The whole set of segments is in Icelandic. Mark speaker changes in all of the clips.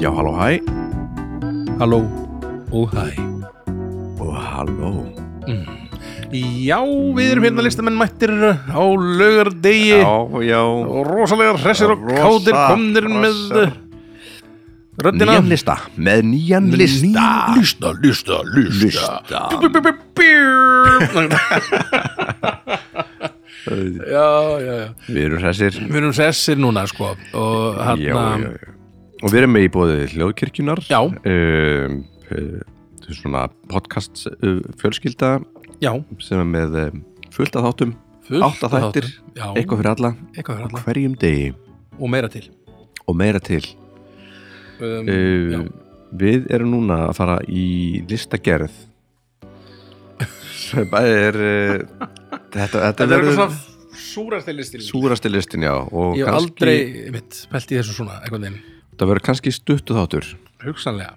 Speaker 1: Já, halló, hæ
Speaker 2: Halló og hæ
Speaker 1: og halló
Speaker 2: Já, við erum hérna listamenn mættir á laugardegi
Speaker 1: Já, já
Speaker 2: og rosalega hressir og
Speaker 1: Rosa
Speaker 2: kátir komnir með eh,
Speaker 1: hressir.
Speaker 2: röddina
Speaker 1: Nýjan lista, með nýjan lista
Speaker 2: Ný- Lista, lista, lista
Speaker 1: Lista
Speaker 2: Bjú, bjú, bjú, bjú, bjú. Já, já, já
Speaker 1: Við erum hressir
Speaker 2: Við erum sessir núna sko og
Speaker 1: já, já,
Speaker 2: hérna
Speaker 1: já. Og við erum með í bóði hljóðkirkjunar
Speaker 2: Já.
Speaker 1: um, uh, Svona podcast uh, fjölskylda
Speaker 2: Já,
Speaker 1: sem er með um, fullt af þáttum
Speaker 2: fullt
Speaker 1: Átta
Speaker 2: af
Speaker 1: þættir,
Speaker 2: þáttum. Já,
Speaker 1: eitthvað fyrir alla
Speaker 2: eitthvað fyrir alla
Speaker 1: hverjum degi
Speaker 2: og meira til
Speaker 1: og meira til
Speaker 2: um, já.
Speaker 1: uh, Við erum núna að fara í listagerð sem bæði er uh, þetta, þetta
Speaker 2: Þetta er
Speaker 1: verður
Speaker 2: eitthvað svona súrasti listin
Speaker 1: súrasti listin já og
Speaker 2: Ég hef
Speaker 1: kannski,
Speaker 2: aldrei mitt pælt í þessu svona eitthvað þeim
Speaker 1: það verður kannski stuttu þáttur
Speaker 2: hugsanlega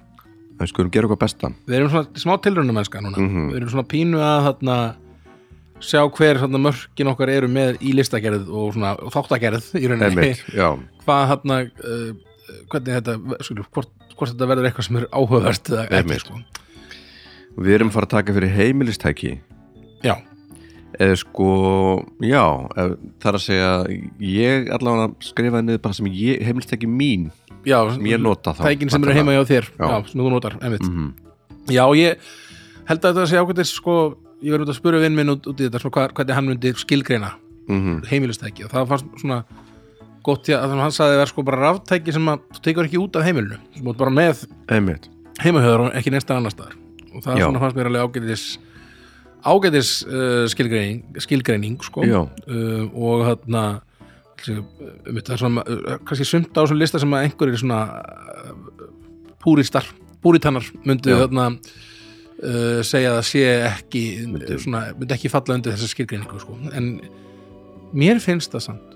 Speaker 1: en skulum gera eitthvað besta
Speaker 2: við erum svona smá tilröndum mennska núna
Speaker 1: Mhm.
Speaker 2: við erum svona pínu að þarna, sjá hver þarna, mörkin okkar eru með í listagerð og svona og þáttagerð í rauninni
Speaker 1: Einmitt, já,
Speaker 2: hvað þarna uh, hvernig þetta, skulum, hvort, hvort þetta verður eitthvað sem er áhugavert eða
Speaker 1: Einmitt.
Speaker 2: ekki sko.
Speaker 1: Og við erum að fara að taka fyrir heimilistæki
Speaker 2: já,
Speaker 1: eða sko, já ef, það er að segja, ég allavega skrifaði niður bara sem ég, heimilistæki mín
Speaker 2: já
Speaker 1: sem ég nota þá Mhm.
Speaker 2: tækin sem eru heima hjá þér já. sem þú notar, einmitt já, ég held að þetta sé ákveðið sko, ég verður út að spura vinn minn út, út í þetta svona, hvað, hvernig hann myndi skilgreina
Speaker 1: mm -hmm.
Speaker 2: heimilistæki og það fannst svona gott í að þannig að hann sagði að það er sko bara ráftæki sem að þú tekur ekki út af heimilinu sem þú ert bara með
Speaker 1: Einmitt,
Speaker 2: heimahöður og ekki neins annar staðar og það
Speaker 1: Já.
Speaker 2: svona fannst mér alveg ágætis ágætis uh, skilgreining, skilgreining sko
Speaker 1: já,
Speaker 2: uh, og þarna um, það er svona, uh, kannski sumt á þessum lista sem að einhverjir svona uh, púristar, púritannar myndu
Speaker 1: Já.
Speaker 2: þarna uh, segja að það sé ekki
Speaker 1: Myndu.
Speaker 2: svona, myndi ekki falla undir þessa skilgreiningu sko. en mér finnst það samt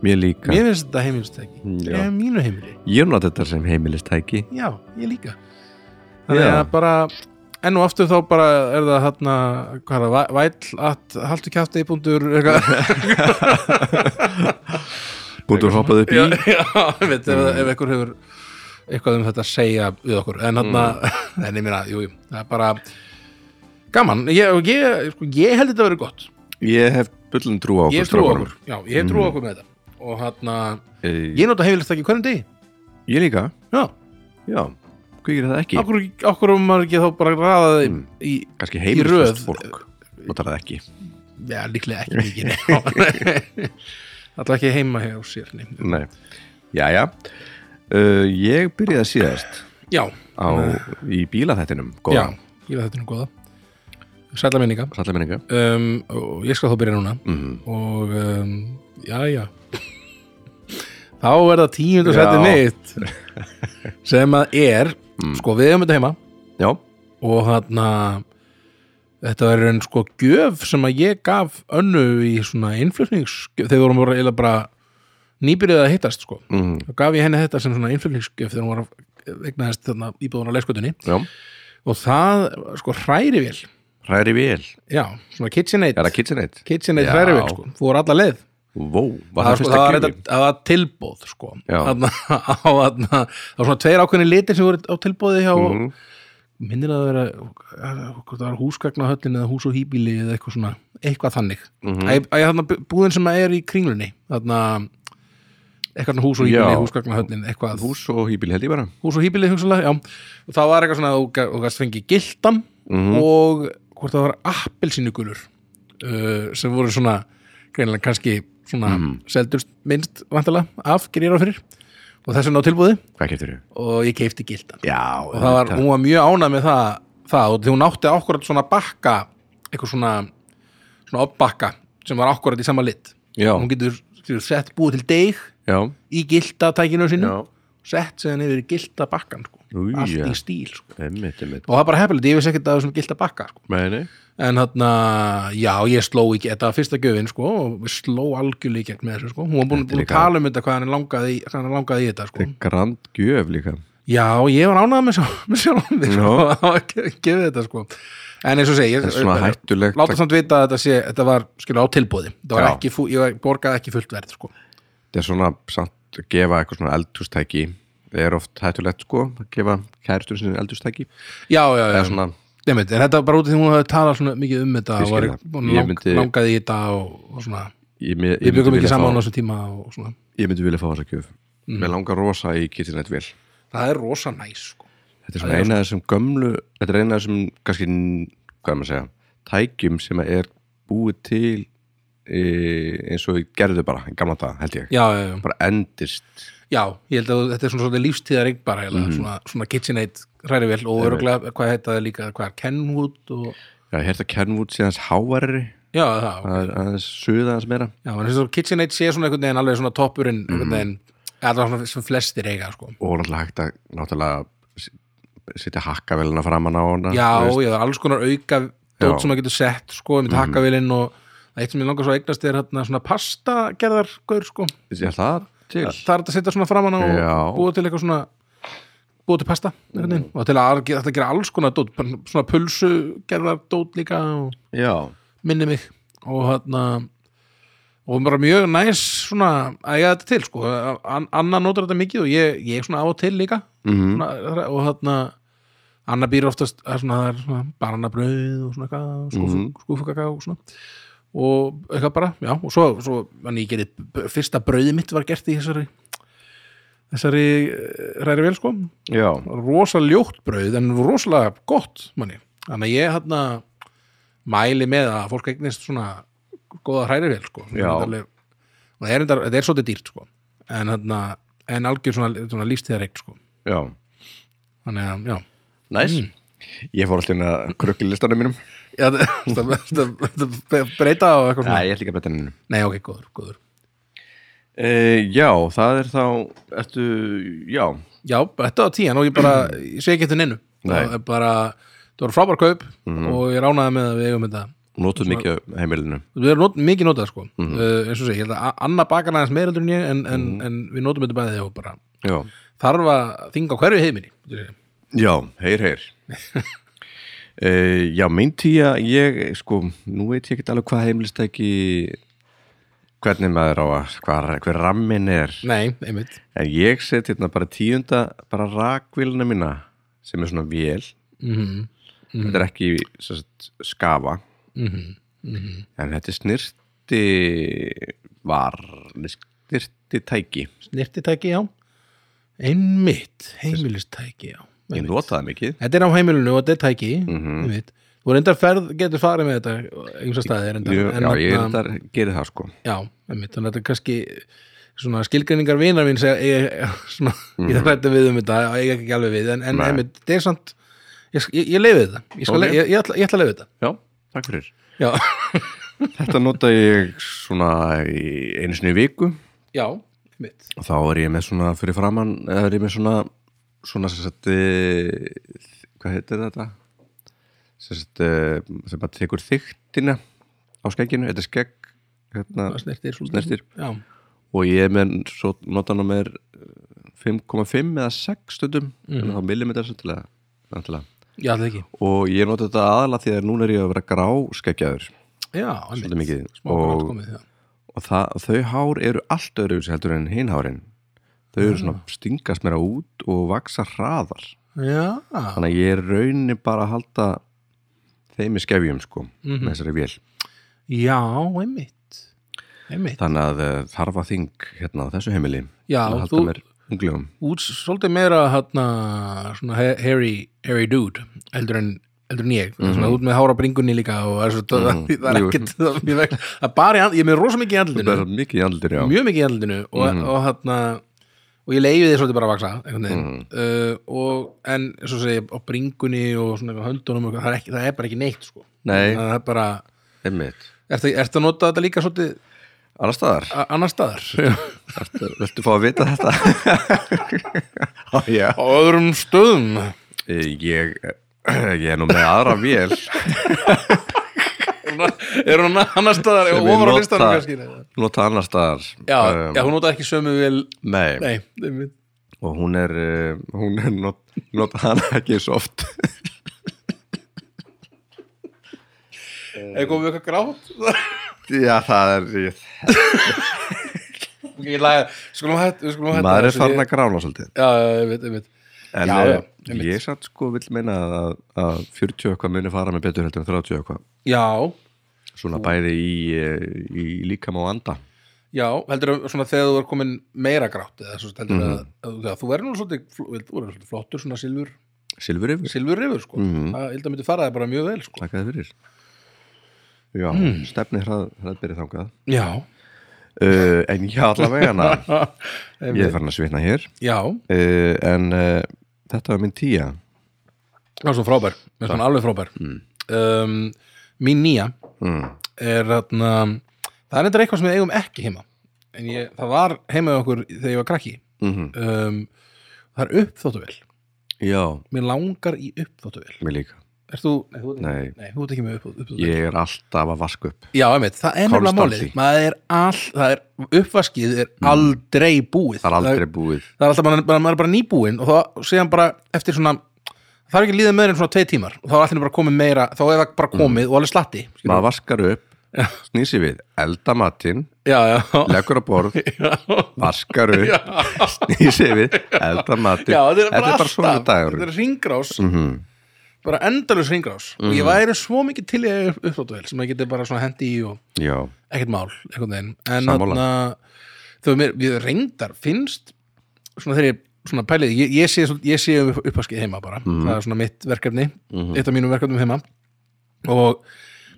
Speaker 1: mér líka
Speaker 2: mér finnst þetta heimilistæki
Speaker 1: Mm, Já.
Speaker 2: ég er mínu heimili,
Speaker 1: Ég nota þetta sem heimilistæki
Speaker 2: já, ég líka þannig
Speaker 1: Já.
Speaker 2: að bara enn og aftur þá bara er það þarna, hvað er það, væ- væll at, haltu kjátti í búndur eitthvað
Speaker 1: Búndur hoppað upp í
Speaker 2: já, já, ég veit,
Speaker 1: Mm.
Speaker 2: ef, ef einhver hefur eitthvað um þetta að segja við okkur en hann að,
Speaker 1: Mm.
Speaker 2: en ég meina, jú, jú það er bara gaman, ég, og ég, sko, ég held þetta verið gott
Speaker 1: Ég hef bullum trú á okkur
Speaker 2: ég trú
Speaker 1: strákunum. Mm.
Speaker 2: okkur, já, ég hef trú á okkur með þetta og hann að,
Speaker 1: Eh,
Speaker 2: ég nota heimilist ekki hvernig degi
Speaker 1: Ég líka,
Speaker 2: já,
Speaker 1: já Hvað gerir það ekki?
Speaker 2: okkur, okkur um maður ekki þá bara ræðaði
Speaker 1: Mm.
Speaker 2: í,
Speaker 1: Kannski
Speaker 2: röð.
Speaker 1: heimilistæst fólk Notar það ekki
Speaker 2: já, líklega ekki mikið nei. alltaf ekki heima hjá sér nei.
Speaker 1: Nei, jæja uh, Ég byrjaði síðast
Speaker 2: já,
Speaker 1: á, í bílaþættinum
Speaker 2: já,
Speaker 1: góða,
Speaker 2: ég veit þetta nú góða sætla minninga
Speaker 1: sætla minninga
Speaker 2: um, og ég skal þá byrja núna
Speaker 1: mm.
Speaker 2: og um, já, já þá er það tíundu
Speaker 1: Já. Mm.
Speaker 2: sætti mitt sem að er sko við hefum þetta heima
Speaker 1: Já,
Speaker 2: og þarna þetta er en sko gjöf sem að ég gaf önnu í svona innflutningsgjöf þegar vorum voru eila bara nýbyrjuð að hittast sko
Speaker 1: mm.
Speaker 2: þá gaf ég henni þetta sem svona innflutningsgjöf þegar hún var að vegnaðist þarna íbúðun á leyskutunni
Speaker 1: já
Speaker 2: og það sko hræri vel
Speaker 1: Hræri vel,
Speaker 2: já, svona KitchenAid
Speaker 1: er það KitchenAid?
Speaker 2: KitchenAid
Speaker 1: Já.
Speaker 2: hræri vel sko, fór alla leið
Speaker 1: Vó, var það
Speaker 2: það, var sko, það,
Speaker 1: fyrsta
Speaker 2: var
Speaker 1: gjöfin?
Speaker 2: reyndar- það var tilbóð sko.
Speaker 1: Já.
Speaker 2: Þarna á, þarna, það var svona tveir ákveðni litir sem voru á tilbóði hjá
Speaker 1: Mhm.
Speaker 2: minnir að það vera hvort það var húsgagnahöllin eða hús og hýbíli eða eitthvað svona, eitthvað þannig mm
Speaker 1: Mhm.
Speaker 2: -hmm. að, að þarna bú- búðin sem er í kringlunni þarna eitthvað svona hús og hýbíli,
Speaker 1: Já.
Speaker 2: húsgagnahöllin eitthvað, hús,
Speaker 1: Hús og hýbíl held ég bara
Speaker 2: hús og hýbíli hugsalega, já og það var eitthvað svona að þú ga- þú gæst fengið gildan
Speaker 1: Mhm.
Speaker 2: og hvort það var appelsínugulur uh, sem voru svona greinilega kannski svona
Speaker 1: Mhm.
Speaker 2: seldust minnst vantilega af gerir á fyrir og þess vegna á tilbúði
Speaker 1: Hvað getur þú?
Speaker 2: og ég keifti gildan
Speaker 1: Já,
Speaker 2: og það var, hún var mjög ánað með það, það og því hún átti akkurat svona bakka eitthvað svona svona oppbakka sem var akkurat í sama lit
Speaker 1: Já,
Speaker 2: hún getur, getur sett búið til deig
Speaker 1: já,
Speaker 2: í gildatækinu sinu
Speaker 1: já
Speaker 2: sett séðan yfir í gildabakkan sko.
Speaker 1: Új,
Speaker 2: allt
Speaker 1: ja.
Speaker 2: í stíl sko.
Speaker 1: Einmitt, einmitt
Speaker 2: og það er bara hefnilegt, ég vissi ekkert að það er svona gildabakka sko.
Speaker 1: Nei, nei
Speaker 2: en þarna, já, ég sló ekki þetta var fyrsta gjöfin, sko, og við sló algjörlega í gegn með þessu, sko, hún var búin
Speaker 1: Þetta er
Speaker 2: búin að
Speaker 1: líka-
Speaker 2: tala um þetta hvað hann langaði, hvað hann langaði í þetta, sko
Speaker 1: Grand gjöf líka
Speaker 2: já, ég var ánægð með, sjálf, með sjálfum því, sko,
Speaker 1: Já.
Speaker 2: að gefa gefa þetta, sko en eins og segi,
Speaker 1: Það er svona
Speaker 2: ég,
Speaker 1: hættulegt
Speaker 2: láta samt vita að þetta sé þetta var, skilur, á tilbúði, þetta var
Speaker 1: Já.
Speaker 2: ekki fú, ég borgaði ekki fullt verð, sko,
Speaker 1: Þetta er svona samt að gefa eitthvað svona eldhústæki er oft hættulegt sko að gefa kæristur sinni eldurstæki
Speaker 2: já, já, já,
Speaker 1: eða svona,
Speaker 2: einmitt, en þetta var bara út af því að hún hafði talað svona mikið um þetta
Speaker 1: Ég
Speaker 2: og
Speaker 1: skil
Speaker 2: var,
Speaker 1: það.
Speaker 2: búin,
Speaker 1: Ég
Speaker 2: lang,
Speaker 1: myndi-
Speaker 2: langaði í þetta og, og svona
Speaker 1: ég, mi-
Speaker 2: við byggum
Speaker 1: vilja
Speaker 2: ekki saman Mhm. á
Speaker 1: fá,
Speaker 2: þessum tíma og svona
Speaker 1: ég myndi vilja fá þessa gjöf mm. með langar rosa í kittinett vil
Speaker 2: það er rosa næs sko.
Speaker 1: þetta er svona eina af þessum gömlu þetta er eina af þessum kannski n- hvað er maður að segja, tækjum sem er búið til e, eins og við gerðu bara í gamla dag held ég,
Speaker 2: já, já, já,
Speaker 1: bara endist
Speaker 2: já, ég held að þetta er svona, svona lífstíðar einn bara, mm.
Speaker 1: Mhm.
Speaker 2: svona, svona KitchenAid hræri vel og öruglega, hvað heit það líka hvað er Kenwood og
Speaker 1: já, ég hérta kernvút síðan aðeins hávarri
Speaker 2: já, það,
Speaker 1: það er aðeins suða aðeins meira
Speaker 2: Já, en þess að KitchenAid sé svona einhvern veginn alveg svona toppurinn
Speaker 1: Mhm.
Speaker 2: einhvern veginn, allavega svona sem flestir eiga sko.
Speaker 1: og náttúrulega hægt að náttúrulega s- setja hakkavelina framan á hana
Speaker 2: Já,
Speaker 1: þú veist.
Speaker 2: já, það er alls konar auka
Speaker 1: Já. Mhm.
Speaker 2: dót sem maður getur sett, sko, með takkavélinn og það eitt sem ég langar svo að eignast er hérna svona pasta gerðar, gaur, sko
Speaker 1: Já, það til
Speaker 2: það er hægt að setja svona framan á
Speaker 1: Já. Mhm.
Speaker 2: og búa til eitthvað svona búa til pasta, einhvern veginn og til að þetta gera alls konar dót bara svona pulsu gerðar dót líka og
Speaker 1: Já,
Speaker 2: minni mig og hérna og bara mjög næs svona að ég þetta til sko, An Anna notar þetta mikið og ég, ég svona á og til líka
Speaker 1: Mhm.
Speaker 2: svona, og hérna Anna býr oftast það er svona, það er svona barnabrauð og svona eitthvað, skúfu,
Speaker 1: Mhm.
Speaker 2: skúfukaka og svona og eitthvað bara, já og svo, svo en ég gerði, fyrsta brauði mitt var gert í þessari þessari eh, hræri vel sko
Speaker 1: já,
Speaker 2: rosa ljótt brauð en rosalega gott manni. þannig að ég hérna mæli með að fólk eignist svona góða hrærivél sko. Svona
Speaker 1: Já.
Speaker 2: þetta er alveg- og það er, reyndar- þetta er svolítið dýrt sko. en, hérna, en algjör svona, svona lífstíðareikt sko.
Speaker 1: já
Speaker 2: þannig að já
Speaker 1: Næs Ég fór alltaf inn að krukli listanum mínum
Speaker 2: Já, það- það það- það breyta og eitthvað svona
Speaker 1: Nei, ég ætla ekki að breyta henni
Speaker 2: Nei, ok, góður, góður
Speaker 1: e, Já, það er þá Ertu, já
Speaker 2: Já, þetta var tíðan og ég bara ég segi ekki þetta neinu
Speaker 1: Nei. Mhm.
Speaker 2: það, er bara, það var frábær kaup og ég ránaði með að við eigum þetta
Speaker 1: Nótuð mikið á heimilinu
Speaker 2: við erum not, mikið notað sko
Speaker 1: Mhm.
Speaker 2: uh, eins og segi, ég held að A- Anna bakar aðeins meira heldur en ég en, en, en við notum þetta bæði og bara
Speaker 1: Já,
Speaker 2: þarf að þinga á hverju heiminni getur við.
Speaker 1: já heyr, heyr e, Já, mín tíja Ég, sko, nú veit ég ekki alveg hvað heimilistæki Hvernig maður á að Hvar, hver rammin er
Speaker 2: nei, einmitt
Speaker 1: En ég set hérna bara tíunda Bara rakvílina mína Sem er svona vél
Speaker 2: Mhm.
Speaker 1: Þetta er ekki sem sagt, skafa
Speaker 2: Mhm.
Speaker 1: En þetta er snirti var snirti tæki
Speaker 2: snirtitæki, já einmitt, heimilistæki, já
Speaker 1: Ég notaði mikið
Speaker 2: þetta er á heimilinu og þetta er tæki
Speaker 1: Mhm.
Speaker 2: einmitt, þú reyndar ferð, getur farið með þetta einhversa staði reyndar hérna-
Speaker 1: Ég- Já, ég
Speaker 2: þarna-
Speaker 1: reyndar gerði það sko
Speaker 2: Já, einmitt, þannig að þetta er kannski svona skilgreiningar vinar mín segja, ég, svona, ég þarf þetta við um þetta og ég ekki alveg við, en,
Speaker 1: Mhm.
Speaker 2: en
Speaker 1: Nei.
Speaker 2: einmitt, þetta er samt ég, sk- ég, ég leiði þetta, ég, skal,
Speaker 1: Ok.
Speaker 2: okay. ég, ég, ætla, ég ætla að leiði þetta
Speaker 1: Já, takk fyrir
Speaker 2: Já,
Speaker 1: Þetta nota ég svona í einu sinni í viku
Speaker 2: já, einmitt
Speaker 1: og þá er ég með svona fyrir framann eða er ég með svona svona sem sagt eh, hvað heitir þetta? sem sagt eh, sem bara tekur þyktina á skegginu, þetta er skegg hérna,
Speaker 2: Það snertir svolítið
Speaker 1: snertir
Speaker 2: Já,
Speaker 1: og ég er með svo notan á mér eh, 5,5 eða 6 stundum en þá millimetrar samtilega, samtilega
Speaker 2: já, það ekki
Speaker 1: og ég nota þetta aðalega því að núna er ég að vera grá skeggjaður
Speaker 2: Já,
Speaker 1: Svolítið
Speaker 2: einmitt,
Speaker 1: mikið.
Speaker 2: smá grátt
Speaker 1: Og-
Speaker 2: komið já.
Speaker 1: og það, þau hár eru allt öðruvísi heldur en hin hárin þau eru svona stingast mér út og vaksa hraðar
Speaker 2: já,
Speaker 1: þannig að ég er rauninni bara að halda þeim í skefjum sko með þessari vél
Speaker 2: já, einmitt Einmitt,
Speaker 1: þannig að eh, þarf að þing hérna á þessu heimili
Speaker 2: Já,
Speaker 1: að halda
Speaker 2: þú-
Speaker 1: mér unglegum
Speaker 2: út svolítið meira hérna, svona he- hairy, hairy dude heldur en, heldur en ég mm svona út með hára bringunni líka og er svo, það er
Speaker 1: jú.
Speaker 2: ekkert það ég veit- það er bara, í andl- ég er með rosa mikið í
Speaker 1: það
Speaker 2: andlutinu
Speaker 1: er mikið í andlir já
Speaker 2: mjög mikið í andlutinu og, og hérna og ég leiði því svolítið bara að vaksa einhvern veginn uh, og en eins og segja á bringunni og svona eitthvað höndunum og eitthvað, það er, ekki, það er bara ekki neitt sko
Speaker 1: Nei.
Speaker 2: það er bara,
Speaker 1: einmitt
Speaker 2: ertu ertu að nota þetta líka svolítið
Speaker 1: Alla staðar,
Speaker 2: a- annars staðar
Speaker 1: Ertu- viltu fá að vita þetta? Á, já. Eh,
Speaker 2: á öðrum stöðum
Speaker 1: Ég, eh, ég er nú með aðra vél
Speaker 2: er hún annars staðar
Speaker 1: sem ég
Speaker 2: ofar á
Speaker 1: nota-
Speaker 2: listanum kannski nei.
Speaker 1: Nota annar staðar
Speaker 2: Já,
Speaker 1: Um,
Speaker 2: já, hún notaði ekki sömu vel
Speaker 1: Nei,
Speaker 2: Nei, einmitt.
Speaker 1: og hún er uh, hún er not, nota hana ekki svo oft
Speaker 2: er komið eitthvað grátt?
Speaker 1: Já, það er ég,
Speaker 2: Ég ég laga, skulum hætt við skulum hætt
Speaker 1: maður er farin að grána svolítið
Speaker 2: já, já, ég veit, ég veit
Speaker 1: en
Speaker 2: Já, já,
Speaker 1: eh, ég satt sko vill meina að, að 40 eitthvað muni fara með betur heldur en 30 eitthvað
Speaker 2: já,
Speaker 1: svona bæði í, eh, í líkam og anda
Speaker 2: já, heldur að svona þegar þú er komin meira grátt eða svo heldur mm
Speaker 1: Mhm.
Speaker 2: að, að þú verður nú svolítið, fl- þú verður svolítið flottur svona silfur,
Speaker 1: Silfur yfir,
Speaker 2: silfur rifur sko
Speaker 1: Mhm.
Speaker 2: það held að myndi fara það bara mjög vel sko
Speaker 1: takk að þið fyrir já,
Speaker 2: Hmm.
Speaker 1: stefni hrað, hraðbyrði þangað
Speaker 2: já,
Speaker 1: uh, en já, allavega hana ég
Speaker 2: ég...
Speaker 1: er farin að svitna hér
Speaker 2: já,
Speaker 1: uh, en uh, þetta var minn tíja
Speaker 2: það er svo frábær það er svona alveg frábær um, mín nýja
Speaker 1: mm.
Speaker 2: Hmm. er þarna það er eitthvað eitthvað sem við eigum ekki heima en ég, það var heima hjá okkur þegar ég var krakki
Speaker 1: Mhm.
Speaker 2: um, það er uppþóttuvel
Speaker 1: já,
Speaker 2: mér langar í uppþóttuvel
Speaker 1: mér líka
Speaker 2: Ert þú, nei, þú, ert ekki-
Speaker 1: Nei.
Speaker 2: nei, þú ert ekki með upp, uppþóttuvel
Speaker 1: ég er alltaf að vaska upp
Speaker 2: Já, einmitt, það er nefnilega
Speaker 1: Konstanti.
Speaker 2: málið maður er all, það er, uppvaskið er aldrei búið
Speaker 1: Mm. það er aldrei búið
Speaker 2: það er alltaf bara, bara, maður er bara nýbúinn og þá séðan bara eftir svona það er ekki líðið meður en svona tvei tímar og þá er allir bara komið meira, þá er það bara komið
Speaker 1: Mm.
Speaker 2: og alveg slatti skilur.
Speaker 1: maður vaskar upp snýr sér við, elda matinn
Speaker 2: Já, já,
Speaker 1: leggur á borð,
Speaker 2: já
Speaker 1: vaskar upp snýr sér við, elda matinn
Speaker 2: Já, þetta er bara, Mhm. alltaf,
Speaker 1: svona dagur
Speaker 2: Þetta er ringrás bara endalus ringrás og ég væri svo mikið til í uppþóttuvel sem maður getur bara svona hendi í og
Speaker 1: já,
Speaker 2: ekkert mál, einhvern veginn en
Speaker 1: Sammála.
Speaker 2: þarna, þau mér, við reyndar finnst svona þegar ég svona pælið, ég, ég sé, svol- ég sé upp- uppvaskið heima bara,
Speaker 1: Mhm.
Speaker 2: það er svona mitt verkefni eitt af mínum verkefnum heima og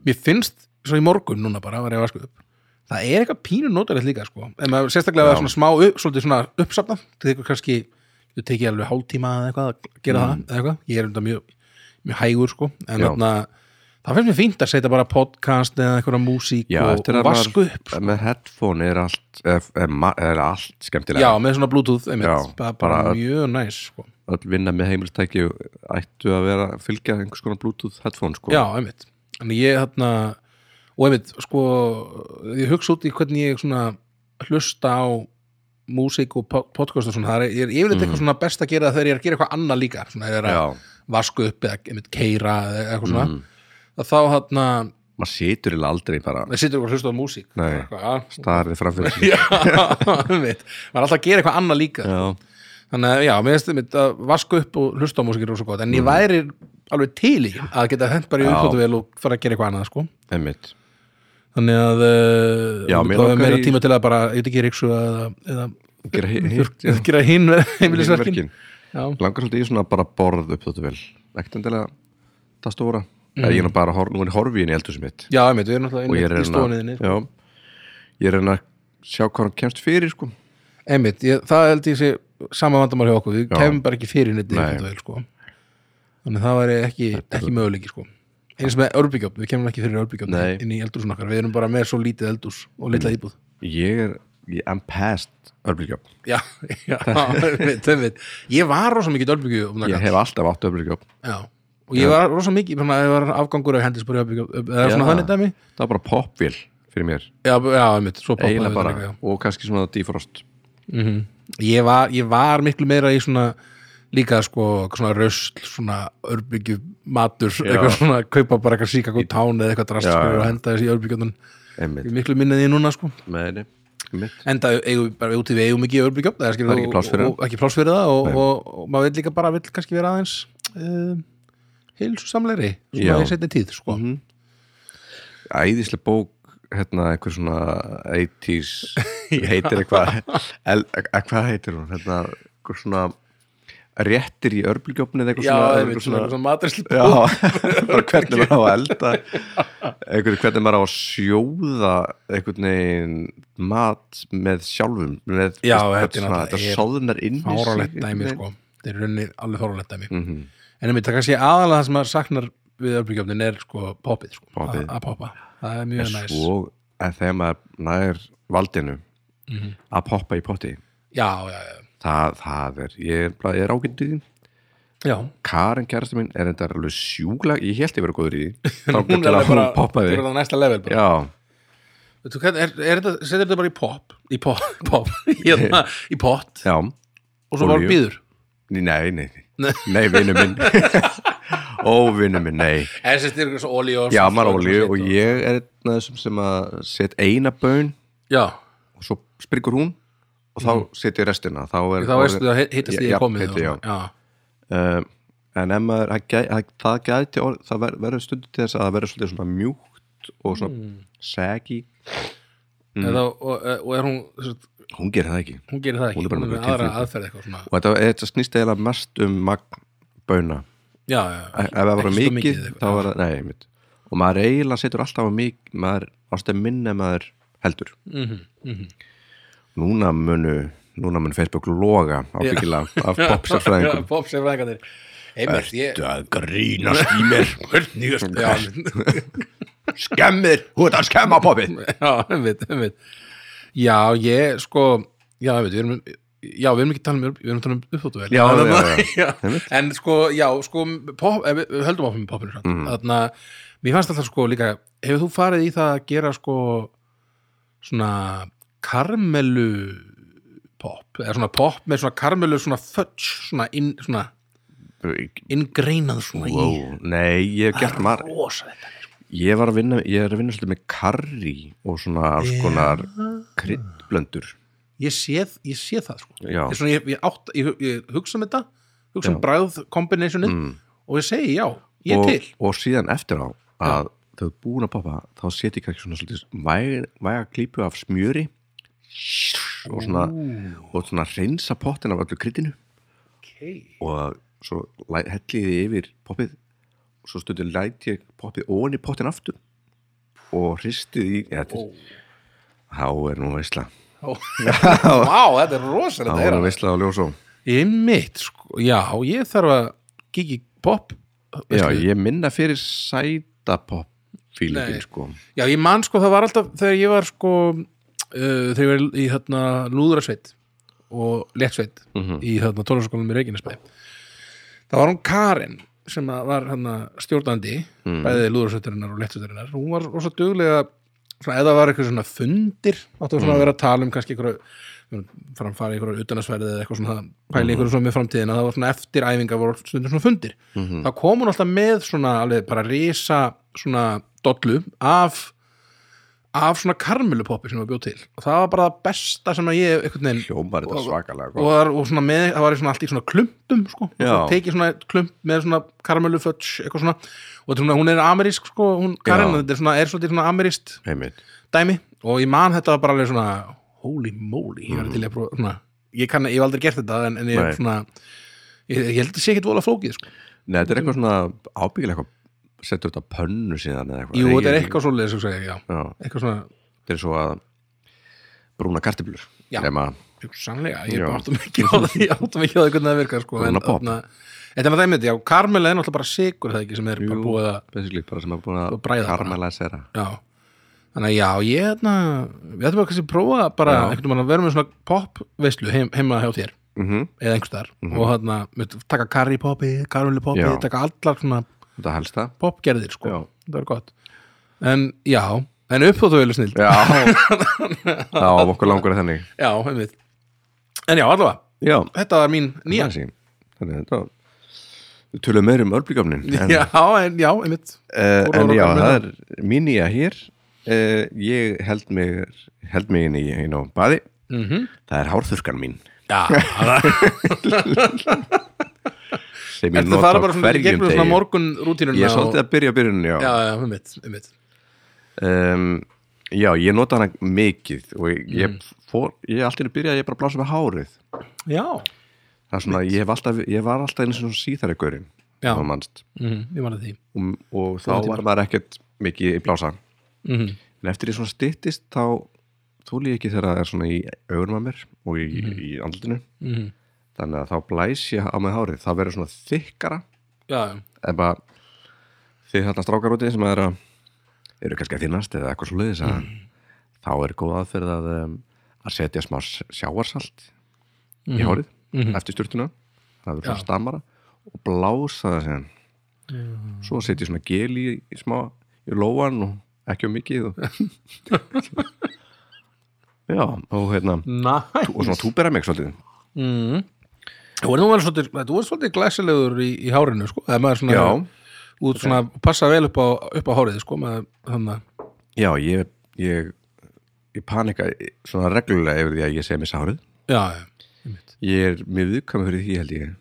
Speaker 2: mér finnst svo í morgun núna bara, var ég að vaska upp það er eitthvað pínu notalegt líka sko en maður sérstaklega
Speaker 1: Já.
Speaker 2: að svona smá upp, svolítið svona uppsafna til eitthvað kannski, þú tekið alveg hálftíma eða eitthvað að gera það, eða eitthvað ég er um þetta mjög, mjög hægur sko en
Speaker 1: Mhm. Já.
Speaker 2: þarna, það finnst mér fínt að setja bara podcast eða eitthvað músík
Speaker 1: já
Speaker 2: og,
Speaker 1: eftir að
Speaker 2: og vasku upp sko.
Speaker 1: maður með headphone er allt er, er, ma- er allt
Speaker 2: já,
Speaker 1: skemmtilega
Speaker 2: með svona bluetooth einmitt,
Speaker 1: Já,
Speaker 2: bara, bara
Speaker 1: bara-
Speaker 2: mjög næs sko.
Speaker 1: öll vinna með heimilstæki ættu að vera að fylgja einhvers konar bluetooth headphone sko
Speaker 2: já, einmitt en ég þarna og einmitt, sko, ég hugsa út í hvernig ég svona hlusta á músík og po- podcast og svona það er, ég er yfirleitt eitthvað svona best að gera það þegar ég er að gera eitthvað annað líka svona, ef ég er að
Speaker 1: Mhm. Já. Mhm.
Speaker 2: vasku upp eða einmitt keira eða eitthvað svona að þá hérna, þarna,
Speaker 1: maður situr eiginlega aldrei bara
Speaker 2: það situr eitthvað að hlusta á músík
Speaker 1: Nei.
Speaker 2: Bara eitthvað,
Speaker 1: starrið framfyrir sig.
Speaker 2: Já, einmitt maður er alltaf að gera eitthvað annað líka
Speaker 1: já,
Speaker 2: þannig að já, mér finnst einmitt að vaska upp og hlusta á músikir og svo gott, en ég væri alveg til í að geta hent bara í
Speaker 1: Mm. Já.
Speaker 2: uppfótuvel og fara að gera eitthvað annað, sko
Speaker 1: emmitt
Speaker 2: þannig að uh,
Speaker 1: Já, mér
Speaker 2: þá er
Speaker 1: langar
Speaker 2: meira
Speaker 1: í-
Speaker 2: tíma til að bara, ég veit ekki, ríksu eða, eða
Speaker 1: gera hitt
Speaker 2: eða gera hinn heimilisverkin
Speaker 1: verkin
Speaker 2: já,
Speaker 1: langar svolítið í svona bara borð upp þóttu vel ekkert endilega það stóra mm. ég er nú bara, hor, nú er ég horfið inn í eldhúsum mitt
Speaker 2: já, einmitt, við erum
Speaker 1: og ég er
Speaker 2: náttúrulega í
Speaker 1: reyna
Speaker 2: stóniðinni
Speaker 1: já, ég er reyna að sjá hvað hann kemst fyrir sko.
Speaker 2: einmitt, ég, það held ég sé sama vandamál hjá okkur, við
Speaker 1: Já.
Speaker 2: kemum bara ekki fyrir neitt
Speaker 1: Nei.
Speaker 2: uppfótuvel, sko þannig að það væri ekki, ekki möguleiki, sko eins með örbyggjofn, við kemum ekki fyrir örbyggjofn
Speaker 1: Nei. Mm.
Speaker 2: inn í eldúsun okkar, við erum bara með svo lítið eldús og litla íbúð
Speaker 1: ég er, ég am past örbílgjöp,
Speaker 2: já, já, einmitt, einmitt. ég var rosa mikið dölbyggju
Speaker 1: ég hef alltaf átt örbílgjöp
Speaker 2: og ég var rosa mikið svona, ég var afgangur af hendisbúri eða
Speaker 1: Já.
Speaker 2: svona þannig dæmi
Speaker 1: það var bara popvél fyrir mér,
Speaker 2: já, b- já, einmitt, svo poppaði
Speaker 1: eiginlega
Speaker 2: þetta
Speaker 1: bara Mhm.
Speaker 2: líka, já.
Speaker 1: og kannski svona defrost
Speaker 2: ég, var, ég var miklu meira í svona líka sko, svona rösl svona örbyggju matur eitthvað svona, kaupa bara eitthvað síka góð tán eða eitthvað drast
Speaker 1: Já,
Speaker 2: sko,
Speaker 1: já.
Speaker 2: og henda þessi örbyggjöndun
Speaker 1: emmitt,
Speaker 2: miklu minnaði ég núna sko
Speaker 1: með henni
Speaker 2: enda eigum við bara út í við eigum ekki örbyggjum það er, skilur,
Speaker 1: Það er ekki pláss fyrir
Speaker 2: og, og, ekki pláss fyrir það og, og, og maður vil líka bara vill kannski vera aðeins uh, heilsu samleiri
Speaker 1: Já. Mhm.
Speaker 2: svona í setni tíð sko.
Speaker 1: æðislega bók hérna einhver svona 80s heitir eitthvað el- e- hvað heitir hún hérna einhver svona réttir í örbulgjófni eða eitthvað
Speaker 2: já,
Speaker 1: svona,
Speaker 2: það er
Speaker 1: einhver
Speaker 2: svona, svona matrislu
Speaker 1: Já, bara hvernig maður á að elda einhver, hvernig maður á að sjóða einhvern veginn mat með sjálfum með,
Speaker 2: Já,
Speaker 1: þetta
Speaker 2: þetta er
Speaker 1: svona,
Speaker 2: náttúrulega-
Speaker 1: þetta
Speaker 2: er
Speaker 1: sóðunar inn í sig
Speaker 2: fáralegt
Speaker 1: einhvern
Speaker 2: dæmi
Speaker 1: veginn.
Speaker 2: sko. það er rauninni alveg fáralegt dæmi
Speaker 1: Mhm.
Speaker 2: en einmitt, það kannski aðalega það sem maður saknar við örbyggjum er sko, poppið sko.
Speaker 1: Poppið.
Speaker 2: að að poppa, það er mjög
Speaker 1: En
Speaker 2: næs
Speaker 1: svo að þegar maður nær valdinu
Speaker 2: Mhm.
Speaker 1: að poppa í potti
Speaker 2: já, já, já,
Speaker 1: það, það er, ég, er bara- ég er ágættið því
Speaker 2: já
Speaker 1: Karin kærasta mín er þetta alveg sjúkla ég held ég verið góður í því þá
Speaker 2: hún
Speaker 1: getur
Speaker 2: er
Speaker 1: að
Speaker 2: alveg
Speaker 1: hún
Speaker 2: bara,
Speaker 1: poppaði
Speaker 2: hún er alveg næsta level bara.
Speaker 1: já,
Speaker 2: Veitu hvað, er, er þetta, setur þetta bara í pop í pop, pop hérna, í pott
Speaker 1: já,
Speaker 2: og svo bara
Speaker 1: Olíu.
Speaker 2: býður
Speaker 1: Ný- nei, nei nei, nei vinnu minn ó, vinnu minn, nei
Speaker 2: en sérst er eitthvað svo olíu og
Speaker 1: já,
Speaker 2: svo-
Speaker 1: maður
Speaker 2: svo-
Speaker 1: olíu
Speaker 2: svo-
Speaker 1: og ég er einn af þessum sem að set eina bön
Speaker 2: já,
Speaker 1: og svo spryggur hún og þá sit ég restina þá er
Speaker 2: þá veistu það hittast því
Speaker 1: Já,
Speaker 2: að komið
Speaker 1: hitti, já.
Speaker 2: og- já.
Speaker 1: uh, en ef maður það gæ- það- það gæti orð, það ver, verður stundu til þess að það verður svolítið svona mjúkt og svona mm. saggy Mm.
Speaker 2: Eða, og, og er hún sem sagt,
Speaker 1: hún gerir það ekki
Speaker 2: hún gerir það
Speaker 1: Hún
Speaker 2: ekki,
Speaker 1: er bara
Speaker 2: hún
Speaker 1: með
Speaker 2: er með aðra
Speaker 1: tilfinningu.
Speaker 2: aðferð eitthvað svona
Speaker 1: og þetta, þetta snýst eiginlega mest um magn bauna
Speaker 2: já, já,
Speaker 1: ef það var
Speaker 2: ekki svo
Speaker 1: mikið,
Speaker 2: mikið
Speaker 1: þá
Speaker 2: eitthvað.
Speaker 1: var það, nei, mitt og maður eiginlega setur alltaf á mikið maður ástæð minna en maður heldur
Speaker 2: Mhm, mhm.
Speaker 1: núna munu, núna mun Facebook loga ábyggilega af
Speaker 2: Já,
Speaker 1: popsafræðingum
Speaker 2: popsérfræðingarnir einmitt, ég
Speaker 1: að grínast í mér
Speaker 2: hvernig er já, einmitt.
Speaker 1: skemmir, hú ert að skemma popið
Speaker 2: já, einmitt, einmitt já, ég sko já, einmitt, við erum já, við erum ekki að tala um, við erum að tala um uppþóttuvel
Speaker 1: Já,
Speaker 2: en,
Speaker 1: já, já.
Speaker 2: en sko, já, sko pop, ef við, við höldum áfram með popinu mm. þannig að mér fannst alltaf sko líka hefur þú farið í það að gera sko svona karmelu pop, eða svona pop með svona karmelu svona fudge, svona, inn, svona ingreinað svona í
Speaker 1: wow, nei, ég hef gert marg
Speaker 2: rosa þetta
Speaker 1: ég var að vinna, ég er að vinna svolítið með karri og svona alls konar kryddblöndur
Speaker 2: ég sé, ég sé það sko.
Speaker 1: Já.
Speaker 2: ég, svona, ég, ég, átt, ég, ég hugsa um þetta hugsa um bræð kombinæsjonin og ég segi já, ég er
Speaker 1: Mm. og,
Speaker 2: til
Speaker 1: og síðan eftir á að þau er búin að poppa þá set ég kannski svona svolítið væga, væga klípu af smjöri og svona, og svona reynsa pottin af öllu kryddinu
Speaker 2: okay.
Speaker 1: og svo læ- helli ég því yfir poppið og svo stundum læti ég poppið ofan í pottin aftur og hristið í ja, þetta, þá er nú veisla
Speaker 2: Vá, þetta er rosalegt
Speaker 1: þá
Speaker 2: að
Speaker 1: er
Speaker 2: heyra.
Speaker 1: nú veisla á ljósó
Speaker 2: Ég mitt, sko, já, ég þarf að gigi pop
Speaker 1: já,
Speaker 2: veislu.
Speaker 1: ég minna fyrir sæta popp fílingin
Speaker 2: Nei.
Speaker 1: sko
Speaker 2: já, ég man sko, það var alltaf þegar ég var sko uh, þegar ég var í þarna lúðrasveit og léttsveit
Speaker 1: Mhm.
Speaker 2: í þarna tólaskólanum í Reykjanesbæ þá var hún Karin sem að var hann stjórnandi bæðið lúðrasveitarinnar og léttsveitarinnar hún var rosa duglega svona, eða var eitthvað svona fundir áttu svona að vera að tala um kannski einhverju framfara einhverju utanasverðið eða eitthvað svona pæli einhverju svona með framtíðina það var svona eftir æfinga voru stundum svona fundir þá kom hún alltaf með svona alveg bara risa svona dollu af af svona karmelupoppi sem var bjóð til og það var bara það besta sem að ég einhvern veginn
Speaker 1: hljómar þetta svakalega
Speaker 2: og,
Speaker 1: gott
Speaker 2: var, og svona með, það var í svona allt í svona klumpum sko, og
Speaker 1: Já.
Speaker 2: svo tekið svona klump með svona karamelluföts, eitthvað svona og þetta er svona, hún er amerísk sko, hún Karen,
Speaker 1: Já.
Speaker 2: þetta er svona, er svolítið svona ameríst
Speaker 1: Einmitt.
Speaker 2: dæmi og ég man þetta bara alveg svona holy moly, ég var til í að prófa svona, ég kann, ég hef aldrei gert þetta en, en ég
Speaker 1: Mhm. Nei.
Speaker 2: er svona ég, ég held að sé ekkit vola flókið sko.
Speaker 1: Nei, þetta er eitthvað svona ábyggilega eitthvað settu þetta á pönnu síðan eða eitthvað
Speaker 2: jú, þetta er
Speaker 1: Eigin-
Speaker 2: eitthvað svoleiðis, svo segja, já
Speaker 1: Já,
Speaker 2: eitthvað svona,
Speaker 1: þetta er svo að brúna kartiblur
Speaker 2: Já.
Speaker 1: nema,
Speaker 2: sannlega, ég
Speaker 1: Já.
Speaker 2: áttum ekki á það ég áttum ekki á það hvernig það virkar sko,
Speaker 1: Svona pop.
Speaker 2: þarna- Þetta er maður dæmið, já, karmela er náttúrulega bara sigur það ekki sem er bara
Speaker 1: Jú.
Speaker 2: búið að
Speaker 1: basically, bara sem er búin
Speaker 2: Og
Speaker 1: að
Speaker 2: bræða bara.
Speaker 1: karmelæsera
Speaker 2: Já, þannig að já, ég hérna, við ætlum að kannski prófa bara
Speaker 1: Já.
Speaker 2: einhvern veginn að vera með svona pop veislu heim, heima hjá þér
Speaker 1: mm
Speaker 2: eða einhvers þar og hérna, við taka curry poppi, karunli poppi,
Speaker 1: Já.
Speaker 2: taka allar svona
Speaker 1: Þetta helst það
Speaker 2: popgerðir sko,
Speaker 1: Já.
Speaker 2: það er gott En já, en uppþóttu velu snill
Speaker 1: Já, já okkur langur er þannig
Speaker 2: Já, einmitt En já, allavega,
Speaker 1: Já,
Speaker 2: þetta var mín nýja
Speaker 1: Næsí. þannig að þetta var- Við tölum meir um örblíkamnin en,
Speaker 2: Já, en já, einmitt
Speaker 1: uh,
Speaker 2: Úr-
Speaker 1: en
Speaker 2: úr-
Speaker 1: já,
Speaker 2: úr-
Speaker 1: það er mín nýja hér uh, Ég held mig held mig inn í einu á baði
Speaker 2: mm
Speaker 1: Það er hárþurkan mín
Speaker 2: Já, það
Speaker 1: sem ég
Speaker 2: er það
Speaker 1: nota
Speaker 2: fara
Speaker 1: á
Speaker 2: bara svona í
Speaker 1: hverjum
Speaker 2: gegnum svona
Speaker 1: degi
Speaker 2: morgun rútínuna
Speaker 1: Ég er svolítið að byrja byrjunni, já
Speaker 2: Já, já, einmitt, einmitt
Speaker 1: um, Já, ég nota hana mikið og ég,
Speaker 2: Mm.
Speaker 1: ég fór, ég allt í einu byrjaði ég bara að blása með hárið
Speaker 2: Já,
Speaker 1: Það er svona, ég, hef alltaf, ég var alltaf einu svona síðari gaurinn
Speaker 2: Já.
Speaker 1: þá mannst.
Speaker 2: mm, ég manna því
Speaker 1: og, og þá var maður ekkert mikið í blása
Speaker 2: mm
Speaker 1: en eftir ég svona styttist þá þúli ég ekki þegar það er svona í augunum að mér og í,
Speaker 2: Mm.
Speaker 1: í andlutinu
Speaker 2: Mhm.
Speaker 1: þannig að þá blæs ég á með hárið það verður svona þykkara
Speaker 2: Já, já
Speaker 1: en bara þið þarna strákar úti sem er að eru kannski að finnast eða eitthvað svo leiðis að þá er góð aðferð að, um, að setja smá s- sjáarsalt í hárið eftir styrtuna það verður svona stammara og blása það sem svo setja ég svona gel í, í smá í lóan og ekki um mikið og já og hérna
Speaker 2: Næs
Speaker 1: og svona túbera mig svolítið
Speaker 2: mm. Þú er nú vel svolítið, þú er svolítið glæsilegur í, í hárinu sko Það er maður svona,
Speaker 1: Já.
Speaker 2: út svona, passa vel upp á, upp á hárið sko maður, þannig, að-
Speaker 1: já ég ég, ég panika svona reglulega yfir því að ég sé mér sárið
Speaker 2: já, já
Speaker 1: ég er mjög viðkvæmur fyrir því held ég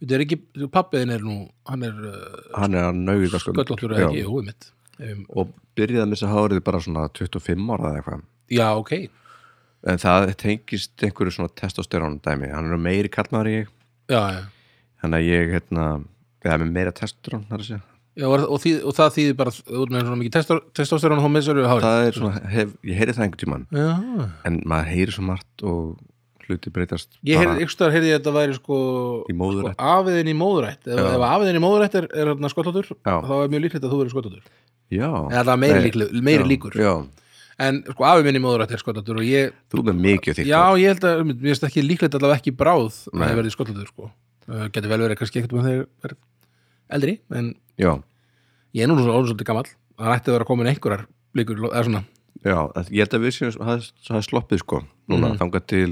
Speaker 2: Þetta er ekki, pappiðin er nú hann er uh,
Speaker 1: hann er að nauða sko
Speaker 2: göllóttur eða ekki, jú, mitt um,
Speaker 1: og byrjaði að missa hárið bara svona 25 ára eða eitthvað
Speaker 2: Já, ok,
Speaker 1: en það tengist einhverju svona testosterón dæmi hann er nú meiri kallmaður en ég
Speaker 2: já, já
Speaker 1: þannig að ég hérna eða með meira testosterón þar að segja
Speaker 2: Já, og, og, því, og það þýðir bara þú ert með svona mikið testor- testosterón og þá missar við hárið
Speaker 1: það er svona, hef, ég heyri það einhver tíman
Speaker 2: Já,
Speaker 1: en maður heyri svo margt og hluti breytast
Speaker 2: ég
Speaker 1: bara
Speaker 2: heyrði, ykkur stöðar heyrði ég að þetta væri sko,
Speaker 1: í móður
Speaker 2: sko afiðin í móðurætt ef, ef afiðin í móðurætt er, er hérna skollóttur
Speaker 1: Já.
Speaker 2: þá er mjög líklegt að þú verður skollóttur
Speaker 1: já,
Speaker 2: eða það er meiri,
Speaker 1: Nei.
Speaker 2: líklu, meiri líkur
Speaker 1: já,
Speaker 2: en sko afið minn í móðurætt er skollóttur og ég,
Speaker 1: þú er með mikið þykkt
Speaker 2: já ég held að mér finnst ekki líklegt allavega ekki bráð að
Speaker 1: Nei.
Speaker 2: það verði skollóttur sko uh, getur vel verið kannski ekkert með þegar verð eldri en
Speaker 1: já,
Speaker 2: ég er nú svona orðin svolítið gamall það ætti að vera komin einhverjar líkur eða svona,
Speaker 1: já, að- ég held að við séum það er- það er sloppið sko,
Speaker 2: Mm.
Speaker 1: núna þangað til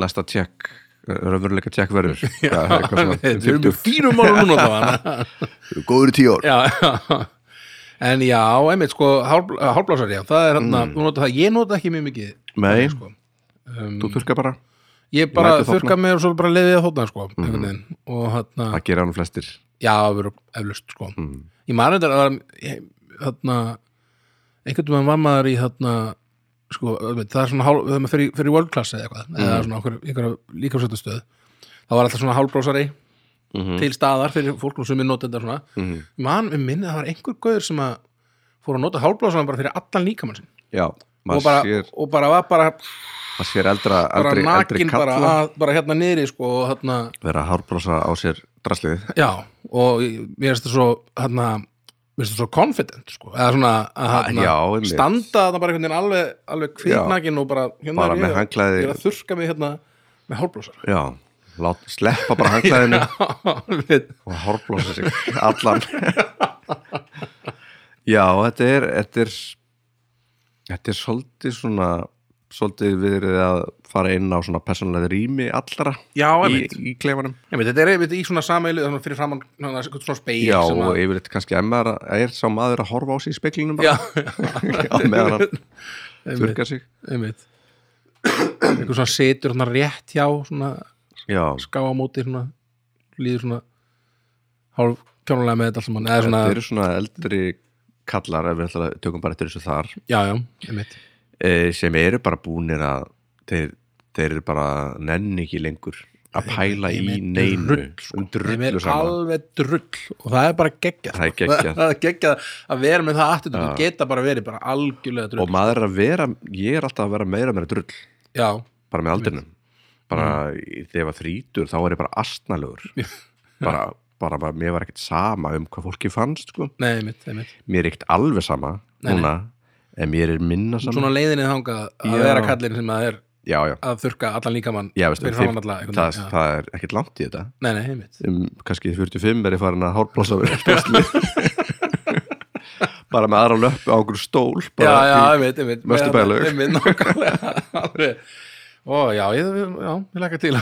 Speaker 1: lasta tjekk raunveruleika tjekk verður Já, eitthvað svona
Speaker 2: við erum í
Speaker 1: 50
Speaker 2: fínum málum núna þá hana
Speaker 1: góður í tíu ár
Speaker 2: já, já. en já, einmitt sko hálf- eh, hálfblásar, já, það er hérna mm. nota það, ég nota ekki mjög mikið
Speaker 1: Nei.
Speaker 2: sko. um,
Speaker 1: þú þurka bara,
Speaker 2: ég bara
Speaker 1: lætur þorna.
Speaker 2: þurka mig og svo bara leiði að þóna
Speaker 1: Mhm.
Speaker 2: sko, einhvern veginn, og hérna
Speaker 1: það gera hann flestir
Speaker 2: já, það verður eflust sko.
Speaker 1: Mhm.
Speaker 2: ég man þetta að ég- hérna einhvern veginn var maður í hérna sko, einmitt, það er svona hálf, þegar maður fer í- fer í world class eða eitthvað,
Speaker 1: Mhm.
Speaker 2: eða svona okkur, einhverja líkafsöldastöð það var alltaf svona hálfblásari
Speaker 1: Mhm.
Speaker 2: til staðar fyrir fólk og sumir nota þetta svona man, við minni það var einhver gauður sem að fór að nota hálfblásan bara fyrir allan líkamann sinn
Speaker 1: já,
Speaker 2: og
Speaker 1: maður
Speaker 2: bara,
Speaker 1: sér,
Speaker 2: og bara var bara,
Speaker 1: maður sér eldra,
Speaker 2: bara
Speaker 1: eldri, eldri
Speaker 2: nakin bara,
Speaker 1: kalla
Speaker 2: að, bara hérna niðri sko og hérna,
Speaker 1: vera að hárbrosa á sér draslið
Speaker 2: já og ég- mér finnst það svo hérna, mér finnst það svo confident sko eða svona að hérna,
Speaker 1: Ah, já, einmitt.
Speaker 2: standa þarna bara einhvern veginn alveg, alveg kviknakin og bara, hérna
Speaker 1: Bara
Speaker 2: er
Speaker 1: með
Speaker 2: ég,
Speaker 1: handklæði.
Speaker 2: ég er að þurka mig hérna með hálfblásar
Speaker 1: já, lát, sleppa bara hanglaðinu
Speaker 2: Alveg.
Speaker 1: og hárblósa sig allan já, þetta er þetta er, þetta er svolítið svona svolítið verið að fara inn á svona persónlega rými allra
Speaker 2: já,
Speaker 1: í,
Speaker 2: einmitt,
Speaker 1: í klefanum
Speaker 2: einmitt þetta er einmitt í svona sameilu þannig fyrir framann svona, svona speil
Speaker 1: já,
Speaker 2: sem
Speaker 1: og
Speaker 2: að,
Speaker 1: yfirleitt kannski ef maður er sá maður að horfa á sig í speklinum
Speaker 2: já,
Speaker 1: bara, já, meðan hann þurka sig
Speaker 2: einmitt einhver svona setur svona rétt hjá svona
Speaker 1: já,
Speaker 2: skáamóti svona líður svona hálf kjónulega með þetta allt saman eða svona,
Speaker 1: þetta eru svona eldri kallar ef við ætla að tökum bara eftir þessu þar
Speaker 2: já, já, einmitt
Speaker 1: eh, sem eru bara búnir að þeir, þeir eru bara nenni ekki lengur að pæla í
Speaker 2: Einmitt,
Speaker 1: neinu
Speaker 2: drull, sko.
Speaker 1: um
Speaker 2: Þeim
Speaker 1: drullu
Speaker 2: er
Speaker 1: saman
Speaker 2: alveg drull og það er bara geggjað sko.
Speaker 1: Það er geggjað.
Speaker 2: það er geggjað að vera með það aftur þú geta bara verið bara algjörlega drull
Speaker 1: og maður er að vera, ég er alltaf að vera meira meira drull,
Speaker 2: já,
Speaker 1: bara með aldrinum bara mm. þegar ég var þrítur þá var ég bara astnalegur bara, bara, bara, mér var ekkert sama um hvað fólki fannst, sko,
Speaker 2: nei, einmitt, einmitt
Speaker 1: mér er ekkert alveg sama
Speaker 2: Nei, nei.
Speaker 1: núna, en mér er minna sama
Speaker 2: svona leiðinni þangað að
Speaker 1: Já.
Speaker 2: vera kallin sem að er
Speaker 1: já, já,
Speaker 2: að þurka allan líkamann
Speaker 1: já veistu,
Speaker 2: fyrir
Speaker 1: þið-
Speaker 2: framann alla einhvern
Speaker 1: það,
Speaker 2: veginn, já.
Speaker 1: það er ekkert langt í þetta
Speaker 2: nei, nei, einmitt
Speaker 1: um kannski 45 er ég farin að hárblasa verið bara með aðra löppu á einhverju stól bara
Speaker 2: já, já,
Speaker 1: í-
Speaker 2: einmitt, einmitt
Speaker 1: Vesturbæjarlaug.
Speaker 2: einmitt, nákvæmlega alveg. ó, já, ég, já, ég laka til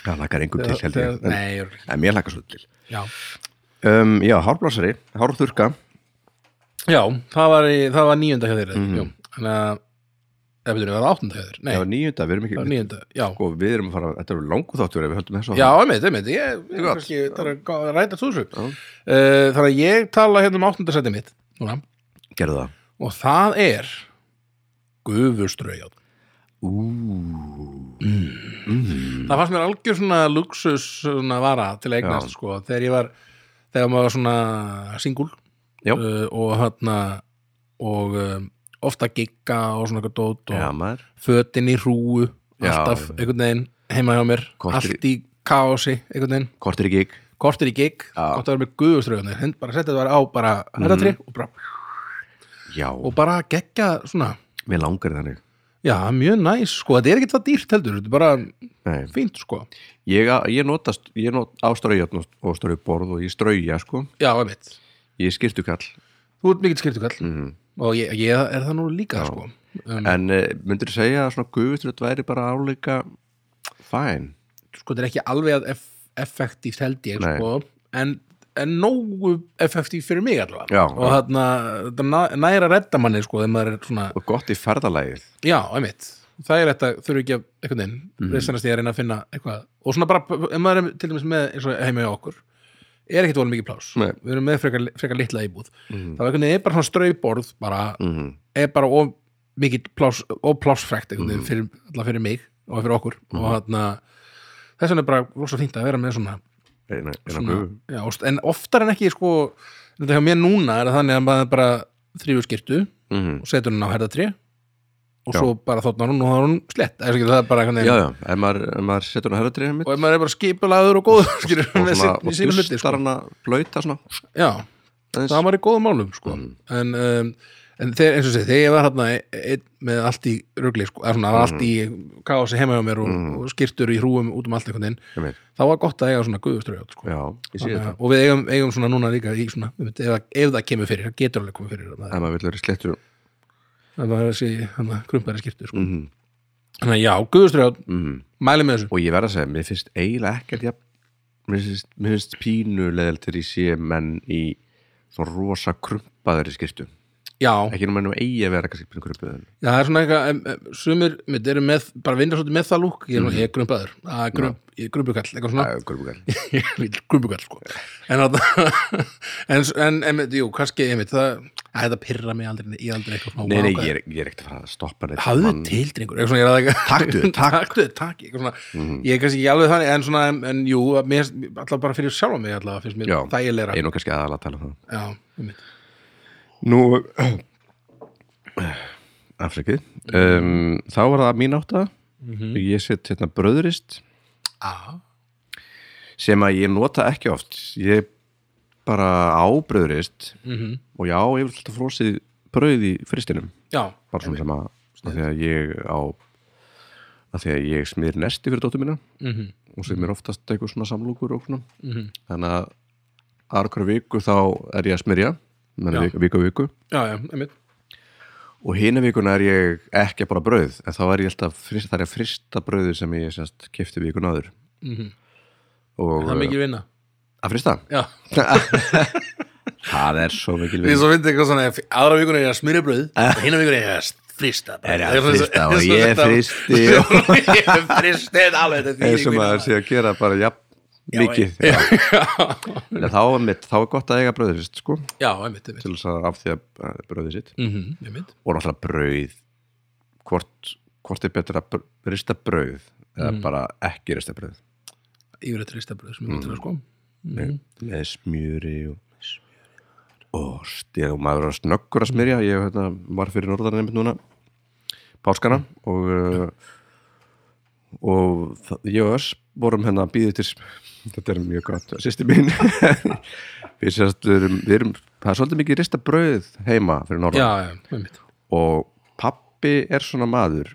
Speaker 1: það lakar engum til heldur ég
Speaker 2: Þegar-
Speaker 1: en,
Speaker 2: nei, ég er-
Speaker 1: en mér lakar svo til
Speaker 2: já.
Speaker 1: um, já, hárblasari, hárþurka
Speaker 2: já, það var, í, það var nýjunda hjá þér
Speaker 1: Mhm.
Speaker 2: jú, þannig að eða byrjum, það var áttunda hjá þér nei,
Speaker 1: það var nýjunda, við erum
Speaker 2: það
Speaker 1: ekki
Speaker 2: var nýjunda, já
Speaker 1: sko, við erum að fara, þetta eru langu þáttur ef við höldum þessu
Speaker 2: já, einmitt, einmitt, ég, ég
Speaker 1: gott.
Speaker 2: kannski, það er að gá- að ræta þessu
Speaker 1: Já.
Speaker 2: uh, þannig að ég tala hérna um áttunda setið mitt núna,
Speaker 1: gerðu það
Speaker 2: og það er gufuströjátt
Speaker 1: Ú,
Speaker 2: Mm.
Speaker 1: Mm.
Speaker 2: það fannst mér algjör svona luxus svona vara til að eignast sko þegar ég var, þegar maður var svona singul
Speaker 1: Já.
Speaker 2: uh, og hérna og um, ofta gigga og svona eitthvað dót
Speaker 1: já
Speaker 2: og
Speaker 1: maður
Speaker 2: fötin í hrúu
Speaker 1: Já.
Speaker 2: alltaf einhvern veginn heima hjá mér
Speaker 1: Kortir í-
Speaker 2: allt í kási einhvern veginn
Speaker 1: kortir í gig,
Speaker 2: kortir í gig,
Speaker 1: Já. Mhm.
Speaker 2: gott að vera með guðuströðunir hend bara setja þetta var á bara herratri og, bara,
Speaker 1: já,
Speaker 2: og bara gegga svona
Speaker 1: mér langar í þannig
Speaker 2: já, mjög næs sko, þetta er ekki það dýrt heldur þetta er bara
Speaker 1: Nei.
Speaker 2: fínt sko
Speaker 1: ég, ég notast, ég not á straujöfn og strauborð og ég strauja sko
Speaker 2: já, einmitt
Speaker 1: ég er skirtukall
Speaker 2: Þú ert mikill skiptukall
Speaker 1: Mhm.
Speaker 2: og ég, ég er það nú líka sko. um,
Speaker 1: En uh, myndir þú segja að svona gufuströnd væri bara áleika fæn?
Speaker 2: sko þetta er ekki alveg að eff, effektíft held ég
Speaker 1: Nei.
Speaker 2: sko, en, en nógu effektíft fyrir mig allavega
Speaker 1: Já,
Speaker 2: og þarna þetta næ- nær að redda manni sko þegar maður er svona,
Speaker 1: Og gott í ferðalagið
Speaker 2: já, einmitt það er þetta þurfi ekki að einhvern veginn mm. reynsanast ég að reyna að finna eitthvað og svona bara, ef maður er til dæmis með eins og heima hjá okkur er ekkit volum mikið pláss
Speaker 1: Nei.
Speaker 2: við erum með frekar, frekar litla íbúð þá einhvern veginn er bara svona strauborð bara,
Speaker 1: Mhm.
Speaker 2: er bara of mikið pláss og plássfrekt einhvern veginn fyrir, allavega fyrir mig og fyrir okkur og þarna þess vegna er bara rosa fínt að vera með svona
Speaker 1: eina, eina
Speaker 2: svona,
Speaker 1: gufu.
Speaker 2: já, og st- en oftar en ekki sko, þetta hjá mér núna er það þannig að maður bara þrýfur skirtu
Speaker 1: Mhm.
Speaker 2: og setur hún á herðatri og
Speaker 1: Já.
Speaker 2: svo bara þóttnar hún og þá er hún slett eða, skilur, það er bara einhvern
Speaker 1: Já,
Speaker 2: veginn
Speaker 1: já, ef maður, ef maður setur hana herratriðið mitt
Speaker 2: og ef maður er bara skipulaður og góður skilur,
Speaker 1: og,
Speaker 2: með
Speaker 1: svona,
Speaker 2: sitt-
Speaker 1: og
Speaker 2: í sínu hluti,
Speaker 1: dustar
Speaker 2: sko.
Speaker 1: hana blöyta svona
Speaker 2: já,
Speaker 1: aðeins.
Speaker 2: það var maður í góðum málum sko.
Speaker 1: Mm.
Speaker 2: en, um, en þeir, eins og sé, þegar ég var hérna einn með allt í rugli sko, eða svona allt í
Speaker 1: Mm.
Speaker 2: kási heima hjá mér og, og skirtur í hrúum út um allt einhvern veginn
Speaker 1: Einmitt.
Speaker 2: þá var gott að eiga svona guðuströjótt sko.
Speaker 1: Já, ég sé
Speaker 2: Þannig
Speaker 1: þetta
Speaker 2: að- og við eigum, eigum svona núna líka í svona, við veit, ef, ef það kemur fyrir, það getur alveg komið fyrir
Speaker 1: ef maður vil vera í sléttu
Speaker 2: það var þessi hana, krumpaðari skiptu sko. þannig að já, guðustrjátt
Speaker 1: Mhm.
Speaker 2: mæli með þessu
Speaker 1: og ég verð að segja, mér finnst eiginlega ekkert jafn, mér finnst, mér finnst pínulegðal til ég sé menn í svona rosa krumpaðari skirtu
Speaker 2: já,
Speaker 1: ekki nú mennum eigi að vera kannski pínu krumpaðari
Speaker 2: já, það er svona eitthvað em, em, sumir mitt eru með, bara vinna svolítið með það lúk
Speaker 1: Mhm.
Speaker 2: ég er, mm -hmm. er krumpaður, það er krump, ég er krumpukall eitthvað svona,
Speaker 1: krumpaðari
Speaker 2: ég er lítill krumpukall sko. en þarna- en, en, en, en jú, kannski, einmitt það, að þetta pyrra mig aldrei, ég er aldrei eitthvað svona,
Speaker 1: Nei, nei,
Speaker 2: vá,
Speaker 1: ég
Speaker 2: hvað-
Speaker 1: er, ég er ekkert að fara að stoppa neitt
Speaker 2: hafðu
Speaker 1: mann.
Speaker 2: til drengur eitthvað svona, ég er að það-
Speaker 1: Taktu þér, takk. Mhm.
Speaker 2: taktu þér, takk eitthvað svona, ég er kannski ekki alveg þannig en, svona, en, en jú, að mér, allavega bara fyrir sjálfa mig allavega finnst mér
Speaker 1: Já,
Speaker 2: þægilegra
Speaker 1: Ég er nú kannski aðalega að tala um það
Speaker 2: já, einmitt.
Speaker 1: Nú Afsakið um, Þá var það mín átta
Speaker 2: Mhm.
Speaker 1: Ég set hérna bröðurist
Speaker 2: ah,
Speaker 1: sem að ég nota ekki oft ég bara á bröðurist
Speaker 2: mhm.
Speaker 1: og já, ég vil alltaf frósið brauð í fristinum
Speaker 2: já,
Speaker 1: bara svona sem að af því að ég á af því að ég smýr nesti fyrir dóttur mína
Speaker 2: mhm,
Speaker 1: og sem er oftast eitthvað svona samlúkur og svona
Speaker 2: mhm.
Speaker 1: þannig að aðra hverju viku þá er ég að smyrja
Speaker 2: Já.
Speaker 1: menn viku á viku
Speaker 2: já, já, einmitt
Speaker 1: og hina vikuna er ég ekki bara brauð en þá er ég alltaf frist, það er að frista brauði sem ég sérst kefti vikun áður
Speaker 2: Mhm.
Speaker 1: og
Speaker 2: það er mikil vinna
Speaker 1: eh, að frista
Speaker 2: já,
Speaker 1: það er svo mikil
Speaker 2: ég
Speaker 1: vinna
Speaker 2: svo fyndi eitthvað svona aðra vikuna er ég að smyrja bröð hinna vikuna er ég að Ah. frista brauð.
Speaker 1: Er ég að
Speaker 2: Það svona-
Speaker 1: frysta og
Speaker 2: það er svona
Speaker 1: ég
Speaker 2: þetta-
Speaker 1: frysti
Speaker 2: ég fristi þetta alveg þetta
Speaker 1: eins og
Speaker 2: þvílík
Speaker 1: maður
Speaker 2: vinna.
Speaker 1: sé að gera bara jafn mikið já. En þá, er mitt, þá er gott að eiga brauðið sitt sko,
Speaker 2: já, einmitt, einmitt
Speaker 1: til þess að af því að eh, brauðið sitt
Speaker 2: Mhm, einmitt
Speaker 1: og náttúrulega brauð hvort, hvort er betur að br- rista brauð eða bara ekki rista brauð
Speaker 2: yfirleitt ristabröð sem er betra sko
Speaker 1: með smjöri og, og stið og maður er snöggur að smyrja ég hérna, var fyrir norðan einmitt núna páskana og uh, og það- ég og Öss vorum hérna að býða til þetta er mjög gott, sýsti mín við sérst erum, við erum það er svolítið mikið rista brauð heima fyrir norðan
Speaker 2: já, já, einmitt
Speaker 1: og pappi er svona maður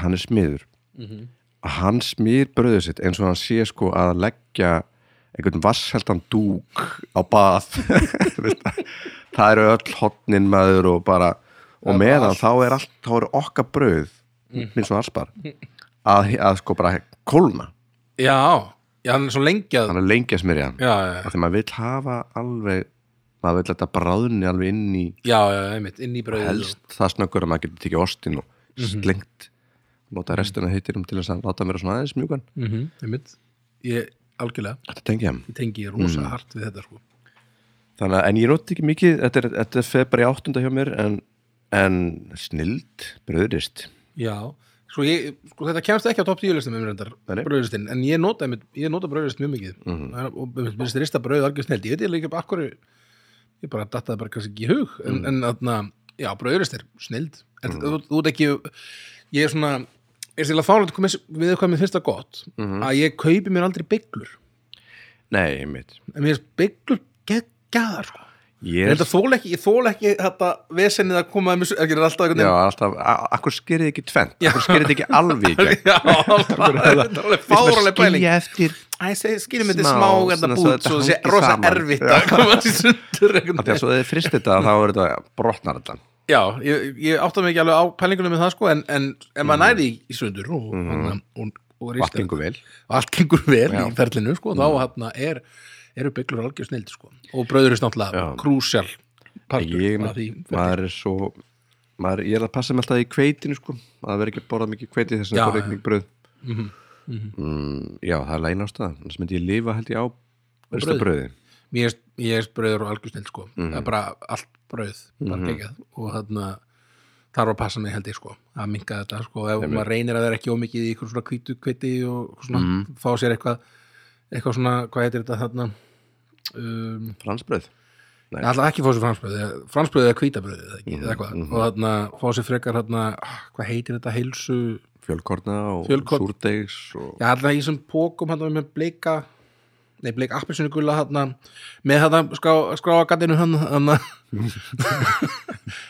Speaker 1: hann er smiður Mhm. hann smýr bröðu sitt eins og hann sé sko að leggja einhvern vassheldan dúk á bað Veist það, það eru öll hotnin maður og bara og meðan þá er allt, Mhm. þá eru okkar bröð minn svo arspar að, að sko bara kólna
Speaker 2: já, já, hann er svo lengi að
Speaker 1: hann er lengi að smyrja hann
Speaker 2: já, já, já,
Speaker 1: af því maður vill hafa alveg maður vill þetta bráðni alveg inn í
Speaker 2: já, já, einmitt, inn í brauðið
Speaker 1: helst það snöggur að maður getur tekið ostin og slengt nota restina heitinum til þess að láta mér svona aðeins mjúkan
Speaker 2: mm -hmm. einmitt, ég algjörlega
Speaker 1: þetta tengi ég
Speaker 2: ég tengi rosa hart við þetta sko
Speaker 1: þannig að en ég noti ekki mikið þetta, er, þetta fer bara í áttunda hjá mér en, en snild, bröðrist
Speaker 2: já, svo ég, sko þetta kemst ekki á topp 10 listum um reyndar,
Speaker 1: Nei, Mhm. nei.
Speaker 2: brauðlistinn en ég nota, einmitt, ég nota brauðlist mjög mikið mm -hmm. og einmitt, minnst rista brauðið algjör snild ég veit ég líka bara akkur ég bara dattaði bara kannski ekki í hug en,
Speaker 1: Mhm.
Speaker 2: en þarna, já, brauðlist er snild en þú, þú ert ekki ég er svona, er sérlega fálega að koma við hvað mér finnst það gott
Speaker 1: Mhm.
Speaker 2: að ég kaupi mér aldrei bygglur
Speaker 1: nei, einmitt
Speaker 2: en mér finnst bygglur geggjaðar sko
Speaker 1: ég
Speaker 2: Ég
Speaker 1: er
Speaker 2: held að þóla ekki, ég þóla ekki þetta vesennið að koma að mér, ekki er alltaf
Speaker 1: já,
Speaker 2: einhvern
Speaker 1: alltaf, a- akkur skerið ekki tvent akkur skerið ekki alveg í gegn
Speaker 2: veginn Já, það er alveg fáraleg pæling
Speaker 1: skilja eftir
Speaker 2: Æ, seg- skilum þetta
Speaker 1: smá,
Speaker 2: smá þetta
Speaker 1: svona, svo
Speaker 2: bút
Speaker 1: þetta
Speaker 2: svo það sé
Speaker 1: hangi
Speaker 2: rosa
Speaker 1: saman.
Speaker 2: erfitt að koma þessi sundur einhvern
Speaker 1: af því að
Speaker 2: veginn.
Speaker 1: svo þið frist þetta þá er þetta brotnar allan
Speaker 2: Já, ég, ég átta mig ekki alveg á pælingunum með það sko en, en ef maður næði í- í sundur og, mm. og, og, og
Speaker 1: Mhm. og allt gengur vel
Speaker 2: og allt gengur vel í ferlinu sko þá hérna er, eru bygglur algjör snild sko og bröðurist náttúrulega
Speaker 1: Já.
Speaker 2: krúsjál partur
Speaker 1: ég,
Speaker 2: af því ferli.
Speaker 1: maður er svo maður, ég er að passa með alltaf í kveitinu sko, að vera ekki að borða mikið kveiti þess að
Speaker 2: Já, Mhm,
Speaker 1: það er ekki mikið bröð mm, já, það er læna ástæðan þess myndi ég lifa held ég á rista bröði
Speaker 2: Mér erst, ég erst brauður og algjörsnill sko það er bara allt brauð bara geggjað og þarna þarf að passa mig held ég sko að minka þetta sko ef maður reynir að vera ekki ómikið í eitthvað svona hvítu kveiti og eitthvað svona fá sér eitthvað eitthvað svona, hvað heitir þetta þarna um,
Speaker 1: fransbröð
Speaker 2: Nei. Alltaf ekki fá sér fransbröði, fransbröði eða hvítabröði eða ekki, eða hvað, og þarna fá sér frekar þarna, ah, hvað heitir þetta, heilsu
Speaker 1: fjölkorna og
Speaker 2: Fjölkorn.
Speaker 1: súrdegs og
Speaker 2: já, alltaf í þessum pókum þarna með bleika nei, bleika appelsinu gula þarna með þarna skrá, skráagattinu hann, þarna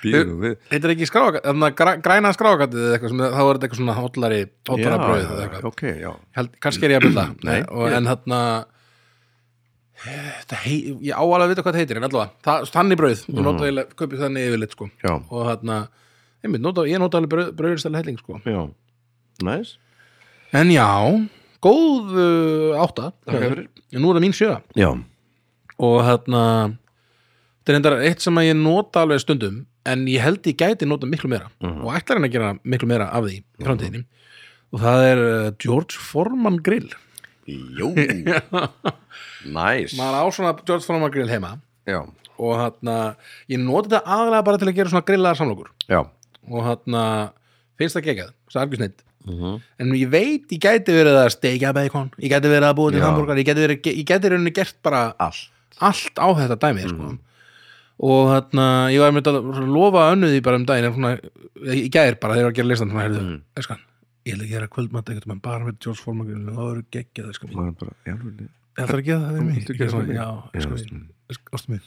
Speaker 1: býðum við
Speaker 2: heitir ekki skráagatt, þarna græ- græna skráagattið eða eitthvað, sem, þá er þetta eitthvað svona hollari hollari bröð eða eitthvað,
Speaker 1: ok, já
Speaker 2: Held, kannski er ég að byrla
Speaker 1: Nei,
Speaker 2: og, en þarna þetta hei, ég á alveg að vita hvað það heitir en allavega, það- þannig bröð, mm
Speaker 1: Mhm.
Speaker 2: -hmm. notaði, kaupi þannig yfirleitt sko
Speaker 1: já,
Speaker 2: og þarna einmitt, nota, ég nota alveg brauðurstæla helling sko.
Speaker 1: já, næs
Speaker 2: en já, góð uh, átta
Speaker 1: Takk fyrir.
Speaker 2: En nú er það mín sjö
Speaker 1: já,
Speaker 2: og þarna þetta er endara eitt sem að ég nota alveg stundum en ég held ég gæti nota miklu meira og ætlar henni að gera miklu meira af því í framtíðinni og það er uh, George Foreman grill
Speaker 1: jú næs
Speaker 2: maður á svona George Foreman grill heima
Speaker 1: já,
Speaker 2: og þarna, ég nota þetta aðlega bara til að gera svona grillaðar samlokur
Speaker 1: já,
Speaker 2: og hann finnst það geggjað, það er algjörsneitt
Speaker 1: Mhm.
Speaker 2: en ég veit, ég gæti verið að steikja bacon, ég gæti verið að búa til
Speaker 1: Já.
Speaker 2: hambúrgar ég gæti verið, ég gæti rauninni gert bara
Speaker 1: allt
Speaker 2: allt á þetta dæmi
Speaker 1: Mhm.
Speaker 2: sko. og hann, ég var með að lofa önnu því bara um daginn en svona, ég gæri bara, þeir eru að gera listan svona, heyrðu,
Speaker 1: Mhm.
Speaker 2: mm. eskan, ég ætla að gera kvöldmatt ekkert mann bara með George Foreman grill og það eru geggjað, eskan mín,
Speaker 1: maður er bara, já, lúni
Speaker 2: ég ætla að gera það fyrir mig
Speaker 1: Viltu
Speaker 2: Ég
Speaker 1: gera
Speaker 2: svona,
Speaker 1: það fyrir mig?
Speaker 2: já,
Speaker 1: Já,
Speaker 2: eskan
Speaker 1: ástin
Speaker 2: mín, ástu mín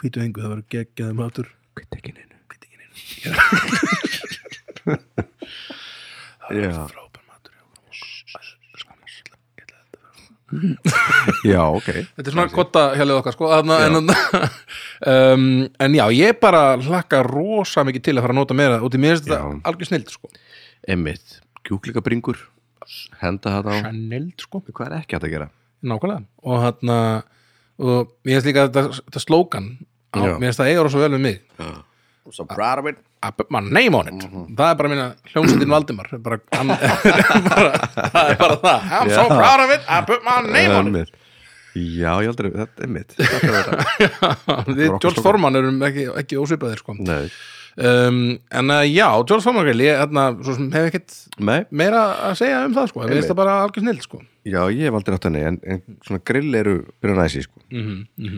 Speaker 2: hvítu engu, það verður geggjað matur
Speaker 1: hvitt ekki neinu
Speaker 2: hvítu ekki neina,
Speaker 1: já,
Speaker 2: frábær matur
Speaker 1: já, ok
Speaker 2: Þetta er svona kotta hjálfið okkar sko þarna, en, um, en já, ég bara hlakka rosa mikið til að fara að nota meira út í mér finnst þetta
Speaker 1: Já.
Speaker 2: algjör snild sko
Speaker 1: Emmitt, kjúklingabringur henda það á
Speaker 2: Snild sko,
Speaker 1: hvað er ekki hægt að gera
Speaker 2: nákvæmlega og þarna, og mér finnst líka þetta, þetta slókan, á-
Speaker 1: Já.
Speaker 2: mér finnst það eigur svo vel við mig
Speaker 1: so proud of it
Speaker 2: I put my name on it
Speaker 1: Mhm.
Speaker 2: það er bara minna hljómsveitin Valdimar það er bara, hann, bara, það er bara það I'm so
Speaker 1: Já.
Speaker 2: proud of it, I put my name on it
Speaker 1: Emmitt já, ég aldrei, þetta er mitt Þetta er þetta.
Speaker 2: Við
Speaker 1: rock
Speaker 2: George
Speaker 1: slókan.
Speaker 2: Foreman erum ekki, ekki ósvipaðir sko
Speaker 1: nei,
Speaker 2: um, en uh, já, George Foreman grill ég hérna, svo sem hef ekkert
Speaker 1: nei,
Speaker 2: meira að segja um það sko, við veist það bara algjör snill sko
Speaker 1: já, ég hef aldrei átt henni en, en svona grill eru byrja næsi sko.
Speaker 2: mm -hmm.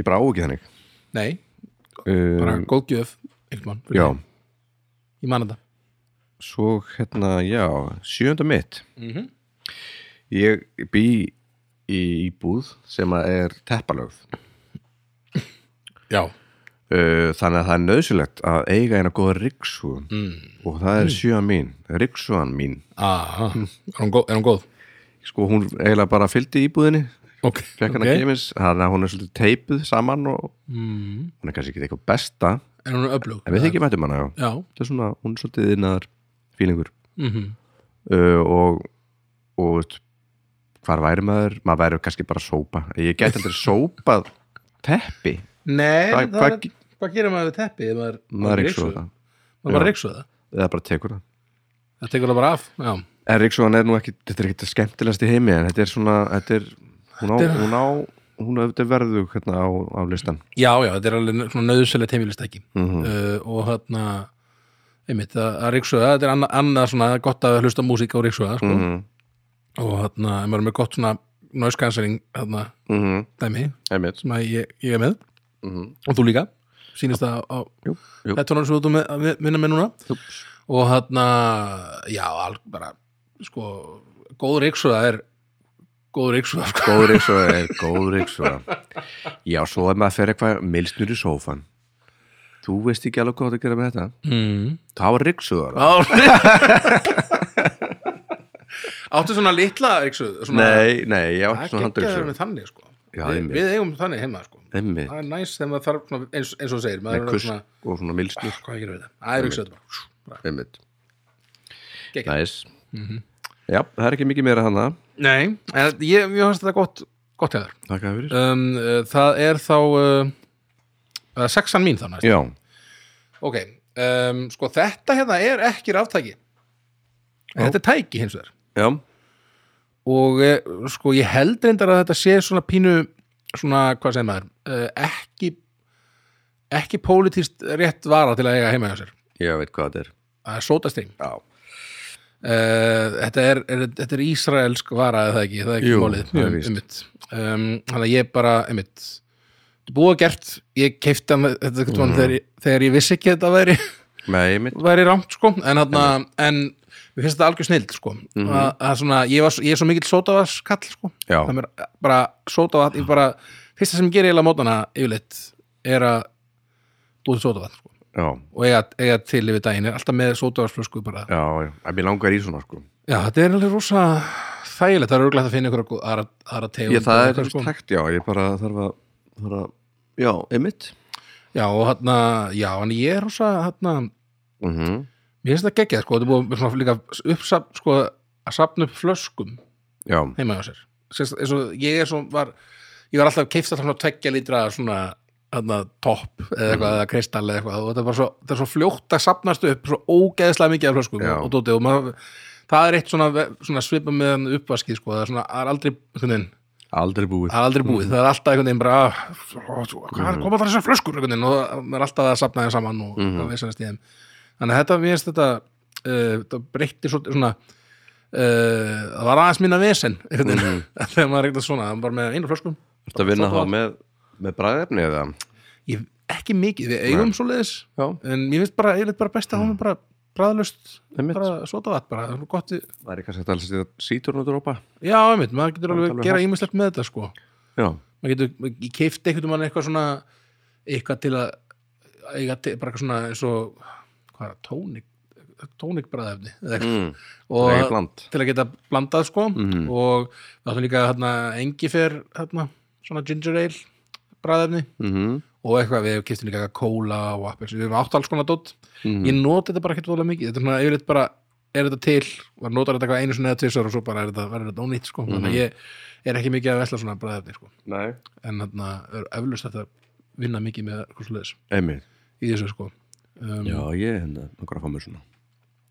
Speaker 1: ég bara á ekki þannig
Speaker 2: Nei, bara
Speaker 1: um,
Speaker 2: góð gjöf einhvern mann, fyrir
Speaker 1: já,
Speaker 2: mig. ég man þetta
Speaker 1: svo hérna, já sjönda mitt
Speaker 2: mm -hmm.
Speaker 1: ég bý í íbúð sem að er teppalögð
Speaker 2: Já,
Speaker 1: Uh, þannig að það er nöðsilegt að eiga eina góða riksu og það er sjöan mín, riksuan mín
Speaker 2: aha,
Speaker 1: Hm.
Speaker 2: er hún góð, er hún góð?
Speaker 1: sko hún eiginlega bara fylgdi íbúðinni
Speaker 2: Ok,
Speaker 1: fekk hann að gemis, þannig að hún er svolítið teipuð saman og
Speaker 2: mm,
Speaker 1: hún er kannski ekki eitthvað besta en
Speaker 2: Er hún öflug?
Speaker 1: við þykjum hættum hana, já
Speaker 2: Já,
Speaker 1: það er svona, hún er svolítið innar fílingur
Speaker 2: mm
Speaker 1: uh, og og veist, hvar væri maður, maður væri kannski bara að sópa ég gæti aldrei sópað teppi,
Speaker 2: Nei,
Speaker 1: Hva-
Speaker 2: það
Speaker 1: hvað
Speaker 2: er, hvað gerir maður við teppi? ef Maður,
Speaker 1: maður riksuða það
Speaker 2: Maður bara
Speaker 1: Já.
Speaker 2: ryksuða það,
Speaker 1: eða bara tekur það
Speaker 2: það tekur það bara af Já,
Speaker 1: En Ríksson er nú ekki, þetta er ekki það skemmtilegast í heimi en þetta er svona, þetta er hún á,
Speaker 2: Þetta er-
Speaker 1: hún á, hún auðvitað verðu hérna á, á listan
Speaker 2: já, já þetta er alveg svona nöðsynlegt heimilistæki
Speaker 1: mm
Speaker 2: uh, og þarna einmitt að, að ríksuða, þetta er annað, annað svona gott að hlusta á músík á ríksuða sko.
Speaker 1: Mhm.
Speaker 2: og þarna, ef maður er með gott svona noise cancelling þarna, dæmi
Speaker 1: Mhm, Einmitt
Speaker 2: sem að ég, ég er með
Speaker 1: Mhm.
Speaker 2: og þú líka, sýnist það á
Speaker 1: Jú, jú.
Speaker 2: hettunar sem þú ert að me- vinna með núna
Speaker 1: Úps.
Speaker 2: og þarna, já, all, bara sko, góð ríksuða er góð ríksuða sko.
Speaker 1: Góð Ríksson er góð Ríksson Já, svo er maður að fer eitthvað milsnur í sófan Þú veist ekki alveg hvað það gera með þetta
Speaker 2: mm.
Speaker 1: Það var Ríksson
Speaker 2: áttu svona litla ríksuð svona,
Speaker 1: Nei, nei, já,
Speaker 2: það
Speaker 1: svona
Speaker 2: er ekki
Speaker 1: handauksögur
Speaker 2: með þannig sko.
Speaker 1: Já,
Speaker 2: við,
Speaker 1: einmitt.
Speaker 2: við eigum þannig heima sko.
Speaker 1: Einmitt,
Speaker 2: það er næst þegar maður þarf svona, eins, eins og þú segir, maður
Speaker 1: með
Speaker 2: er
Speaker 1: kusk
Speaker 2: svona "Ah,
Speaker 1: og svona milsnur
Speaker 2: hvað gerir við þetta, það er ríksuða bara
Speaker 1: Einmitt
Speaker 2: Ah. Geggjað. Mhm.
Speaker 1: Næs Já, það er ekki mikið meira hana
Speaker 2: Nei, en ég, ég hans þetta gott, gott hefur.
Speaker 1: Takk að fyrir
Speaker 2: eh, Um, uh, það er þá uh, uh, sexan mín þá næst.
Speaker 1: Já,
Speaker 2: ok, um, sko þetta hérna er ekki ráftæki
Speaker 1: Já.
Speaker 2: þetta er tæki hins vegar
Speaker 1: já,
Speaker 2: og eh, sko ég held reyndar að þetta sé svona pínu svona, hvað segir maður uh, ekki ekki pólitíst rétt vara til að eiga heima hjá sér
Speaker 1: ég veit hvað þetta er
Speaker 2: það er sótastrým
Speaker 1: já,
Speaker 2: Uh, þetta, er, er, þetta er ísraelsk vara eða það ekki, það er ekki
Speaker 1: Jú,
Speaker 2: málið
Speaker 1: það er
Speaker 2: um,
Speaker 1: víst.
Speaker 2: einmitt. um, þannig að ég bara einmitt, þetta er búið að gert ég keifti hann þetta, mm.
Speaker 1: Mhm.
Speaker 2: mann, þegar, ég- þegar ég vissi ekki að þetta væri,
Speaker 1: með einmitt
Speaker 2: væri rámt sko. en, hana, en við finnst þetta algjör snild sko. mm svona, ég, var, s- ég er svo mikill sótavaskall sko.
Speaker 1: Mhm. Já.
Speaker 2: Það er bara sótavatt ég bara, fyrsta sem ég gerir eiginlega mótana yfirleitt er að búið sótavatt sko.
Speaker 1: já,
Speaker 2: og eiga, eiga til yfir daginn er alltaf með sótavarsflösku bara
Speaker 1: já, já, en mér langar í svona sko
Speaker 2: Já, þetta er alveg rosa þægilegt, það er örgulegt að finna ykkur góð- aðra, aðra tegund.
Speaker 1: ég, það er
Speaker 2: eitthvað,
Speaker 1: sko. takt, já, ég bara þarf að, þarf að já, einmitt
Speaker 2: Já, og hann já, en ég er rosa, hann
Speaker 1: mm
Speaker 2: mér finnst það geggjað, sko, þetta er búið svona líka uppsapn, sko, að sapna upp flöskum
Speaker 1: já,
Speaker 2: heima hjá sér. Sérst, eins og ég er svo, var, ég var alltaf keift alltaf svona tveggja lítra svona, hann topp eða eitthvað, eða kristall eða eitthvað, og þetta er bara svo, þetta er svo fljótt að sapnast upp, svo ógeðslega mikið af flöskum
Speaker 1: Já.
Speaker 2: og, og dótið, og maður, það er eitt svona, ve- svona svipa með hann uppvaskið, sko, það er svona, það er aldrei, einhvern veginn,
Speaker 1: aldrei búið
Speaker 2: það er aldrei búið, það er alltaf einhvern veginn bara "Ah, hvað koma það þessar flöskur einhvern veginn og það er alltaf að sapna þeim saman og mm -hmm. þeim. þannig að þetta mér finnst þetta, uh, þetta breytti svolítið svona uh, það var aðeins minna vesen einhvern veginn, þegar maður reynda svona, það var bara með einu flöskum
Speaker 1: Þetta vinna þá með, með bræðefni eða
Speaker 2: ég, ekki mikið, við eigum Nei. svoleiðis
Speaker 1: Já.
Speaker 2: en ég finnst bara, ég veit bara best að hún er bara bræðlust,
Speaker 1: Einmitt.
Speaker 2: bara sota bara, það er gott í-
Speaker 1: væri kannski hægt að setja síturnadrópa
Speaker 2: já, einmitt, maður getur alveg
Speaker 1: alveg
Speaker 2: að gera ímislegt með þetta sko
Speaker 1: Já,
Speaker 2: maður getur, ég keifti einhvern mann eitthvað svona eitthvað til að eitthvað til, bara eitthvað svona eins og hvað er það, tónik tónik bræðefni eða eitthvað.
Speaker 1: mm.
Speaker 2: og
Speaker 1: eitthvað Mhm. bland.
Speaker 2: til að geta blandað sko og við áttum líka hérna engifer hérna, svona ginger ale bræðefni
Speaker 1: Mm
Speaker 2: og eitthvað við keiftum líka eitthvað kóla og appels við hefum átt alls konar dótt
Speaker 1: Mhm. Mm.
Speaker 2: ég noti þetta bara ekkert vola mikið, þetta er svona yfirleitt bara er þetta til, maður notar þetta eitthvað einu sinni eða tvisar og svo bara er þetta, verður þetta ónýtt sko
Speaker 1: Mhm.
Speaker 2: þannig að ég er ekki mikið að vesla svona bræðefni sko
Speaker 1: Nei
Speaker 2: en þarna er eflust þetta vinna mikið með eitthvað svoleiðis
Speaker 1: Einmitt
Speaker 2: í þessu sko um,
Speaker 1: Já, ég hérna, nokkar að fá mér svona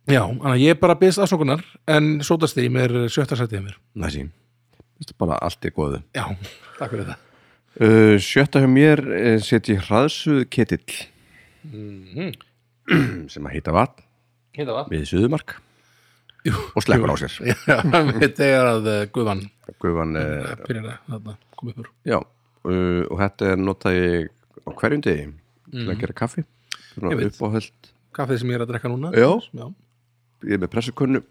Speaker 2: já, þannig að ég bara byrst afsókunar en sótastým er sjötta sætið mér
Speaker 1: Næsí Þetta er bara allt í góðu
Speaker 2: já, takk fyrir það
Speaker 1: uh, Sjötta hjá mér eh, set ég hraðsuð ketill
Speaker 2: Mhm.
Speaker 1: sem að heita vatn
Speaker 2: hérna það
Speaker 1: við suðumark
Speaker 2: Jú.
Speaker 1: og slekkur á sér
Speaker 2: já, við tegar að uh, Guðvan
Speaker 1: Guðan, uh,
Speaker 2: byrjar að þarna, koma upp úr
Speaker 1: já uh, og þetta er nota ég á hverjum degi til að gera kaffi Svona
Speaker 2: Mhm. Ég veit.
Speaker 1: uppáhöld
Speaker 2: kaffið sem ég er að drekka núna
Speaker 1: Já.
Speaker 2: já,
Speaker 1: ég er með pressukönnu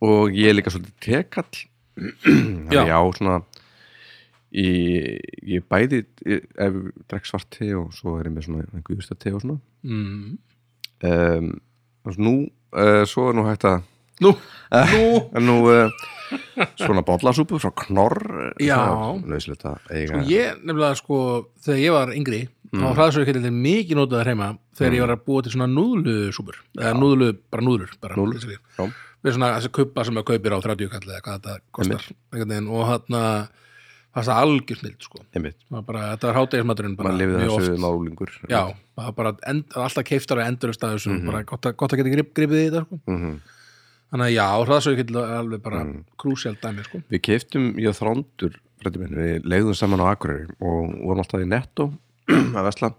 Speaker 1: og ég er líka svolítið tekall þannig
Speaker 2: Já.
Speaker 1: að ég á svona ég, ég bæði ég, ef ég drekk svart te og svo er ég með svona guðsta te og svona
Speaker 2: Mm.
Speaker 1: um, og nú, uh, svo er nú hægt að
Speaker 2: nú,
Speaker 1: Eh.
Speaker 2: nú
Speaker 1: en nú uh, svona bollasúpu frá knorr eh,
Speaker 2: Já.
Speaker 1: nöðsilegt að eiga
Speaker 2: Ég nefnilega sko, þegar ég var yngri þá
Speaker 1: Mm.
Speaker 2: hraðsöðurkettildir mikið notaður heima þegar ég var að búa til svona núðlusúpur eða núðlu, bara núðlur bara
Speaker 1: Núðlur,
Speaker 2: basically.
Speaker 1: já.
Speaker 2: við svona þessi kuppa sem að kaupir á 30 kall eða hvað þetta kostar einhvern veginn, og hann fannst það algjör snild sko.
Speaker 1: einmitt,
Speaker 2: Það var bara, þetta var hátegismaturinn bara
Speaker 1: mann lifið
Speaker 2: mjög
Speaker 1: þessu
Speaker 2: oft.
Speaker 1: málingur
Speaker 2: Já, það var bara end, alltaf keiftar að endurust að þessu, bara gott, að- gott að geta grip, gripið í þetta sko.
Speaker 1: Mhm.
Speaker 2: þannig að já, hraðsöðurkettildir er alveg bara mm. dæmi sko.
Speaker 1: Við keiftum, ég og þrándur frændi minn, við leiðum saman á Akureyri og vorum alltaf í netto að vesla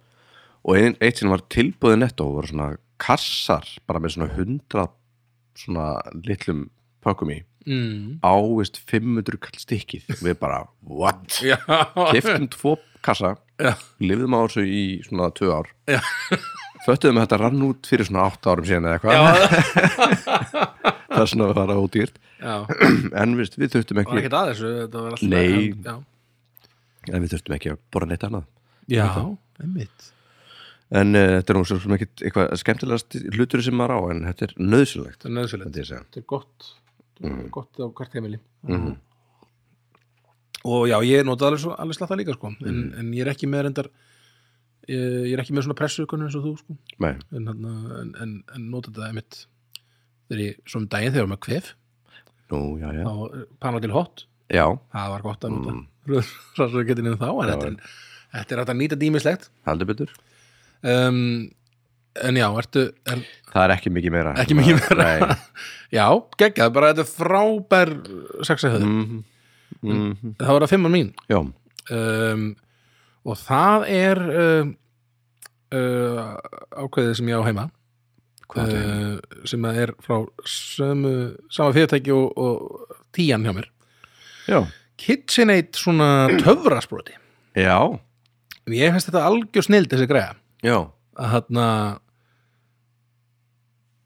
Speaker 1: og ein, eitt sem var tilbúið netto voru svona kassar bara með svona hundra svona litlum pökkum í Mhm.
Speaker 2: mm.
Speaker 1: ávist 500 kall stikkið við bara, what?
Speaker 2: Já,
Speaker 1: Keiftum tvo kassa
Speaker 2: Já.
Speaker 1: lifðum á þessu í svona tvö ár
Speaker 2: Já.
Speaker 1: föttuðum að þetta rann út fyrir svona 8 árum síðan eða eitthvað
Speaker 2: já,
Speaker 1: það er svona að fara ódýrt
Speaker 2: já
Speaker 1: en veist, við þurftum
Speaker 2: var
Speaker 1: ekki,
Speaker 2: ekkert að þessu þetta var alltaf
Speaker 1: Nei.
Speaker 2: já,
Speaker 1: en við þurftum ekki að borra neitt annað
Speaker 2: já einmitt
Speaker 1: En uh, þetta er nú svo sem ekkit eitthvað skemmtilegast hlutur sem maður á en þetta er nöðsynlegt
Speaker 2: þetta er nöðsilegt,
Speaker 1: myndi ég segja.
Speaker 2: þetta er gott
Speaker 1: Mhm.
Speaker 2: mm. gott á hvert heimili og já, ég nota alveg, svo- alveg slatta líka sko. en, en ég er ekki með reyndar ég, ég er ekki með svona pressukunni eins og þú sko.
Speaker 1: Nei,
Speaker 2: en, þarna- en, en, en nota þetta einmitt þegar ég, svo um daginn þegar ég var með kvef
Speaker 1: nú, já, já.
Speaker 2: þá eh, panna til hot
Speaker 1: Já,
Speaker 2: það var gott að nota mm. röðsargetinu þá en þetta, er- þetta er hægt að nýta dýmislegt
Speaker 1: heldur betur.
Speaker 2: um, en já, ertu er,
Speaker 1: það er ekki mikið meira
Speaker 2: ekki mikið meira
Speaker 1: Nei.
Speaker 2: já, geggjað, bara þetta er frábær saxahöðu
Speaker 1: Mhm. Mhm.
Speaker 2: það var að fimman mín
Speaker 1: já,
Speaker 2: um, og það er um, uh, ákveðið sem ég á heima
Speaker 1: Hvað áttu
Speaker 2: uh, sem að er frá sömu, sama fyrirtæki og, og tíjan hjá mér
Speaker 1: já,
Speaker 2: KitchenAid svona töfrasproti
Speaker 1: já,
Speaker 2: ég finnst þetta algjör snild þessi greiða
Speaker 1: já.
Speaker 2: að þarna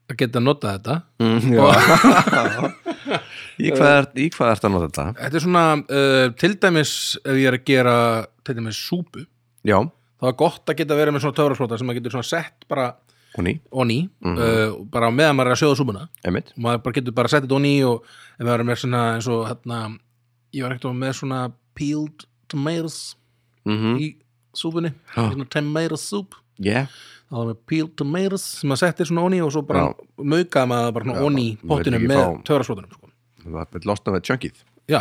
Speaker 2: að geta nota þetta
Speaker 1: Mm, já. í hvað er í hvað ertu að nota þetta
Speaker 2: þetta er svona uh, til dæmis ef ég er að gera til dæmis súpu
Speaker 1: já,
Speaker 2: þá er gott að geta verið með svona töfrasprota sem maður getur svona sett bara
Speaker 1: og ný, Mhm.
Speaker 2: onni uh, bara á meðan maður er að sjóða súpuna
Speaker 1: emitt
Speaker 2: og maður bara getur bara sett þetta onni og ef maður er með svona eins og hérna ég var ekkert með svona peeled tomatoes
Speaker 1: mhm,
Speaker 2: í súpunni
Speaker 1: Ha.
Speaker 2: svona tomato soup
Speaker 1: yeah
Speaker 2: þá er með peeled tomatoes sem maður settir svona onni og svo bara
Speaker 1: Já.
Speaker 2: maukaði maður bara svona onni í
Speaker 1: maður
Speaker 2: pottinum
Speaker 1: vill
Speaker 2: með
Speaker 1: ekki
Speaker 2: fá...
Speaker 1: fá-
Speaker 2: töfrasvotunum sko.
Speaker 1: það er losna með chunkið
Speaker 2: já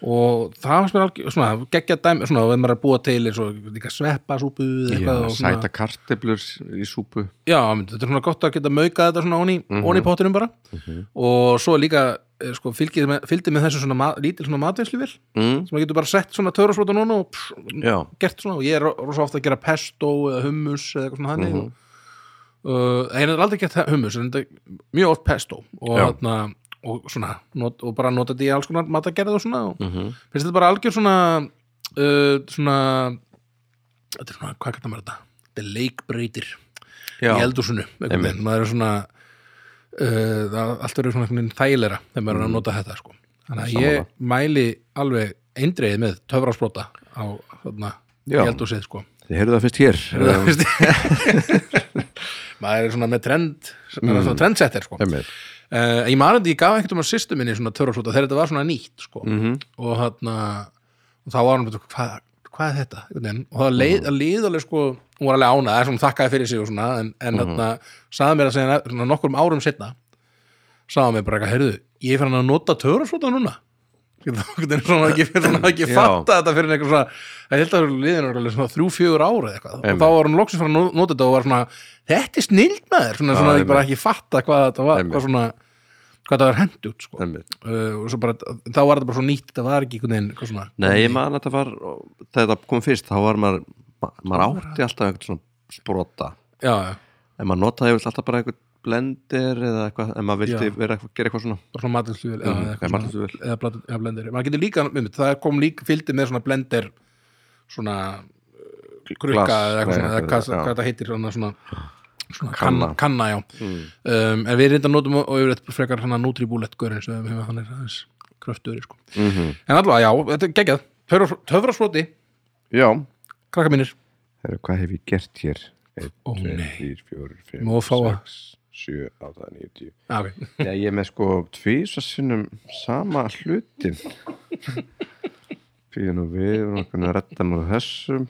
Speaker 2: og það var svona, algjör- svona geggja dæmi svona og ef maður er að búa til eins og líka sveppa súpu eða eitthvað
Speaker 1: Já,
Speaker 2: og svona-
Speaker 1: sæta karteblur í súpu
Speaker 2: Já, mynd, þetta er svona gott að geta maukað þetta svona onni, mm onni í pottinum bara og svo líka eh, sko, fylgið með, fylgdi með þessu svona ma lítil svona matvinnsluvel
Speaker 1: mm.
Speaker 2: sem maður getur bara sett svona törfarsvota núna og pss,
Speaker 1: Já,
Speaker 2: gert svona og ég er ro- rosa ofta að gera pesto eða hummus eða eitthvað svona þannig mm og, uh, en ég er aldrei gert það- hummus en þetta er mjög oft pesto og,
Speaker 1: Já.
Speaker 2: þarna, og svona not, og bara nota þetta í alls konar matagerð og svona og
Speaker 1: mm -hmm.
Speaker 2: finnst þetta bara algjör svona uh, svona þetta er svona, hvað kallar maður þetta? Þetta er leikbreytir
Speaker 1: já.
Speaker 2: í eldúsinu einhvern
Speaker 1: Einmitt.
Speaker 2: veginn. maður er svona uh, það, allt verður svona einhvern veginn þægilegra þegar maður er að nota þetta sko. þannig að
Speaker 1: Mm. Sammála.
Speaker 2: ég mæli alveg eindreið með töfrasprota á þarna í
Speaker 1: Já.
Speaker 2: eldúsið sko.
Speaker 1: Þið heyrðu það fyrst hér
Speaker 2: Það finnst ég- maður er svona með trend
Speaker 1: Mm.
Speaker 2: maður er svona trendsetter sko. uh,
Speaker 1: Emil
Speaker 2: ég man að ég gaf ekkert um að sýstu minni svona töfrasprota þegar þetta var svona nýtt sko.
Speaker 1: Mhm.
Speaker 2: og þarna og þá var hann betur, hvað, hvað er þetta Einhvern veginn. og það
Speaker 1: Mhm.
Speaker 2: leið, mm. leið alveg sko hún var alveg ánað, það er svona þakkaði fyrir sig og svona en, en
Speaker 1: Mhm.
Speaker 2: þarna, sagði mér að segja svona, nokkrum árum setna sagði hann mér bara, eitthvað, heyrðu, ég er fyrir hann að nota törfarsvota núna það er svona ekki fyrir hann að ekki
Speaker 1: Já.
Speaker 2: fatta þetta fyrir einhver svona, ég held að það eru liðin alveg svona þrjú, fjögur ára eða eitthvað og
Speaker 1: Einmitt.
Speaker 2: þá var hann loksins fyrir að nota þetta og var svona þetta er snild maður, svona,
Speaker 1: Já,
Speaker 2: svona ég bara
Speaker 1: einmitt.
Speaker 2: ekki fatta hvað þetta var,
Speaker 1: Einmitt.
Speaker 2: hvað svona hvað það var hendt út sko
Speaker 1: Emil
Speaker 2: uh, og svo bara, þá var þetta bara svo nýtt það var ekki einhvern veginn eitthvað svona
Speaker 1: Nei, ég man að þetta var þegar þetta kom fyrst, þá var maður ma- maður átti alltaf einhvern svona sprota
Speaker 2: já, já,
Speaker 1: en maður notaði yfirleitt alltaf bara einhvern blender eða eitthvað, en maður vildi
Speaker 2: Já.
Speaker 1: vera eitthvað, gera eitthvað svona
Speaker 2: bara svona matinsluvel
Speaker 1: Mhm,
Speaker 2: eða, eitthvað
Speaker 1: eða
Speaker 2: svona-
Speaker 1: matvinnsluvél.
Speaker 2: eða blat- eða blender maður getur líka, einmitt, það kom líka fylgdi með svona blender svona uh, krukka
Speaker 1: Glas,
Speaker 2: eða eitthvað
Speaker 1: nei,
Speaker 2: svona, eða
Speaker 1: eitthvað,
Speaker 2: hvað,
Speaker 1: já.
Speaker 2: hvað það heitir svona, svona, svona
Speaker 1: Kanna. Mm.
Speaker 2: kanna, kanna já. um, en við reynda notum og yfirleitt frekar hann að Nutribullet gaurin sem við hefum hann er aðeins kröftur sko.
Speaker 1: mm -hmm.
Speaker 2: en allavega, já, þetta er geggjað Töfra- töfrasproti,
Speaker 1: Já,
Speaker 2: krakka mínir
Speaker 1: Heru, hvað hef ég gert hér? 1,
Speaker 2: Ó, nei.
Speaker 1: 3, 4, 5,
Speaker 2: Má fá að-
Speaker 1: 7, 8, 9, 10
Speaker 2: ah, okay.
Speaker 1: Já, ég er með sko tvísa sinnum sama hlutin Fyrir nú við og nokkuð að redda nú þessum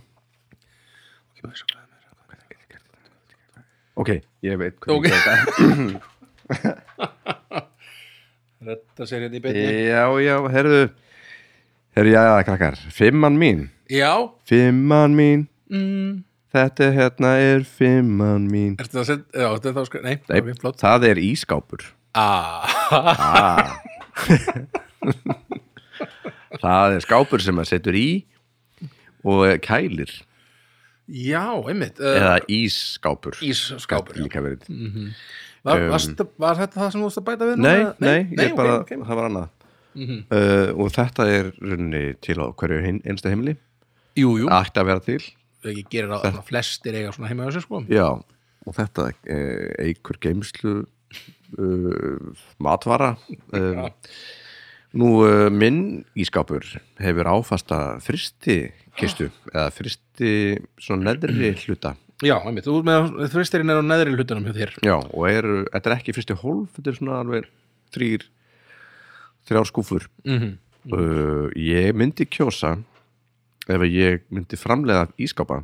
Speaker 1: Ok, ég veit hvað
Speaker 2: Ok.
Speaker 1: ég geta
Speaker 2: Þetta sér hérna í beinni
Speaker 1: Já, já, herðu Herðu, já, já, krakkar Fimman mín,
Speaker 2: Já,
Speaker 1: fimman mín
Speaker 2: mm,
Speaker 1: Þetta hérna er fimman mín
Speaker 2: Ertu það að setja, já, þetta er þá skræð, nei,
Speaker 1: Nei,
Speaker 2: ok, flott
Speaker 1: það er ískápur
Speaker 2: ah.
Speaker 1: ah. Það er skápur sem maður setur í og kælir
Speaker 2: Já, einmitt uh,
Speaker 1: eða ísskápur
Speaker 2: Ísskápur, já
Speaker 1: líka verið
Speaker 2: var,
Speaker 1: um,
Speaker 2: varst, var þetta það sem þú varst að bæta við?
Speaker 1: Nei,
Speaker 2: núna?
Speaker 1: nei, ég
Speaker 2: ok,
Speaker 1: bara,
Speaker 2: ok.
Speaker 1: það var annað uh, og þetta er runni til á hverju hin, einsta heimili
Speaker 2: Jú, jú,
Speaker 1: ætti að vera til
Speaker 2: ég gerir það svona flestir eiga svona heima á sér, sko
Speaker 1: Já, og þetta uh, eikur geimslu uh, matvara uh, Nú, uh, minn ískápur hefur áfasta fristi kistu eða fristi svona neðri hluta
Speaker 2: Já, einmitt, þú ert með þristirinn er á neðri hlutunum hjá þér
Speaker 1: Já, og eru, þetta er ekki fristi hólf þetta er svona alveg þrýr þrjár skúfur
Speaker 2: mm -hmm.
Speaker 1: uh, Ég myndi kjósa ef að ég myndi framlega ískápa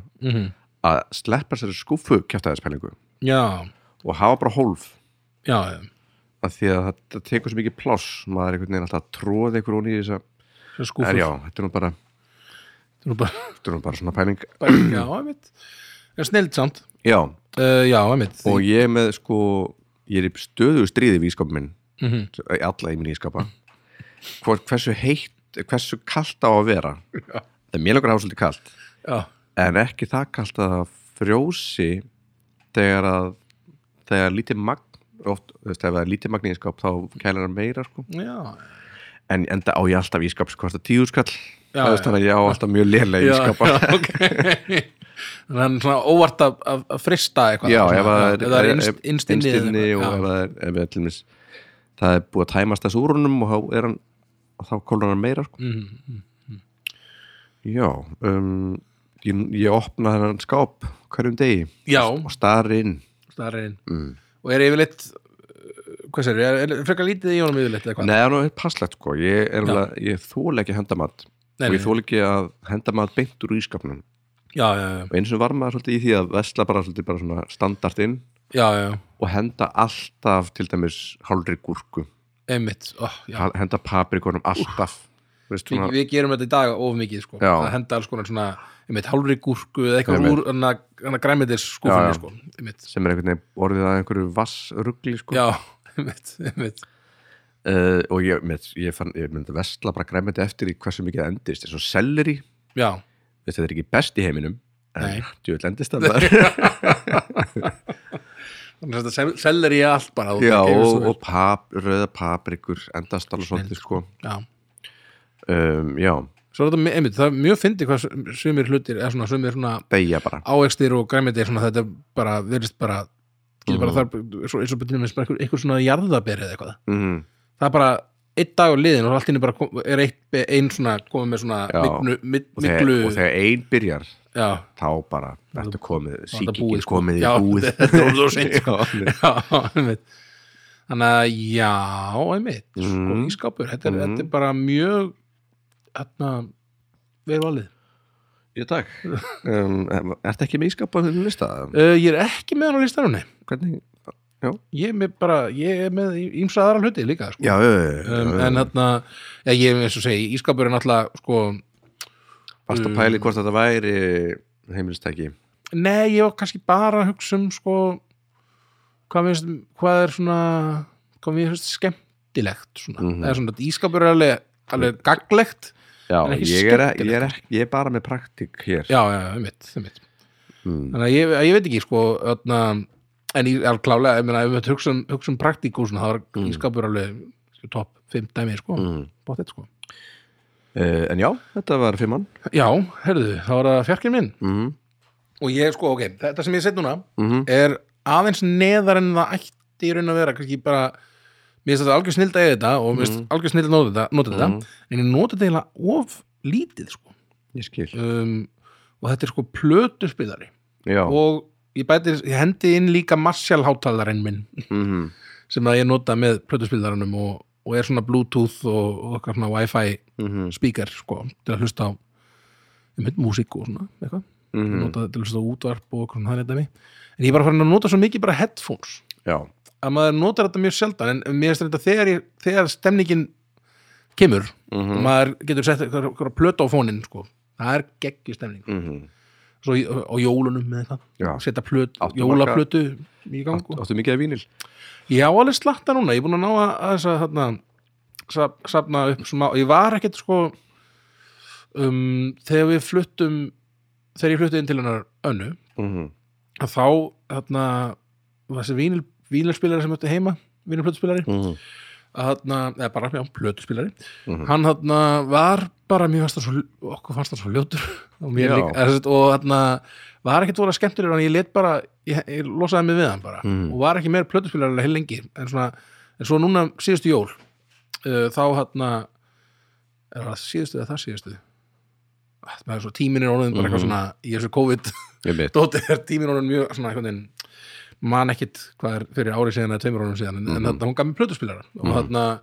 Speaker 1: að sleppa sér skúfu kjæftæðispælingu
Speaker 2: Já,
Speaker 1: og hafa bara hólf
Speaker 2: já, já
Speaker 1: að því að þetta tekur svo mikið pláss maður er einhvern veginn alltaf að tróða einhver onni í þess að
Speaker 2: Svo
Speaker 1: er
Speaker 2: skúfur
Speaker 1: já, þetta er nú bara,
Speaker 2: Þú bara,
Speaker 1: þetta er nú bara svona pæling
Speaker 2: já, einmitt En snild samt
Speaker 1: já,
Speaker 2: uh, já, einmitt
Speaker 1: og ég er með sko ég er í stöðu stríði við ískapin minn
Speaker 2: mm
Speaker 1: alla í minni ískapa Hvor, hversu heitt, hversu kalt á að vera
Speaker 2: já,
Speaker 1: það er mjög langar að hafa svolítið kalt
Speaker 2: já,
Speaker 1: en ekki það kalt að það frjósi þegar að þegar lítið magn oft, þú veist, ef það er lítið magn í ískap þá kælar hann meira sko.
Speaker 2: já,
Speaker 1: en enda á ég alltaf sko, ískap sem kostar tíu skall
Speaker 2: Já,
Speaker 1: það er
Speaker 2: já.
Speaker 1: þannig að ég á alltaf mjög lélega
Speaker 2: já,
Speaker 1: ískapa
Speaker 2: já ok þannig að hann er svona óvart að, að, að frista eitthvað
Speaker 1: Já,
Speaker 2: svona,
Speaker 1: ef það er,
Speaker 2: ef það er innst,
Speaker 1: ef-
Speaker 2: innst inni eða
Speaker 1: inni og
Speaker 2: eitthvað,
Speaker 1: ef það er, ef það er, mis, það er búið að tæmast þessu úrunum og þá er hann og þá kólur hann meira sko. mm, Já um, ég, ég opna þennan skáp hverjum degi
Speaker 2: já,
Speaker 1: og stari inn
Speaker 2: já starinn
Speaker 1: Mm.
Speaker 2: og er yfirleitt uh, hvað sér, er, er frekar lítið í honum yfirleitt eða hvað?
Speaker 1: Nei, það er nú passlegt sko ég, er alveg- ég þól ekki hendamat
Speaker 2: Nei,
Speaker 1: og
Speaker 2: nei.
Speaker 1: ég þól ekki að hendamat beint úr ískapnum
Speaker 2: já, já, já,
Speaker 1: og eins og var maður svolítið í því að vesla bara svolítið bara svona standart inn
Speaker 2: já, já,
Speaker 1: og henda alltaf til dæmis hálfri gúrku
Speaker 2: einmitt oh, já.
Speaker 1: Hal- henda paprikunum alltaf Þú veist,
Speaker 2: Við,
Speaker 1: svona,
Speaker 2: við gerum þetta í dag of mikið sko.
Speaker 1: Já.
Speaker 2: að henda alls konar svona einmitt, hálfri gúrku eða eitthvað
Speaker 1: Einmitt.
Speaker 2: úr hann að græmiðis
Speaker 1: Já, já.
Speaker 2: skúfunni sko. einmitt.
Speaker 1: sem er einhvern veginn orðið að einhverju vassrugli sko.
Speaker 2: já, einmitt, einmitt.
Speaker 1: uh, og ég, með, ég, fann, ég myndi vestla bara græmiti eftir í hversu mikið það endist eins og selleri,
Speaker 2: já,
Speaker 1: veist, þetta er ekki best í heiminum
Speaker 2: Nei.
Speaker 1: en djúvel endist það bara
Speaker 2: þannig að þetta selður ég allt bara þú
Speaker 1: já,
Speaker 2: gerir svo
Speaker 1: og,
Speaker 2: vel.
Speaker 1: og pap, rauða paprikur endast alveg svolítið sko.
Speaker 2: já.
Speaker 1: um, já,
Speaker 2: Svo er þetta, mi- einmitt, það er mjög fyndið hvað sum- sumir hlutir, eða svona sumir svona
Speaker 1: deyja bara
Speaker 2: ávextir og græmiðir svona þetta er bara, verðist bara
Speaker 1: Mhm.
Speaker 2: getur bara þar, svo, eins og byrjum með einhver, einhver svona jarðaberi eða eitthvað
Speaker 1: mm,
Speaker 2: það er bara einn dag á liðin og allt inni bara kom, er eitt, ein svona komið með svona
Speaker 1: Já.
Speaker 2: miklu, mik,
Speaker 1: og, þegar,
Speaker 2: miklu
Speaker 1: og þegar ein byrjar
Speaker 2: já,
Speaker 1: þá bara, þetta komið
Speaker 2: búið,
Speaker 1: síkikið
Speaker 2: sko.
Speaker 1: komið í
Speaker 2: Já,
Speaker 1: búið
Speaker 2: þetta er orðið of seint, sko.
Speaker 1: Já,
Speaker 2: já, einmitt þannig að já, einmitt sko,
Speaker 1: Mhm.
Speaker 2: ískápur, þetta er,
Speaker 1: Mhm.
Speaker 2: þetta er bara mjög hérna, við erum alveg
Speaker 1: Já, takk um, Ertu ekki með ískapað þegar þú lista?
Speaker 2: uh, ég er ekki með hann á listanunni
Speaker 1: Hvernig?
Speaker 2: ég er með bara, ég er með ímsa aðra hluti líka, sko
Speaker 1: Já,
Speaker 2: um, en hérna, já, ég er eins og segi ískápur er náttúrulega, sko
Speaker 1: Varst að pæli hvort þetta væri heimilistæki
Speaker 2: nei, ég var kannski bara að hugsa um sko, hvað, minnst, hvað er svona hvað mér finnst skemmtilegt svona,
Speaker 1: Mhm.
Speaker 2: eða svona, ískápur er alveg, alveg gaglegt
Speaker 1: Já,
Speaker 2: En ekki
Speaker 1: ég er, e-
Speaker 2: skemmtilegt.
Speaker 1: ég, er, ekki- ég er bara með praktík hér
Speaker 2: já, já, einmitt, einmitt
Speaker 1: mm.
Speaker 2: þannig að ég, ég veit ekki sko öðna, en ég er klálega, ég meina ef við höfum hugsa um, hugsa um praktík og svona, það var
Speaker 1: Mhm.
Speaker 2: mm. ískapur alveg sko, topp 5 dæmi sko, mm.
Speaker 1: Mm.
Speaker 2: bóttið sko
Speaker 1: Uh, En já, þetta var fimmann
Speaker 2: já, herðu, það var það fjarkinn minn
Speaker 1: mm.
Speaker 2: og ég sko, ok, þetta sem ég set núna
Speaker 1: Mhm.
Speaker 2: er aðeins neðar en það ætti í raun að vera, kannski bara mér finnst þetta algjör snild að eða þetta og mér finnst algjör snild að nota þetta, nota þetta en ég nota þetta eiginlega of lítið sko
Speaker 1: Ég skil
Speaker 2: um, og þetta er sko plötuspilari
Speaker 1: Já,
Speaker 2: og ég bæti, ég hendi inn líka Marshall hátalarinn minn
Speaker 1: mhm.
Speaker 2: sem að ég nota með plötuspilaranum og, og er svona bluetooth og, og okkar svona wifi
Speaker 1: Mhm.
Speaker 2: speaker sko, til að hlusta á mynd, músík og svona eitthvað
Speaker 1: Mhm.
Speaker 2: nota til að hlusta á útvarp og okkur hann þetta mig en ég er bara farin að nota svo mikið bara headphones
Speaker 1: já
Speaker 2: að maður notar þetta mjög sjaldan en- en mér er þetta þegar, ég, þegar stemningin kemur
Speaker 1: Mhm, Mm.
Speaker 2: og maður getur sett eitthvað, eitthvað plötu á fónin sko. það er geggju stemning
Speaker 1: mhm.
Speaker 2: svo í- á á jólunum með eitthvað
Speaker 1: Já.
Speaker 2: setja plötu,
Speaker 1: Áttu
Speaker 2: jólaplötu í gang og
Speaker 1: Áttu mikið af vínil?
Speaker 2: Ég á alveg slatta núna, ég er búin að ná að að þess að þarna sap- safna upp smá, ég var ekkert sko um, þegar við fluttum þegar ég fluttu inn til hennar önnu
Speaker 1: Mhm.
Speaker 2: að þá þarna var þessi vínil, vínilspilari sem öttu heima vínilplötuspilari,
Speaker 1: Mhm.
Speaker 2: að þarna eða bara, já, plötuspilari
Speaker 1: Mhm.
Speaker 2: hann þarna var bara, mér fannst það svo okkur fannst það svo ljótur og, mér
Speaker 1: Já.
Speaker 2: líka, eða sem sagt, og þarna var ekkert voru að skemmtilega en ég let bara, ég, ég losaði mig við hann bara
Speaker 1: Mhm.
Speaker 2: og var ekki meir plötuspilar heil lengi en, svona, en svo núna síðustu jól uh, þá hérna er það síðustu eða það síðustu Ah, það er svo tíminin orðin bara eitthvað
Speaker 1: Mhm.
Speaker 2: svona í þessu COVID
Speaker 1: Ég veit
Speaker 2: dóti er tíminn honum mjög svona einhvern veginn man ekkit hvað er fyrir ári síðan eða tveimur honum síðan en, en þarna hún gaf mér plötuspilara og þarna,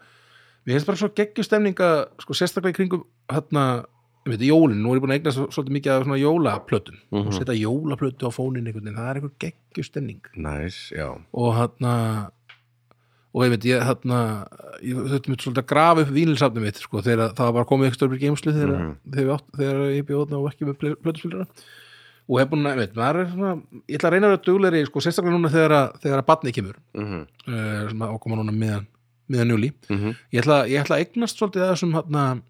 Speaker 2: mér finnst bara svo geggjustemninga sko sérstaklega í kringum þarna, ég veit, jólin, nú er ég búin að eigna svo- svolítið mikið af svona jólaplötum og setja jólaplötu á fónin einhvern veginn, það er einhver geggjustemning
Speaker 1: Næs, já
Speaker 2: og þarna og ég veit, ég þarna ég þurfti mér svolítið að grafa upp vínilsafnum mitt sko, þegar það var bara komið ekki störbyrgi geimslu þegar,
Speaker 1: Mhm.
Speaker 2: þegar, við átt, þegar ég bjóðna og ekki með plötuspilara og hef búin að, veit, maður er svona ég ætla að reyna að vera duglegri, sko, sérstaklega núna þegar að, þegar að batni kemur
Speaker 1: Mhm.
Speaker 2: uh, sem að ákoma núna miðan, miðan júli
Speaker 1: Mhm.
Speaker 2: ég ætla, ég ætla að eignast svolítið að þessum, hana,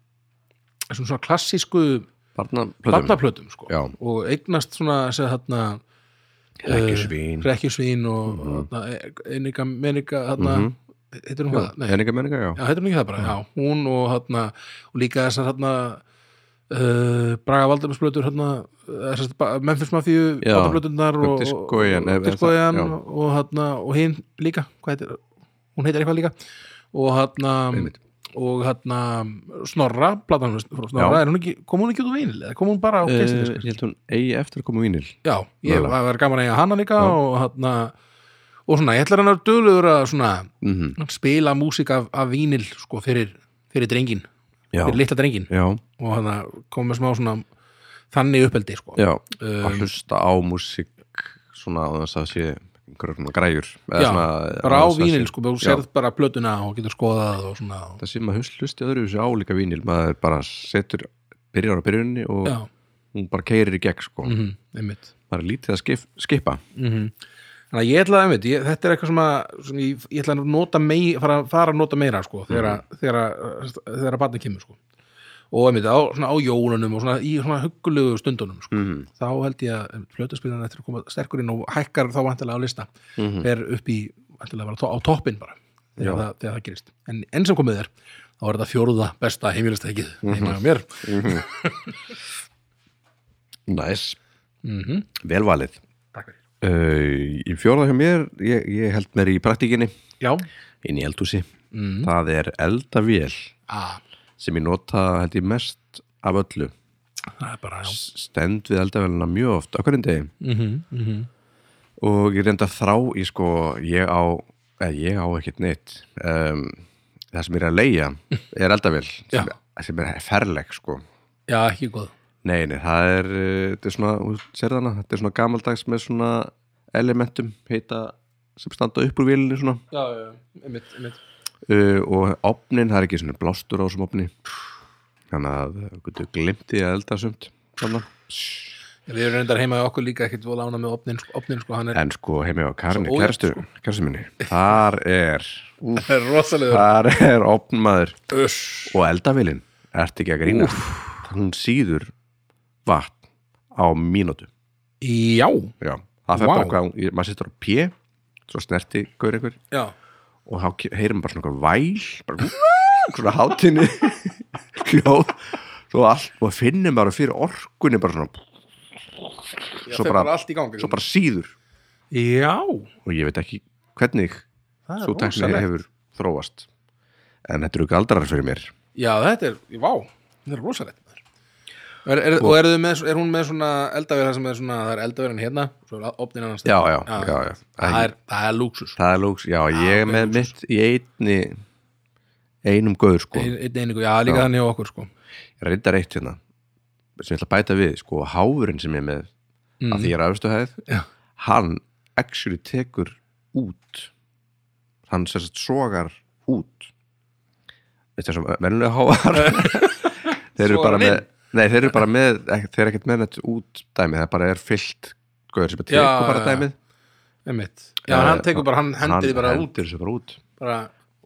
Speaker 2: þessum svona klassísku
Speaker 1: Barnaplöðum
Speaker 2: barnaplötum sko.
Speaker 1: Já.
Speaker 2: og eignast svona sem þarna
Speaker 1: Rekkjusvín
Speaker 2: rekkjusvín og þarna, einnika menika þarna,
Speaker 1: Mhm.
Speaker 2: heitir hún hvað? Nei,
Speaker 1: Henninga menninga, já
Speaker 2: já, heitir hún ekki það bara, já, hún og þarna, og líka þessar þarna Uh, Braga Valdamarsblötur hérna, eh, þessar ba- Memphis Mafíu
Speaker 1: Já.
Speaker 2: Valdablöturnar og
Speaker 1: Discoian, ef- ef það-
Speaker 2: Diskoian
Speaker 1: já.
Speaker 2: og, hérna, og hinn líka hvað heitir, hún heitir eitthvað líka og hérna
Speaker 1: Einmitt.
Speaker 2: og hérna Snorra, platan hans, Snorra,
Speaker 1: Já.
Speaker 2: er hún ekki, kom hún ekki út á vinil eða kom hún bara á
Speaker 1: Eh,
Speaker 2: geisladisk
Speaker 1: Ég held hún eigi eftir að koma á vínil
Speaker 2: Já, ég
Speaker 1: Mögulega.
Speaker 2: var gaman að eiga hana líka og hann og svona, ég ætlar hann að döluður að svona
Speaker 1: Mhm.
Speaker 2: Mm. spila músík af, af vínil sko fyrir, fyrir drengin
Speaker 1: Já,
Speaker 2: fyrir litla drengin
Speaker 1: já,
Speaker 2: og hann kom með smá svona þannig uppeldi sko
Speaker 1: já
Speaker 2: Um,
Speaker 1: Að hlusta á músík svona á þess að sé einhverjum svona græjur eða
Speaker 2: Já,
Speaker 1: svona-
Speaker 2: bara á
Speaker 1: að þess að sé-
Speaker 2: vínil sko, þú
Speaker 1: Já.
Speaker 2: sérð bara plötuna og getur skoðað og svona og,
Speaker 1: það sem maður hust- hlusti öðru þessu álíka vínil maður bara setur, byrjar á byrjunni og
Speaker 2: Já,
Speaker 1: hún bara keirir í gegn sko.
Speaker 2: mhm, einmitt
Speaker 1: maður er lítið að skip, skipa
Speaker 2: Þannig að ég ætla að einmitt, ég, þetta er eitthvað sem að sem ég, ég ætla að nota mei, fara, fara að nota meira sko, þegar, mm. þegar, að- þegar að batna kemur sko. og einmitt á, svona, á jólunum og svona, í svona huggulegu stundunum sko.
Speaker 1: Mhm.
Speaker 2: þá held ég að flötaspilan eftir að koma sterkur inn og hækkar þá vantilega á lista
Speaker 1: Mhm.
Speaker 2: fer upp í, vantilega bara tó- á toppin bara, þegar,
Speaker 1: Já.
Speaker 2: það, þegar það gerist en enn sem komið er, þá er þetta fjórða besta heimilistækið heima á mér
Speaker 1: næs,
Speaker 2: mm
Speaker 1: vel valið
Speaker 2: Takk fyrir
Speaker 1: uh, í fjóraða hjá mér ég, ég held mér í praktíkinni
Speaker 2: Já,
Speaker 1: inn í eldhúsi,
Speaker 2: Mm.
Speaker 1: það er eldavél
Speaker 2: ah,
Speaker 1: sem ég nota held ég mest af öllu
Speaker 2: það er bara já.
Speaker 1: stend við eldavélina mjög oft á hverjum degi
Speaker 2: Mm
Speaker 1: og ég reynda þrá í sko ég á, eða ég á ekkert neitt um, það sem ég er að leia er eldavél sem, sem er ferleg sko
Speaker 2: já, ekki góð
Speaker 1: nei, nei, það er, uh, þetta er svona þú sér þarna, þetta er svona gamaldags með svona elementum heita sem standa upp úr vélinni svona
Speaker 2: Já, já, einmitt, einmitt
Speaker 1: uh, og opnin, það er ekki svona blástur á þessum opni þannig að uh, gutu, glimti að elda sumt svona.
Speaker 2: Við erum reyndar heima í okkur líka ekkert vola ána með opnin, sko, opnin sko, hann er
Speaker 1: en sko heimi á Karinni,
Speaker 2: Svo ójafn,
Speaker 1: kærastu kærastu minni, þar er
Speaker 2: rosalegur
Speaker 1: þar er opnmaður
Speaker 2: Uss.
Speaker 1: og eldavélin ert ekki að grína hún síður vatn á mínútu
Speaker 2: Já,
Speaker 1: já, það fer
Speaker 2: Vá.
Speaker 1: bara hvað, ég- maður sittur á P svo snerti gaur einhver
Speaker 2: já
Speaker 1: og þá ke- heyrir maður bara svona einhver væl bara svona hátinni hljóð svo allt, og finnir maður fyrir orkunni bara svona, Svo
Speaker 2: fer
Speaker 1: bara-
Speaker 2: allt í gangi
Speaker 1: svo bara síður
Speaker 2: Já,
Speaker 1: og ég veit ekki hvernig
Speaker 2: það er
Speaker 1: svo tækni
Speaker 2: rosalegt.
Speaker 1: hefur þróast en þetta eru galdrar fyrir mér
Speaker 2: Já, þetta er, vá, þetta er rosalegt maður. er, er, Og er, með, er hún með svona eldavér sem er svona, það er eldavérin hérna svo er opnin annars
Speaker 1: já, já, já,
Speaker 2: Já.
Speaker 1: já,
Speaker 2: Það er, það er sko. lúksus
Speaker 1: Það er lúks, já, ég er með mitt í einni einum gauður sko
Speaker 2: Einn ein, einingu, já, líka
Speaker 1: Já.
Speaker 2: þannig á okkur sko
Speaker 1: reyndar eitt hérna sem ég ætla að bæta við, sko, háfurinn sem ég er með
Speaker 2: Mm.
Speaker 1: af því ég er afstu hæð
Speaker 2: Já.
Speaker 1: hann actually tekur út hann sem sagt sogar út þetta er svo mennulega hávar þeir eru
Speaker 2: Sogar
Speaker 1: bara
Speaker 2: hann
Speaker 1: með
Speaker 2: inn?
Speaker 1: nei, þeir eru bara með, ek- þeir eru ekkert með þetta út dæmið, það bara er fyllt gauður sem
Speaker 2: Já,
Speaker 1: tekur bara
Speaker 2: já, já.
Speaker 1: dæmið Eh,
Speaker 2: Einmitt. Já, hann tekur bara, Eh, hann hendir þið bara
Speaker 1: hann
Speaker 2: út
Speaker 1: hendir þessu bara út
Speaker 2: bara,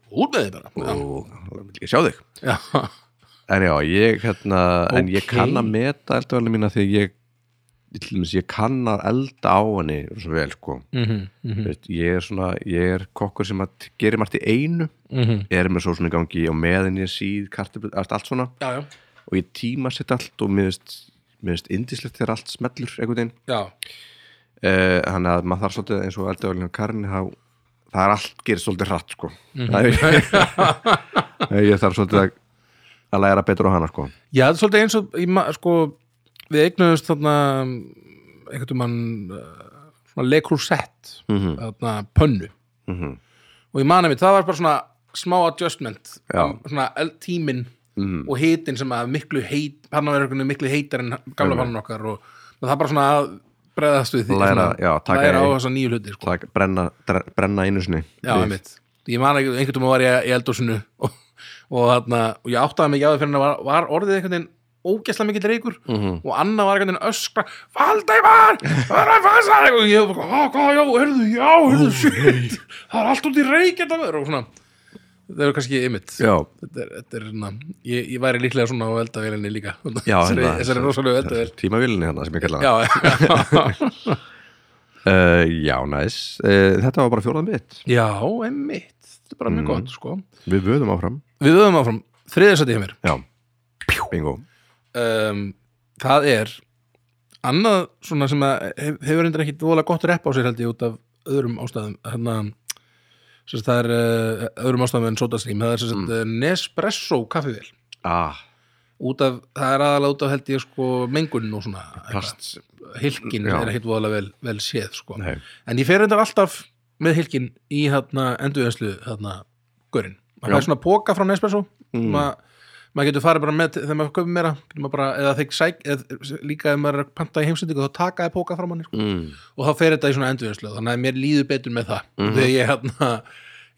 Speaker 2: út með þið bara
Speaker 1: og ég sjá þig
Speaker 2: Já,
Speaker 1: En já, ég hérna, en ég
Speaker 2: Ókei.
Speaker 1: kann að meta eldavælinu mína þegar ég ég til dæmis, ég kann að elda á henni svo vel, sko
Speaker 2: mhm, mhm,
Speaker 1: mm. ég er svona, ég er kokkur sem að t- gerir margt í einu,
Speaker 2: mhm
Speaker 1: er með svo svona í gangi og meðin ég síð, kartablu, allt, allt svona
Speaker 2: Já, já,
Speaker 1: og ég tíma sitt allt og mér veist, mér veist indislegt þegar allt smellur einhvern veginn,
Speaker 2: já
Speaker 1: Eh, þannig að maður þarf svolítið eins og eldavælinu karni, þá það er allt gerir svolítið hratt, sko
Speaker 2: Mhm.
Speaker 1: mm. ég þarf svolítið að, að læra betur á hana, sko
Speaker 2: Já, það er svolítið eins og ég, ma- sko, við eignuðumst þarna um, einhvern veginn svona lekrúsett mm -hmm. þarna pönnu
Speaker 1: Mhm.
Speaker 2: og ég mani mitt, það var bara svona smá adjustment
Speaker 1: Já. Mhm.
Speaker 2: um, svona el- tíminn og hitin sem að miklu heit pannaverðurkunni miklu heitar en gamla pannan okkar og það er bara svona að breðast við því
Speaker 1: Læra,
Speaker 2: svona,
Speaker 1: já, taka
Speaker 2: læra á
Speaker 1: í-
Speaker 2: þessa nýju hluti sko.
Speaker 1: það brenna, dre- brenna einu sinni
Speaker 2: Já,
Speaker 1: Við-
Speaker 2: einmitt. Ég man ekki, einhvern veginn var ég í eldhúsinu og, og, þarna, og ég áttaði mig jáður fyrir hann var, var orðið einhvern veginn ógæslega mikill reykur
Speaker 1: Mhm. Mm.
Speaker 2: og Anna var eitthvað öskra Valdæmar, það er að fasa þig!" og ég bara, "Hvað, hvað, já, hörðu, já, hörðu shit, það er allt út í reyk þetta verður og svona, það eru kannski ymmit,
Speaker 1: já,
Speaker 2: þetta er, þetta er na, ég, ég væri líklega svona á eldavélinni líka
Speaker 1: já
Speaker 2: þessari, þessari rosalega eldavél
Speaker 1: tímavílinni hérna sem ég kallaði
Speaker 2: já, já,
Speaker 1: uh, já, næs, uh, þetta var bara fjórðan mitt
Speaker 2: já, ymmit þetta er bara
Speaker 1: Mm.
Speaker 2: mjög gott, sko
Speaker 1: við vöðum áfram
Speaker 2: við höfum áfram, þriðasæti hjá mér
Speaker 1: já, bingo
Speaker 2: um, það er annað svona sem að hef- hefur reyndir ekkit voðalega gott rep á sér held ég út af öðrum ástæðum hérna sem sagt það er uh, öðrum ástæðum en sótastream það er sem sagt mm. Nespresso kaffivél
Speaker 1: ah,
Speaker 2: út af, það er aðalega út af held ég sko mengun og svona
Speaker 1: plast,
Speaker 2: hilkin
Speaker 1: Já.
Speaker 2: er ekkit voðalega vel, vel séð sko.
Speaker 1: nei,
Speaker 2: en ég fer reyndar alltaf með hilkin í hérna endurvinnslu hérna görinn,
Speaker 1: Já.
Speaker 2: maður er svona póka frá Nespresso
Speaker 1: Mm.
Speaker 2: Ma- maður getur farið bara með þegar maður köpum meira getur maður bara, eða þeir sæk eða, líka ef maður er að panta í heimsendingu þá taka þeir póka frá manni sko.
Speaker 1: mm.
Speaker 2: og þá fer þetta í svona endurvinnslu þannig að mér líður betur með það
Speaker 1: Mhm.
Speaker 2: þegar ég hérna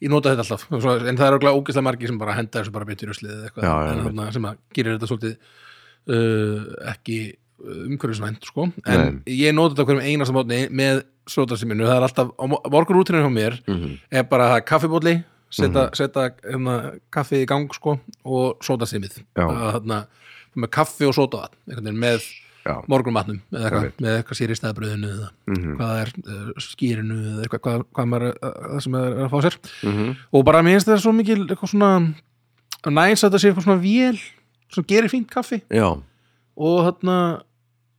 Speaker 2: ég nota þetta alltaf, Svo- en það er okkur ógislega margir sem bara henda þessu bara betur í ruslið eða eitthvað
Speaker 1: Já, já,
Speaker 2: en,
Speaker 1: einmitt.
Speaker 2: hérna, sem að gerir þetta svolítið uh, ekki umhverfisvænt sko. en ég nota þetta á hverjum einasta mátni með sótasíminu, það er alltaf á morgunrútinu hjá mér
Speaker 1: Mhm.
Speaker 2: er bara það kaffibóli setja, setja hérna, kaffi í gang sko, og sótasimið
Speaker 1: Já.
Speaker 2: hérna, með kaffi og sótavatn einhvern veginn með
Speaker 1: já,
Speaker 2: morgunmatnum eða eitthvað,
Speaker 1: Einmitt.
Speaker 2: með eitthvað sér í staðbröðinu eða
Speaker 1: Mhm.
Speaker 2: hvað það er uh, skýrinu eða eitthvað, hvað, hvað maður er- það sem maður er að fá sér
Speaker 1: Mhm.
Speaker 2: og bara mér finnst þetta svo mikil eitthvað svona næs að þetta sé eitthvað svona vél sem gerir fínt kaffi
Speaker 1: já
Speaker 2: og þarna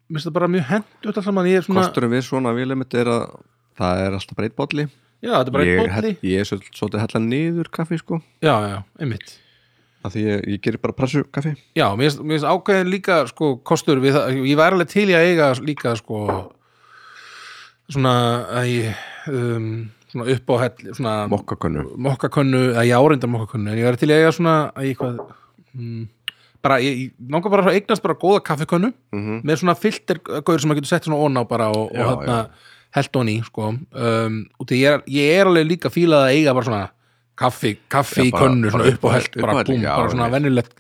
Speaker 2: mér finnst þetta bara mjög hent út allt saman ég er svona,
Speaker 1: kosturum við svona vélemitt er að það er alltaf breytt bolli
Speaker 2: já þetta er bara
Speaker 1: ég,
Speaker 2: einn
Speaker 1: hell-
Speaker 2: bóli
Speaker 1: ég er svol- svolítið að hella niður kaffi sko
Speaker 2: já, já, einmitt
Speaker 1: af því ég, ég gerir bara pressu kaffi
Speaker 2: Já, mér finnst- mér finnst ákveðin líka sko, kostur við það, ég væri alveg til í að eiga líka sko svona, að ég, um, svona upp á hell svona
Speaker 1: mokkakönnu
Speaker 2: mokkakönnu, að ég áreindar mokkakönnu en ég væri til í að eiga svona að ég, hvað, mm, bara, ég, ég náttúrulega bara að eignast bara góða kaffikönnu
Speaker 1: Mhm.
Speaker 2: með svona filtergaur sem maður getur sett svona ón á bara og,
Speaker 1: Já,
Speaker 2: og hérna held ón í sko. um, og því ég er, ég er alveg líka fílað að eiga bara svona kaffi, kaffi
Speaker 1: Já,
Speaker 2: í
Speaker 1: bara-
Speaker 2: könnu, svona
Speaker 1: bara
Speaker 2: upp á held
Speaker 1: upp á
Speaker 2: bara,
Speaker 1: held,
Speaker 2: búm,
Speaker 1: já,
Speaker 2: bara svona
Speaker 1: einmitt.
Speaker 2: venjulegt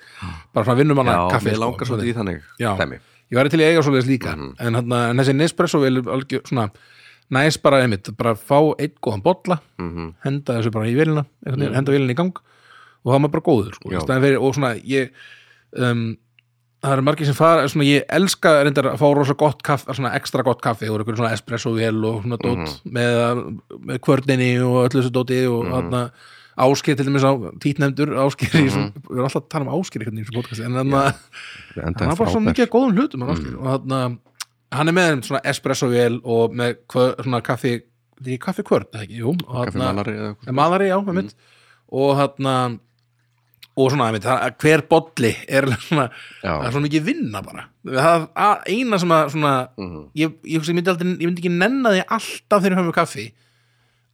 Speaker 2: bara svona vinnumanna
Speaker 1: já,
Speaker 2: kaffi
Speaker 1: mér
Speaker 2: sko,
Speaker 1: langar svolítið í þannig
Speaker 2: Já.
Speaker 1: dæmi
Speaker 2: ég væri til í að eiga svoleiðis líka
Speaker 1: Mhm.
Speaker 2: en, hana, en þessi Nespresso vel algjör svona næs bara einmitt, bara fá einn góðan bolla,
Speaker 1: Mhm.
Speaker 2: henda þessu bara í velina mm henda velina í gang og það er maður bara góður sko,
Speaker 1: Já.
Speaker 2: í staðinn fyrir, og svona ég um, það eru margir sem fara svona, ég elska reyndar að fá rosa gott kaffi svona ekstra gott kaffi og einhverjum svona espresso vel og svona dót
Speaker 1: Mhm.
Speaker 2: með, með kvörninni og öllu þessu dóti og mm þarna ásker til dæmis á títnefndur ásker,
Speaker 1: Mhm.
Speaker 2: mm -hmm. við erum alltaf að tala um ásker einhvern veginn í þessu podcasti, en þannig að
Speaker 1: Enda
Speaker 2: hann var bara svo
Speaker 1: frábær.
Speaker 2: mikið að góðum hlutum hann, mm. og þannig hann er með einmitt svona espresso vél og með kvö, svona kaffi því kaffi kvörn, eða ekki, jú og þarna-
Speaker 1: Kaffi Mm. malari eða eitthvað.
Speaker 2: Eh, malari, já, með mitt og hann og svona, einmitt, það- hver bolli er svona,
Speaker 1: Já.
Speaker 2: það er svona mikið vinna bara það er að- eina sem að svona,
Speaker 1: Mhm.
Speaker 2: ég, ég, hugsa, ég, myndi aldrei, ég myndi ekki nenna því alltaf þegar við höfum kaffi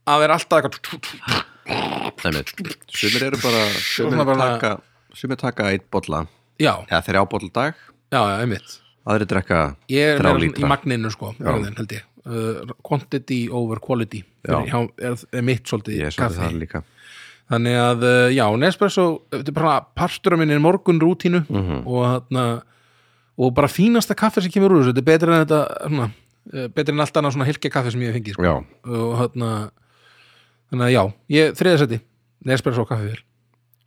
Speaker 2: að vera alltaf eitthvað
Speaker 1: Einmitt. sumir eru bara sumir
Speaker 2: Svona bara-
Speaker 1: taka, sumir taka einn bolla
Speaker 2: já,
Speaker 1: eða þrjá bolla á dag
Speaker 2: já, já, einmitt
Speaker 1: aðri drekka
Speaker 2: ég er
Speaker 1: þrjá
Speaker 2: meira svona í
Speaker 1: lítra
Speaker 2: magninu sko orðin, held ég, uh, quantity over quality
Speaker 1: Já.
Speaker 2: er, er, er mitt svolítið
Speaker 1: ég er svolítið
Speaker 2: kaffi
Speaker 1: það líka
Speaker 2: þannig að uh, já, Nespresso þetta er bara partur af minni morgun rútínu
Speaker 1: Mhm.
Speaker 2: og þarna og bara fínasta kaffi sem kemur úr þessu þetta er betra en þetta svona, uh, betra en allt annað svona hilkja kaffi sem ég hef fengið sko.
Speaker 1: já,
Speaker 2: og þarna þannig að já, ég þriðasetti Nespresso kaffi vel,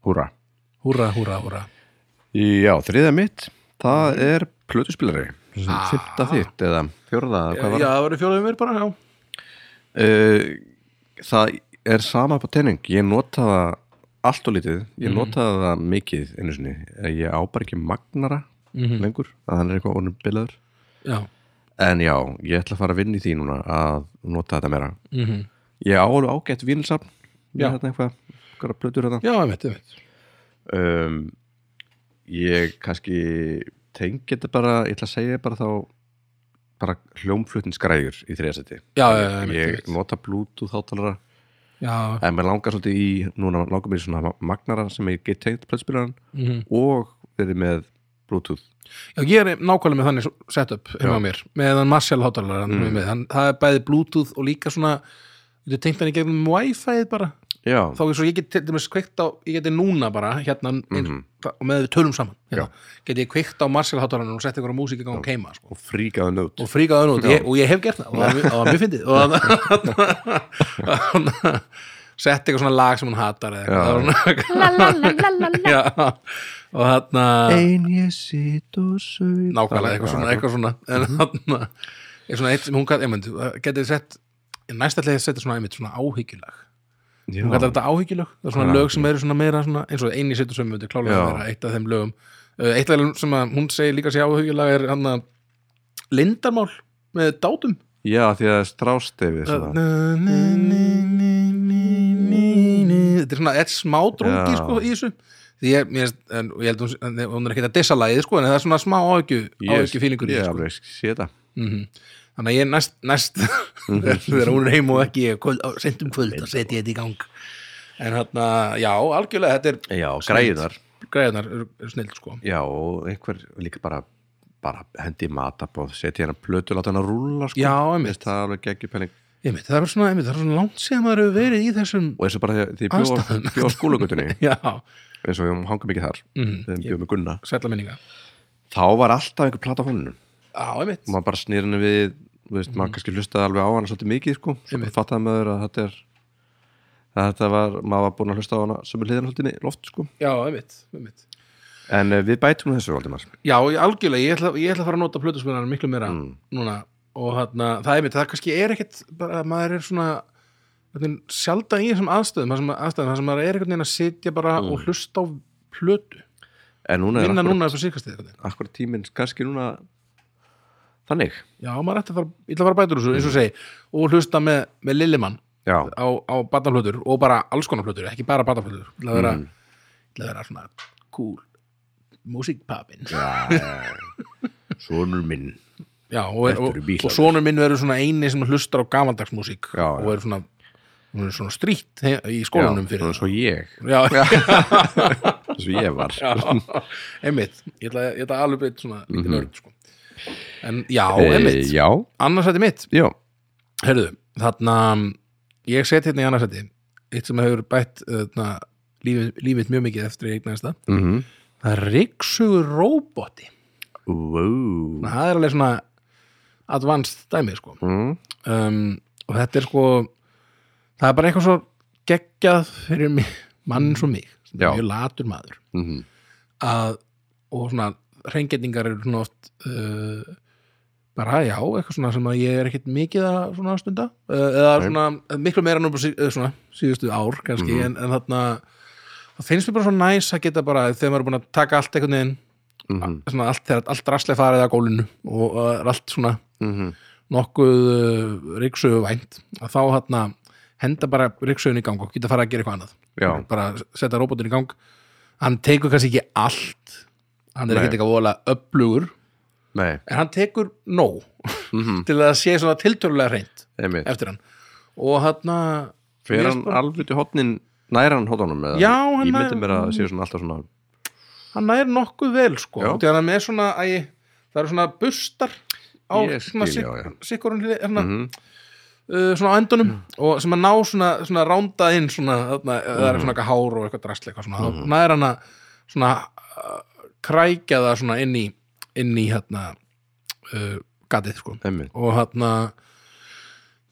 Speaker 1: húra
Speaker 2: húra, húra, húra
Speaker 1: já, þriða mitt, það er plötuspilari fyrta þitt eða fjórða eða hvað var
Speaker 2: Ah. já, það var fjólaðið mér bara, já
Speaker 1: Eh, það er sama på tenning ég nota það allt og lítið ég nota það mikið einu sinni Eh, ég á bara ekki magnara lengur að hann er eitthvað orðin bilaður
Speaker 2: já,
Speaker 1: en já, ég ætla að fara að vinna í því núna að nota þetta meira
Speaker 2: mm
Speaker 1: ég á alveg ágætt vinsafn
Speaker 2: Já.
Speaker 1: með þetta eitthvað, eitthvað plötur þetta
Speaker 2: já, einmitt, einmitt
Speaker 1: um, ég kannski tengi þetta bara, ég ætla að segja bara þá bara hljómflutningsgræjur í þriðasetti
Speaker 2: já, já, já, einmitt,
Speaker 1: ég
Speaker 2: einmitt.
Speaker 1: nota bluetooth hátalara
Speaker 2: já,
Speaker 1: en maður langar svolítið í, núna langar mér í svona magnara sem ég get tengt plötspilaran
Speaker 2: mm
Speaker 1: og verið með bluetooth
Speaker 2: Já, ég er nákvæmlega með þannig setup heima á mér, með hann Marshall hátalara mm. hann, það er bæði Bluetooth og líka svona þetta tengt hann í gegnum Wi-Fi bara
Speaker 1: já,
Speaker 2: þá er svo ég get til dæmis kveikt á ég geti núna bara hérna mm og með við tölum saman hérna, geti ég kveikt á Marshall-háttaranum og sett einhverja músík í gang og keima sko.
Speaker 1: og fríkaðu nöðt
Speaker 2: og fríkaði hann út ég, og ég hef gert það og það var mjög- það var mjög fyndið og það sett eitthvað svona lag sem hún hatar eða eitthvað
Speaker 3: La la la la la la.
Speaker 2: Já, og þarna
Speaker 1: Ein ég sit og sög
Speaker 2: nákvæmlega eitthvað svona, eitthvað svona en
Speaker 1: Mhm.
Speaker 2: þarna er svona eitt sem hún gæti einmitt, getið sett næstallega setja svona einmitt svona áhyggjulag hún kallar
Speaker 1: Já,
Speaker 2: þetta áhyggjulag, það er svona lög sem eru svona meira svona, eins og eini setur sem þetta klálega
Speaker 1: Já.
Speaker 2: meira eitt af þeim lögum Uh, eitt af þeim sem að hún segir líka sér áhyggjulag er hann að lindarmál með dátum
Speaker 1: já, því að strástefi svona.
Speaker 2: þetta er svona eitt smá drungi
Speaker 1: Já.
Speaker 2: sko í þessu því ég, mér, finnst- en, og ég held hún, en hún er ekki að dissa lagið sko en það er svona smá áhyggju áhyggju fílingur í
Speaker 1: Ég
Speaker 2: þessu sko.
Speaker 1: alveg sé þetta
Speaker 2: Mhm. þannig að ég næst, næst
Speaker 1: Mhm.
Speaker 2: þegar hún er heim og ekki ég kvöld, á, sent um kvöld að setja þetta í gang en hérna, já, algjörlega þetta er
Speaker 1: Já, græðar
Speaker 2: græðunar snill sko
Speaker 1: Já, og einhver líka bara bara hendi í matabóð, setja hérna plötu láta hann að rúlla sko
Speaker 2: já,
Speaker 1: Mér
Speaker 2: einmitt,
Speaker 1: finnst það alveg geggjupenning
Speaker 2: einmitt, það er svona, einmitt, það er svona langt síðan maður hefur verið í þessum
Speaker 1: og eins og bara því- því ég bjó á-
Speaker 2: Aðstæðum.
Speaker 1: bjó á skúlugutunni
Speaker 2: já,
Speaker 1: eins og við hangum ekki þar
Speaker 2: Mhm.
Speaker 1: þegar við bjóðum með Gunna
Speaker 2: sætla minninga
Speaker 1: þá var alltaf einhver plata honum
Speaker 2: já, einmitt,
Speaker 1: og maður bara snýr henni við þú veist, maður kannski hlustaði alveg á hana svolítið mikið sko, svo
Speaker 2: Mhm. Einmitt.
Speaker 1: fattaði maður að þetta er að þetta var, maður var búin að hlusta á hana sem er hliðan haldinni loft sko
Speaker 2: já, einmitt, einmitt.
Speaker 1: en uh, við bætum þessu Valdimar
Speaker 2: Já, ég- algjörlega, ég ætla, ég ætla að fara að nota plötuspilarar miklu meira núna og þarna, það er mitt, það kannski er ekkit bara, maður er svona hvernig, sjaldan í þessum aðstöðum, þar sem, aðstöðum, þar sem maður er einhvern veginn að sitja bara og hlusta á plötu,
Speaker 1: en núna er
Speaker 2: minna
Speaker 1: akkur,
Speaker 2: núna upp á síkastíð
Speaker 1: akkur tíminn kannski núna þannig
Speaker 2: Já, maður ætti að fara, ég ætla að fara að bæta úr þessu, eins og segi og hlusta með, með Lillimann
Speaker 1: já,
Speaker 2: á, á bataflötur og bara alls konar plötur, ekki bara bataflötur ég ætla að vera,
Speaker 1: Mm.
Speaker 2: ég ætla að vera svona cool, músikpapin
Speaker 1: sonur minn
Speaker 2: Já, og, er, og,
Speaker 1: eru bílarnir.
Speaker 2: og sonur minn verður svona eini sem hlustar á gamaldagsmúsík
Speaker 1: Já,
Speaker 2: og
Speaker 1: já.
Speaker 2: er svona, hún er svona strýtt í
Speaker 1: já,
Speaker 2: skólanum fyrir
Speaker 1: svo ég,
Speaker 2: Já,
Speaker 1: svo ég var
Speaker 2: já, einmitt ég ætla, ég ætla alveg beitt svona lítið nörd sko. en já,
Speaker 1: e,
Speaker 2: einmitt
Speaker 1: Mhm. já,
Speaker 2: annars þetta mitt,
Speaker 1: já,
Speaker 2: herðu þarna, mm, ég set hérna í annars þetta eitt sem hefur bætt þarna, lífið, lífið mjög mikið eftir ég eignaðist það
Speaker 1: mhm
Speaker 2: það er ryksugur róboti
Speaker 1: wow.
Speaker 2: það er alveg svona advanced dæmi sko
Speaker 1: mm.
Speaker 2: um, og þetta er sko það er bara eitthvað svo geggjað fyrir mig, mann svo mig sem
Speaker 1: Já.
Speaker 2: er mjög latur maður
Speaker 1: Mhm.
Speaker 2: að, og svona reyngetningar eru svona oft uh, bara já, eitthvað svona sem að ég er ekkert mikið að svona stunda uh, eða
Speaker 1: Nei.
Speaker 2: svona miklu meira nú bara sí, eh, svona, síðustu ár kannski
Speaker 1: Mhm.
Speaker 2: en, en þarna það finnst mér bara svo næs að geta bara þegar maður er búin að taka allt einhvern veginn
Speaker 1: Mhm.
Speaker 2: svona allt, þegar allt draslega farið að gólinu og uh, allt svona
Speaker 1: Mhm.
Speaker 2: nokkuð uh, ríksögu vænt að þá hérna henda bara ríksögun í gang og geta fara að gera eitthvað annað
Speaker 1: já,
Speaker 2: bara setja robotin í gang hann tekur kannski ekki allt hann er
Speaker 1: Nei.
Speaker 2: ekkert eitthvað voðalega upplugur
Speaker 1: nei,
Speaker 2: en hann tekur nóg
Speaker 1: mhm,
Speaker 2: til að það sé svona tiltölulega reynd
Speaker 1: einmitt
Speaker 2: eftir hann og hérna
Speaker 1: fer
Speaker 2: Ég
Speaker 1: hann
Speaker 2: spá-
Speaker 1: alveg til hotnin nær hann hotnum eða
Speaker 2: Já, hann
Speaker 1: ég
Speaker 2: nær- Mhm.
Speaker 1: myndi mér að það sé svona alltaf svona
Speaker 2: hann nær nokkuð vel sko
Speaker 1: Já.
Speaker 2: því hann er með svona æ, það eru svona bustar á
Speaker 1: Ég
Speaker 2: svona
Speaker 1: skil,
Speaker 2: sik-
Speaker 1: já, já.
Speaker 2: sikkurinn hlið- hérna,
Speaker 1: Mhm.
Speaker 2: uh, svona á endunum og sem að ná svona, svona rándað inn svona, þarna, það
Speaker 1: Mhm.
Speaker 2: er svona eitthvað hár og eitthvað drastlega eitthvað svona, þá nær hann að svona uh, krækja það svona inn í inn í hérna uh, gatið sko
Speaker 1: einmitt,
Speaker 2: og hérna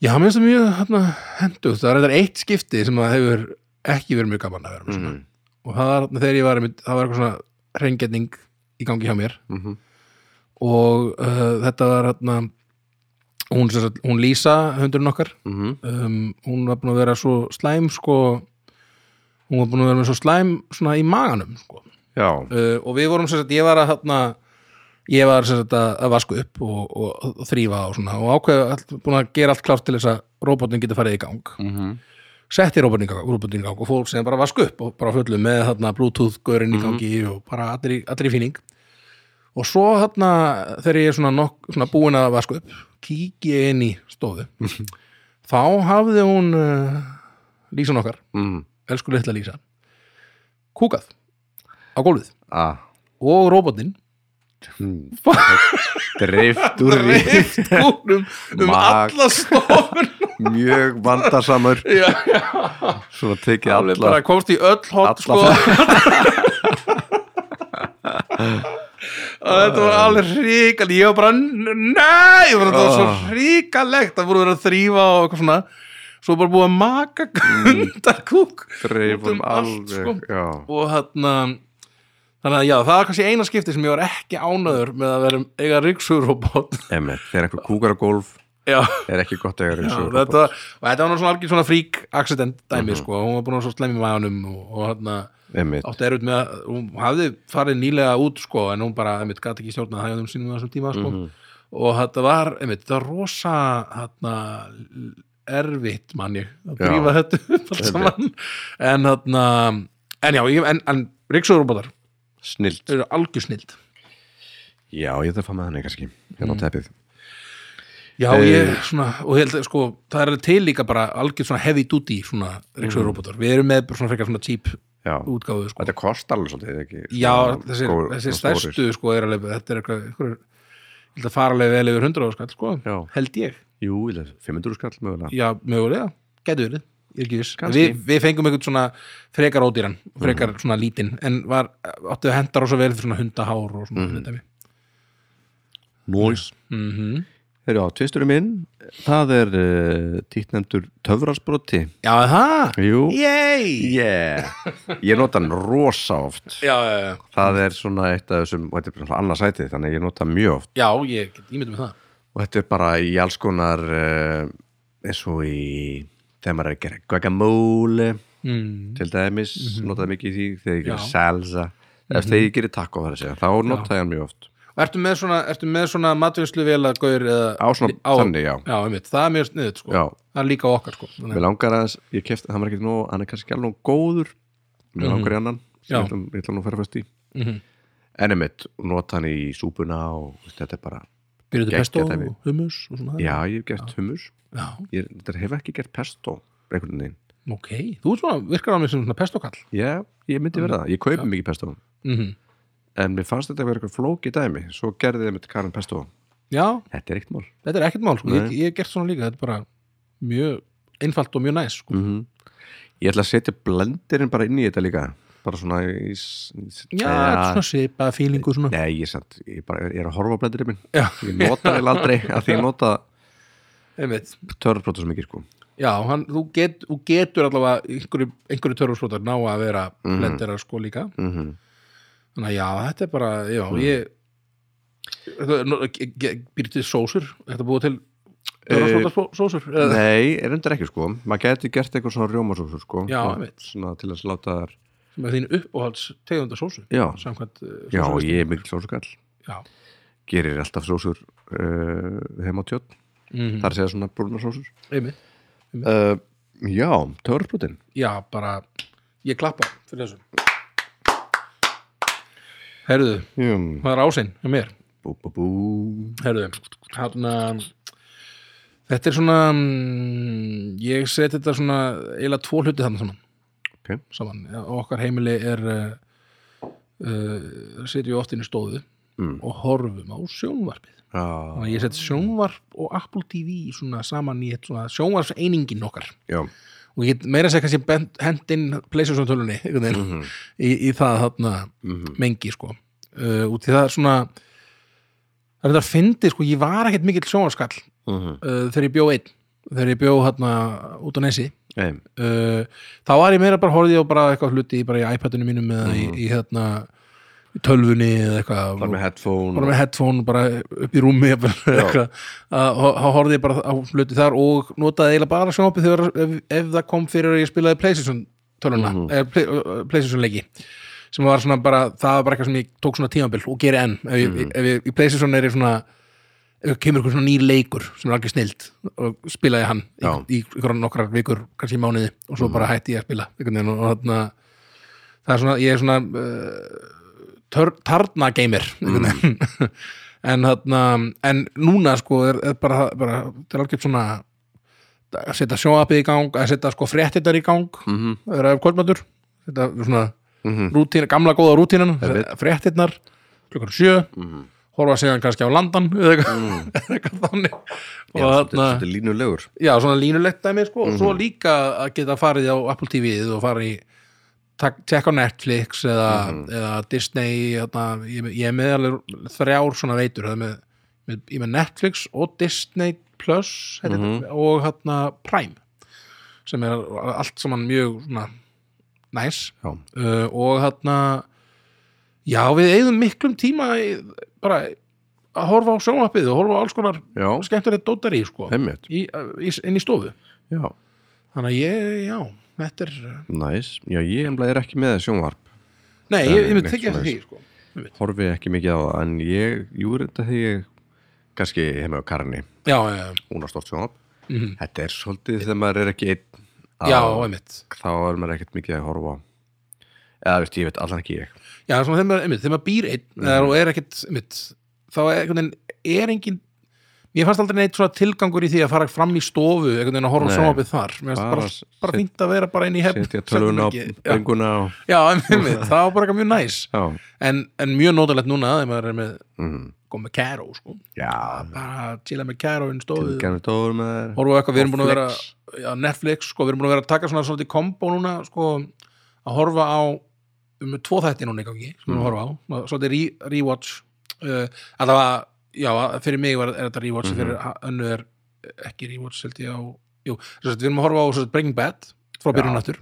Speaker 2: já, mér finnst það mjög hérna hendu, það er eitthvað eitt skipti sem það hefur ekki verið mjög gaman að vera með svona
Speaker 1: Mhm.
Speaker 2: og það var þarna þegar ég var einmitt, það var eitthvað svona reyngetning í gangi hjá mér
Speaker 1: mhm,
Speaker 2: og uh, þetta var hérna hún, sem sagt- hún Lísa, hundurinn okkar
Speaker 1: mhm
Speaker 2: um, hún var búin að vera svo slæm sko hún var búin að vera með svo slæm svona í maganum sko.
Speaker 1: já,
Speaker 2: uh, og við vorum sem sagt, ég var að þarna ég var sem sagt að, að vasku upp og, og, og þrýfa og svona og ákveða all, búin að gera allt klárt til þess að robotin geti farið í gang
Speaker 1: mhm,
Speaker 2: setti robotin í gang, robotin í gang og fór sem bara að vaska upp og bara fullu með þarna bluetooth-görinn í gangi og bara allir, í- allir í fíning og svo þarna þegar ég er svona, nokk, svona búin að vaska upp kíki ég inn í stofu þá hafði hún uh, Lísan okkar,
Speaker 1: mhm
Speaker 2: elsku litla Lísa kúkað á gólfið
Speaker 1: ah,
Speaker 2: og robotin
Speaker 1: dreift Hmm. úr því
Speaker 2: Rift kúnum um
Speaker 1: Mag.
Speaker 2: alla stofun
Speaker 1: mjög vandarsamur
Speaker 2: Já,
Speaker 1: svona tekið
Speaker 2: Alveg
Speaker 1: alla
Speaker 2: bara komst í öll hot
Speaker 1: alla-
Speaker 2: sko og þetta var alveg ríkal ég var bara, nei ég var þetta var svo
Speaker 1: Oh.
Speaker 2: ríkalegt það voru verið að þrýfa og eitthvað svona svo bara búið að maka
Speaker 1: Mm.
Speaker 2: gundakúk
Speaker 1: dreifum
Speaker 2: allt sko
Speaker 1: alveg já.
Speaker 2: og þarna þannig að já, það var kannski eina skipti sem ég var ekki ánöður með að vera eiga ríksugrobot
Speaker 1: Emmett, þegar einhver kúkar á gólf
Speaker 2: já
Speaker 1: er ekki gott að
Speaker 2: Já,
Speaker 1: gera
Speaker 2: þetta, og þetta var nú svona algjör svona frík accident dæmi sko, hún var búin að vera svo slemmi maðanum og, og hann
Speaker 1: Emmett,
Speaker 2: átti erut með að hún hafði farið nýlega út sko, en hún bara, einmitt, gæti ekki stjórnað hægðum sínum á þessum tíma sko.
Speaker 1: Mhm.
Speaker 2: og þetta var, einmitt, þetta var rosa hann erfitt mann ég að
Speaker 1: Já.
Speaker 2: drífa þetta upp allt saman en hann, en já ég, en, en ríksuðurobotar
Speaker 1: snilt
Speaker 2: eru algjör snild
Speaker 1: Já, ég ætla að fá með hann kannski hérna
Speaker 2: Mhm.
Speaker 1: á teppið
Speaker 2: Já, ég, svona, og ég held að sko, það er til líka bara algjör svona heavy duty svona ríksuðurobotar, við erum með bara svona frekar svona cheap
Speaker 1: Já,
Speaker 2: útgáfu sko.
Speaker 1: þetta kostar alveg svolítið ekki,
Speaker 2: Já,
Speaker 1: svona
Speaker 2: þessir,
Speaker 1: skór-
Speaker 2: þessir
Speaker 1: svona stórir.
Speaker 2: stærstu sko er alveg, þetta er eitthvað, eitthvað held að fara alveg vel yfir 100 skall sko,
Speaker 1: Já.
Speaker 2: held ég
Speaker 1: Jú, ég held að 500 skall mögulega
Speaker 2: Já, mögulega, gæti verið, ég er ekki viss
Speaker 1: Kannski. Mhm.
Speaker 2: við, við fengum einhvern svona frekar ódýran frekar svona lítinn, en var áttu að henda rosa vel fyrir svona hundahár
Speaker 1: Mhm.
Speaker 2: og svona mm -hmm.
Speaker 1: Noise
Speaker 2: Mm
Speaker 1: Mhm.
Speaker 2: -hmm.
Speaker 1: Þeir á tvisturinn minn, það er uh, títnefndur töfrarsbroti
Speaker 2: Já, er það
Speaker 1: Jú,
Speaker 2: Yay!
Speaker 1: yeah. ég nota hann rosa oft
Speaker 2: Já, já, já.
Speaker 1: það er svona eitt af þessum, og þetta er bara svona annað sætið þannig að ég nota hann mjög oft
Speaker 2: já, ég get ímyndum með það
Speaker 1: og þetta er bara í alls konar uh, eins og í þegar maður er að gera guacamole
Speaker 2: mm.
Speaker 1: til dæmis, mm notaði mikið í því þegar ég
Speaker 2: Já.
Speaker 1: gera salsa ef þegar ég gerir taco þar að segja, þá notaði ég hann mjög oft
Speaker 2: Og Ertu með svona, ertu með svona matvinnslu vel að gaur eða
Speaker 1: á svona, þannig, já,
Speaker 2: Já, einmitt, það er mjög sniðut sko
Speaker 1: Já.
Speaker 2: Það er líka á okkar sko Þannig
Speaker 1: mér langar aðeins ég kefti, hann var ekkert nóg, hann er kannski alveg nóg góður mér langar í annan sem
Speaker 2: Mhm. Já.
Speaker 1: ég ætla, ég ætla nú að fara fast í
Speaker 2: mm -hmm.
Speaker 1: en emitt, nota hann í súpuna og veist, þetta er bara,
Speaker 2: Byrjuðu
Speaker 1: Geggjað
Speaker 2: pesto
Speaker 1: dæmi.
Speaker 2: og hummus og svona
Speaker 1: já, ég hef gert hummus
Speaker 2: Já,
Speaker 1: ég þetta hef ekki gert pesto einhvern veginn,
Speaker 2: ok, þú ert svona, virkar á mig sem svona pestokall
Speaker 1: já, ég myndi verða það ég kaupi mikið pesto
Speaker 2: mm
Speaker 1: Mhm. en mér fannst þetta að vera eitthvað flóki dæmi svo gerði þið með Karin Pesto
Speaker 2: Já,
Speaker 1: þetta er eitt mál
Speaker 2: þetta er ekkert mál sko. ég,
Speaker 1: Nei.
Speaker 2: ég hef gert svona líka, þetta er bara mjög einfalt og mjög næs sko.
Speaker 1: ég ætla að setja blendirinn bara inn í þetta líka bara svona í, s- í, s-
Speaker 2: Já,
Speaker 1: eða-
Speaker 2: þetta er svona svipa, fílingu svona
Speaker 1: nei, ég, satt, ég, bara, ég er að horfa á blendirinn minn
Speaker 2: Já,
Speaker 1: ég nota vel aldrei að því ég nota
Speaker 2: einmitt
Speaker 1: törrbróta svo mikið sko
Speaker 2: Já, hann, þú, get, þú getur allavega einhverju, einhverju törfusflótar ná að vera
Speaker 1: Mhm.
Speaker 2: mm sko líka
Speaker 1: mm
Speaker 2: Þannig að já, þetta er bara, já,
Speaker 1: Mhm.
Speaker 2: ég Þetta er nú- ge- ge- Býr til sósur, þetta búið til Dörfarsfóta sósur eða-
Speaker 1: Eh, nei, er undir ekki sko maður geti gert eitthvað svona rjómasósu sko
Speaker 2: Já,
Speaker 1: Svona-
Speaker 2: einmitt.
Speaker 1: svona til að sláta þar
Speaker 2: sem er þín uppáhalds tegunda sósu
Speaker 1: já,
Speaker 2: samkvæmt uh,
Speaker 1: já
Speaker 2: sósulistum.
Speaker 1: ég er mikil sósukall
Speaker 2: já.
Speaker 1: gerir alltaf sósur uh, heim á tjótt
Speaker 2: Mm
Speaker 1: þar segja svona brúna sósur
Speaker 2: -hmm.
Speaker 1: uh, já, törrbrótin
Speaker 2: já, bara ég klappa fyrir þessu Herðu,
Speaker 1: Jum.
Speaker 2: hvað er ásinn hjá mér?
Speaker 1: Bú, bú, bú.
Speaker 2: Herðu, hérna þetta er svona mm, ég seti þetta svona eiginlega tvo hluti þarna saman
Speaker 1: Ok.
Speaker 2: saman, Já, og okkar heimili er uh, uh, setjum við oft inn í stóðu
Speaker 1: Mm.
Speaker 2: og horfum á sjónvarpið
Speaker 1: Já,
Speaker 2: Þannig að ég sett sjónvarp og Apple TV svona saman í eitt svona sjónvarpseiningin okkar
Speaker 1: já,
Speaker 2: og ég get meira að segja kannski bent- hent inn PlayStation tölunni mm -hmm. í, í það þarna mengi sko uh, út í það er svona það er þetta að fyndi sko, ég var ekkert mikill sjónvarskall
Speaker 1: Mhm.
Speaker 2: uh, þegar ég bjó einn þegar ég bjó hérna út á nesi
Speaker 1: Nei,
Speaker 2: uh, þá var ég meira bara horfði á bara eitthvað hluti í- bara í iPadinu mínum eða í, í hérna í tölvunni eða eitthvað
Speaker 1: bara með headphone
Speaker 2: bara með headphone bara upp í rúmi jafnvel, eða eitthvað. að þá horfði ég bara á hluti þar og notaði eiginlega bara sjónopið þegar ef, ef það kom fyrir að ég spilaði Playstation töluna, mm -hmm. Playstation leiki sem var svona bara, það var bara eitthvað sem ég tók svona tímabil og geri enn ef ég, ef ég í Playstation er ég svona ef kemur eitthvað svona nýr leikur sem er alveg snild og spilaði hann
Speaker 1: Já.
Speaker 2: í, í ykkur nokkrar vikur, kannski í mánuði og svo bara hætti ég að spila einhvern veginn og, og þarna það er svona, ég er svona uh, tör, tarna geimir mm. en þarna en núna sko er, er bara, bara það er algjörn svona að setja sjóapið í gang, að setja sko fréttitar í gang mm -hmm. er að kvöldmættur þetta er svona mm gamla góða rútínan,
Speaker 1: Einmitt.
Speaker 2: fréttirnar klukkan sjö horfa síðan kannski á landan eða eitthvað, eitthvað þannig og
Speaker 1: þetta
Speaker 2: þarna,
Speaker 1: er línulegur
Speaker 2: já, svona línulegt dæmi sko, og
Speaker 1: Mhm.
Speaker 2: svo líka að geta farið á Apple TV-ið og farið í tak- tekka á Netflix eða,
Speaker 1: Mhm.
Speaker 2: eða Disney þarna, ég, ég er með alveg þrjár svona veitur það er með, með, ég er með Netflix og Disney Plus heitir,
Speaker 1: Mhm.
Speaker 2: þetta, og hérna Prime sem er allt saman mjög svona næs
Speaker 1: Já.
Speaker 2: uh, og hérna já við eigðum miklum tíma í, bara að horfa á sjónvarpið og horfa á alls konar
Speaker 1: Já.
Speaker 2: skemmtilegt dótari sko
Speaker 1: Einmitt.
Speaker 2: í, í, inn í stofu
Speaker 1: Já,
Speaker 2: þannig að ég, já, þetta er
Speaker 1: næs Já, ég ennbla er ekki með sjónvarp
Speaker 2: nei,
Speaker 1: er
Speaker 2: ég, ég
Speaker 1: mitt
Speaker 2: myndi tekja
Speaker 1: svoleiðis.
Speaker 2: því sko.
Speaker 1: Horfi ekki mikið á það En ég, jú, þetta þegar ég kannski heima á Karni
Speaker 2: já, já, já, Mhm.
Speaker 1: Hún á stórt sjónvarp Þetta er svolítið þegar maður er ekki einn á-
Speaker 2: já, einmitt
Speaker 1: Þá er maður ekkert mikið að horfa á Eða, veist, ég veit allan ekki ég
Speaker 2: já, svona þegar maður, einmitt, þegar maður býr einn
Speaker 1: Mm.
Speaker 2: eða og er ekkit, einmitt þá er, einhvern veginn er engin mér fannst aldrei neitt svona tilgangur í því að fara fram í stofu einhvern veginn að horfa
Speaker 1: Nei.
Speaker 2: sjónvapið þar mér fannst
Speaker 1: Bara
Speaker 2: bara,
Speaker 1: set-
Speaker 2: bara fínt að vera bara inn í hefn
Speaker 1: Setja tölvun á
Speaker 2: já,
Speaker 1: benguna og...
Speaker 2: já, einmitt, það var bara eitthvað mjög næs
Speaker 1: Já,
Speaker 2: en, en mjög nótilegt núna þegar maður er með,
Speaker 1: mm.
Speaker 2: kom með kæró sko.
Speaker 1: já
Speaker 2: bara að chilla með kæró inn í stofu
Speaker 1: Gæmur dóður með þér
Speaker 2: horfa á eitthvað, við erum búin að vera
Speaker 1: Netflix.
Speaker 2: já, Netflix, sko, við erum búin að vera að taka svona svolítið kombo núna, sko, að horfa á um tvo þætti núna í gangi sem við horfa á, svona svolítið re rewatch uh, að það var já, að fyrir mig var, er þetta rewatch mm fyrir önnu er ekki rewatch, held ég á jú, svo við erum að horfa á svo, sagt, Breaking Bad frá byrjun aftur,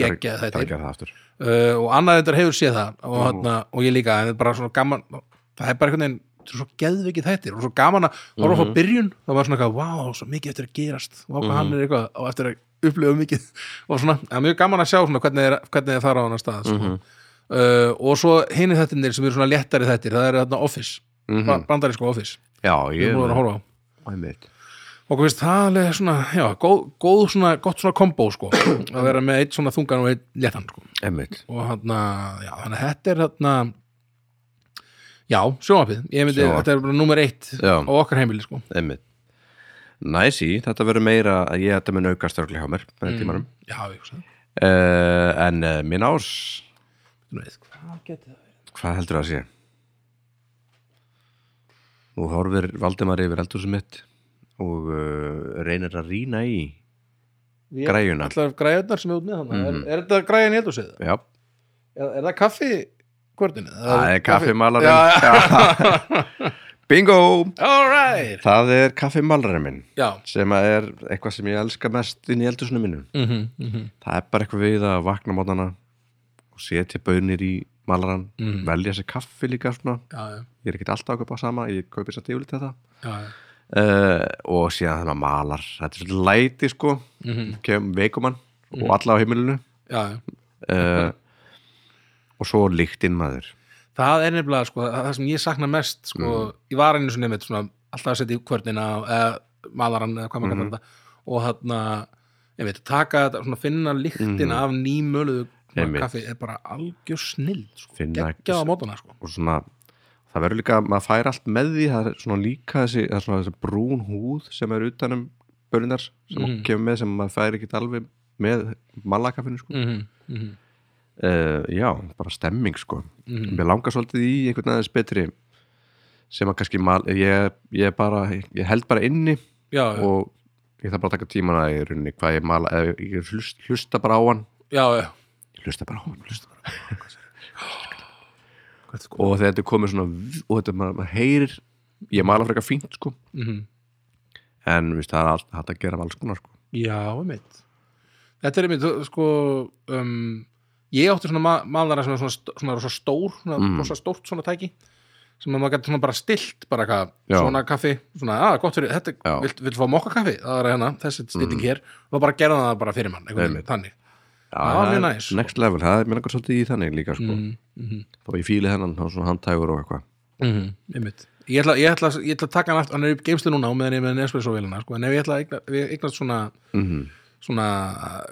Speaker 2: geggjað
Speaker 1: Það er
Speaker 2: þættir
Speaker 1: ekki að það aftur
Speaker 2: uh, og annað þetta hefur séð það og, hana, og ég líka, en þetta er bara svona gaman það er bara einhvern veginn þetta er svo geðvikið þættir og svo gaman að horfa frá byrjun þá var svona eitthvað, vá, svo mikið eftir að gerast og hvað hann er eitthvað á eftir að upplifa mikið og svona, það er mjög gaman að sjá svona, hvernig er, hvernig er það á hann stað sko. uh, og svo hinni þættirnir sem eru svona léttari þættir, það eru þarna Office mm -hmm. bandarísko Office,
Speaker 1: Já,
Speaker 2: við
Speaker 1: ég
Speaker 2: erum búin að horfa á
Speaker 1: Æmitt
Speaker 2: okkur finnst það alveg svona, já, góð, góð svona, gott svona kombo sko, að vera með eitt svona þungan og eitt léttan sko
Speaker 1: Æmitt
Speaker 2: og hann já, þannig að þetta er hann já, sjónvarpið ég myndi,
Speaker 1: Sjónvarp.
Speaker 2: þetta er bara nummer eitt
Speaker 1: Já.
Speaker 2: á okkar heimili, sko
Speaker 1: Einmitt. Næsi, þetta verður meira að ég þetta mun aukast örgli hjá mér
Speaker 2: Mm.
Speaker 1: með tímanum
Speaker 2: já, ég hugsa það.
Speaker 1: uh, en uh, minn árs
Speaker 2: Nú, veit, hvað geti það verið?
Speaker 1: hvað heldur það að sé? Nú horfir Valdimar yfir eldursum mitt og uh, reynir að rýna í
Speaker 2: Ég-
Speaker 1: Græjuna.
Speaker 2: allar græjurnar sem er út með hann
Speaker 1: Mhm.
Speaker 2: er, er þetta græjan í eldhúsið?
Speaker 1: já,
Speaker 2: Er, er það kaffi kvörninu?
Speaker 1: það er
Speaker 2: já,
Speaker 1: kaffimalarinn bingo
Speaker 2: all right
Speaker 1: það er kaffimalarinn minn
Speaker 2: já,
Speaker 1: sem að er eitthvað sem ég elska mest inn í eldursunum minnum
Speaker 2: mhm, mhm
Speaker 1: það er bara eitthvað við að vakna mótana og setja bönir í malaran velja sér kaffi líka svona
Speaker 2: já, já,
Speaker 1: ég er ekkert alltaf að kaupa sama, ég kaupi satt yfirleitt þetta
Speaker 2: já, já.
Speaker 1: uh, og síðan þannig að malar þetta er svolítið læti sko mm -hmm. veikumann og alla á heimilinu
Speaker 2: já, já
Speaker 1: uh, og svo líktinn maður
Speaker 2: Það er nefnilega sko, það það sem ég sakna mest sko,
Speaker 1: Mm.
Speaker 2: ég var einu sinni með svona, alltaf að setja í kvörnina eða malaran eða hvað maður
Speaker 1: Mhm.
Speaker 2: kallar þetta og þarna, ég veit, taka þetta svona finna lyktina af nýmöluðu
Speaker 1: Mhm. Einmitt.
Speaker 2: kaffi er bara algjör snill sko,
Speaker 1: Finna-
Speaker 2: geggjað á mótana sko.
Speaker 1: og svona það verður líka, maður fær allt með því það er svona líka þessi, það er svona þessi brún húð sem er utanum bönnindar sem mm. kemur með sem maður fær ekkert alveg með malakaffinu sko
Speaker 2: mm -hmm, mm -hmm.
Speaker 1: uh, já, bara stemming sko mér langar svolítið í einhvern aðeins betri sem að kannski mal, ég, ég bara, ég held bara inni
Speaker 2: Já, já,
Speaker 1: og ég þarf bara að taka tímana í rauninni hvað ég mala, eða ég hlust, hlusta bara á hann
Speaker 2: já, já
Speaker 1: ég hlusta bara á hann hlusta bara.
Speaker 2: Hvað er sko?
Speaker 1: og þegar þetta er komið svona v- og þetta maður, maður heyrir, ég mala frekar fínt sko
Speaker 2: Mhm.
Speaker 1: en viðst, það er allt hægt að gera af alls konar sko
Speaker 2: Já, einmitt Þetta er einmitt, þú- sko um, ég átti svona ma malara sem er svona, st- svona, svona stór, svona,
Speaker 1: Mm.
Speaker 2: svona stórt svona tæki sem að maður gæti svona bara stilt bara hvað,
Speaker 1: Já.
Speaker 2: svona kaffi svona, að, gott fyrir, þetta,
Speaker 1: Já. Mm.
Speaker 2: vilt, vilt fá mokka kaffi það er hérna, þessi stilling hér og bara gerða það bara fyrir mann, einhvern veginn, þannig Já,
Speaker 1: það
Speaker 2: mjög
Speaker 1: er
Speaker 2: næs, sko. Mhm,
Speaker 1: next level, það er mér langar svolítið í þannig líka sko þá ég fíli hennan, þá svona handtægur og eitthvað
Speaker 2: einmitt Ég ætla, ég, ætla, ég ætla að taka hann aftur, hann er upp geimslu núna á meðan ég er með Nespresso-vélina, sko, en ef ég ætla að eigna- ef ég eignast svona
Speaker 1: Mhm.
Speaker 2: svona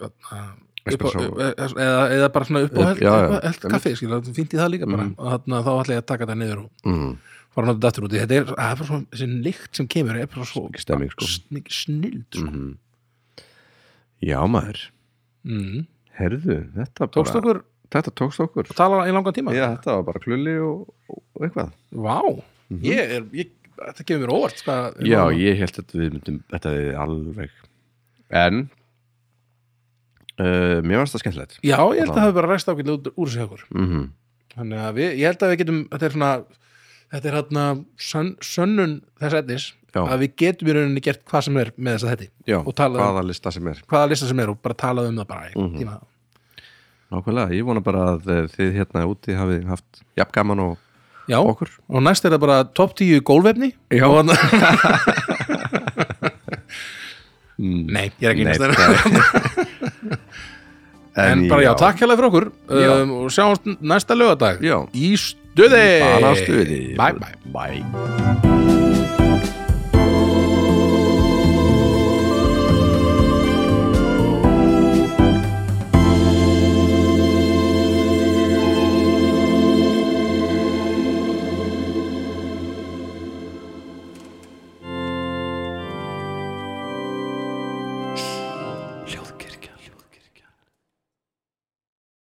Speaker 2: uh,
Speaker 1: Espresso.
Speaker 2: upp, eh, eða, eða bara svona upp á held,
Speaker 1: já, Mhm. já.
Speaker 2: upp á held kaffi, skilur, það fínt í það líka bara og þarna, þá ætla ég að taka þetta niður og
Speaker 1: mm.
Speaker 2: fara hann þetta aftur út í þetta er, það er bara svona, þessi lykt sem kemur er bara svo
Speaker 1: stemming sko
Speaker 2: sn- snild sko.
Speaker 1: Mhm.
Speaker 2: mm.
Speaker 1: Já maður, herðu, þetta bara
Speaker 2: tókst Mhm. okkur
Speaker 1: þetta tókst okkur
Speaker 2: tala í langan tíma
Speaker 1: Já, þetta var bara klulli og, og eitthvað
Speaker 2: Vá, ég er ég, þetta gefur mér óvart sko, hvað,
Speaker 1: Mhm. Já, ég held að við myndum þetta við alveg en uh, mér varst það skemmtilegt
Speaker 2: já, ég held að það hafi bara ræst ákveðlega út úr sig okkur
Speaker 1: mm
Speaker 2: þannig að við, ég held að við getum þetta er svona, þetta er hérna sön, sönnun þess etnis
Speaker 1: Já.
Speaker 2: að við getum í rauninni gert hvað sem er með þess að þetta
Speaker 1: Já,
Speaker 2: og talað um
Speaker 1: hvaða Mhm. lista sem er
Speaker 2: hvaða lista sem er og bara talað um það bara mm tíma.
Speaker 1: Nákvæmlega, ég vona bara að eh, þið hérna úti hafið haft jafn gaman og
Speaker 2: Já,
Speaker 1: Okkur.
Speaker 2: og næst er það bara top 10 gólvefni
Speaker 1: Já.
Speaker 2: Og þarna- Nei, ég er ekki
Speaker 1: Mm. Nei,
Speaker 2: næst þeirra
Speaker 1: það-
Speaker 2: En bara já, takk hérlega fyrir okkur um, og sjáumst næsta lögadag
Speaker 1: Já.
Speaker 2: í stuði
Speaker 1: Bara á stuði
Speaker 2: Bye bye
Speaker 1: Bye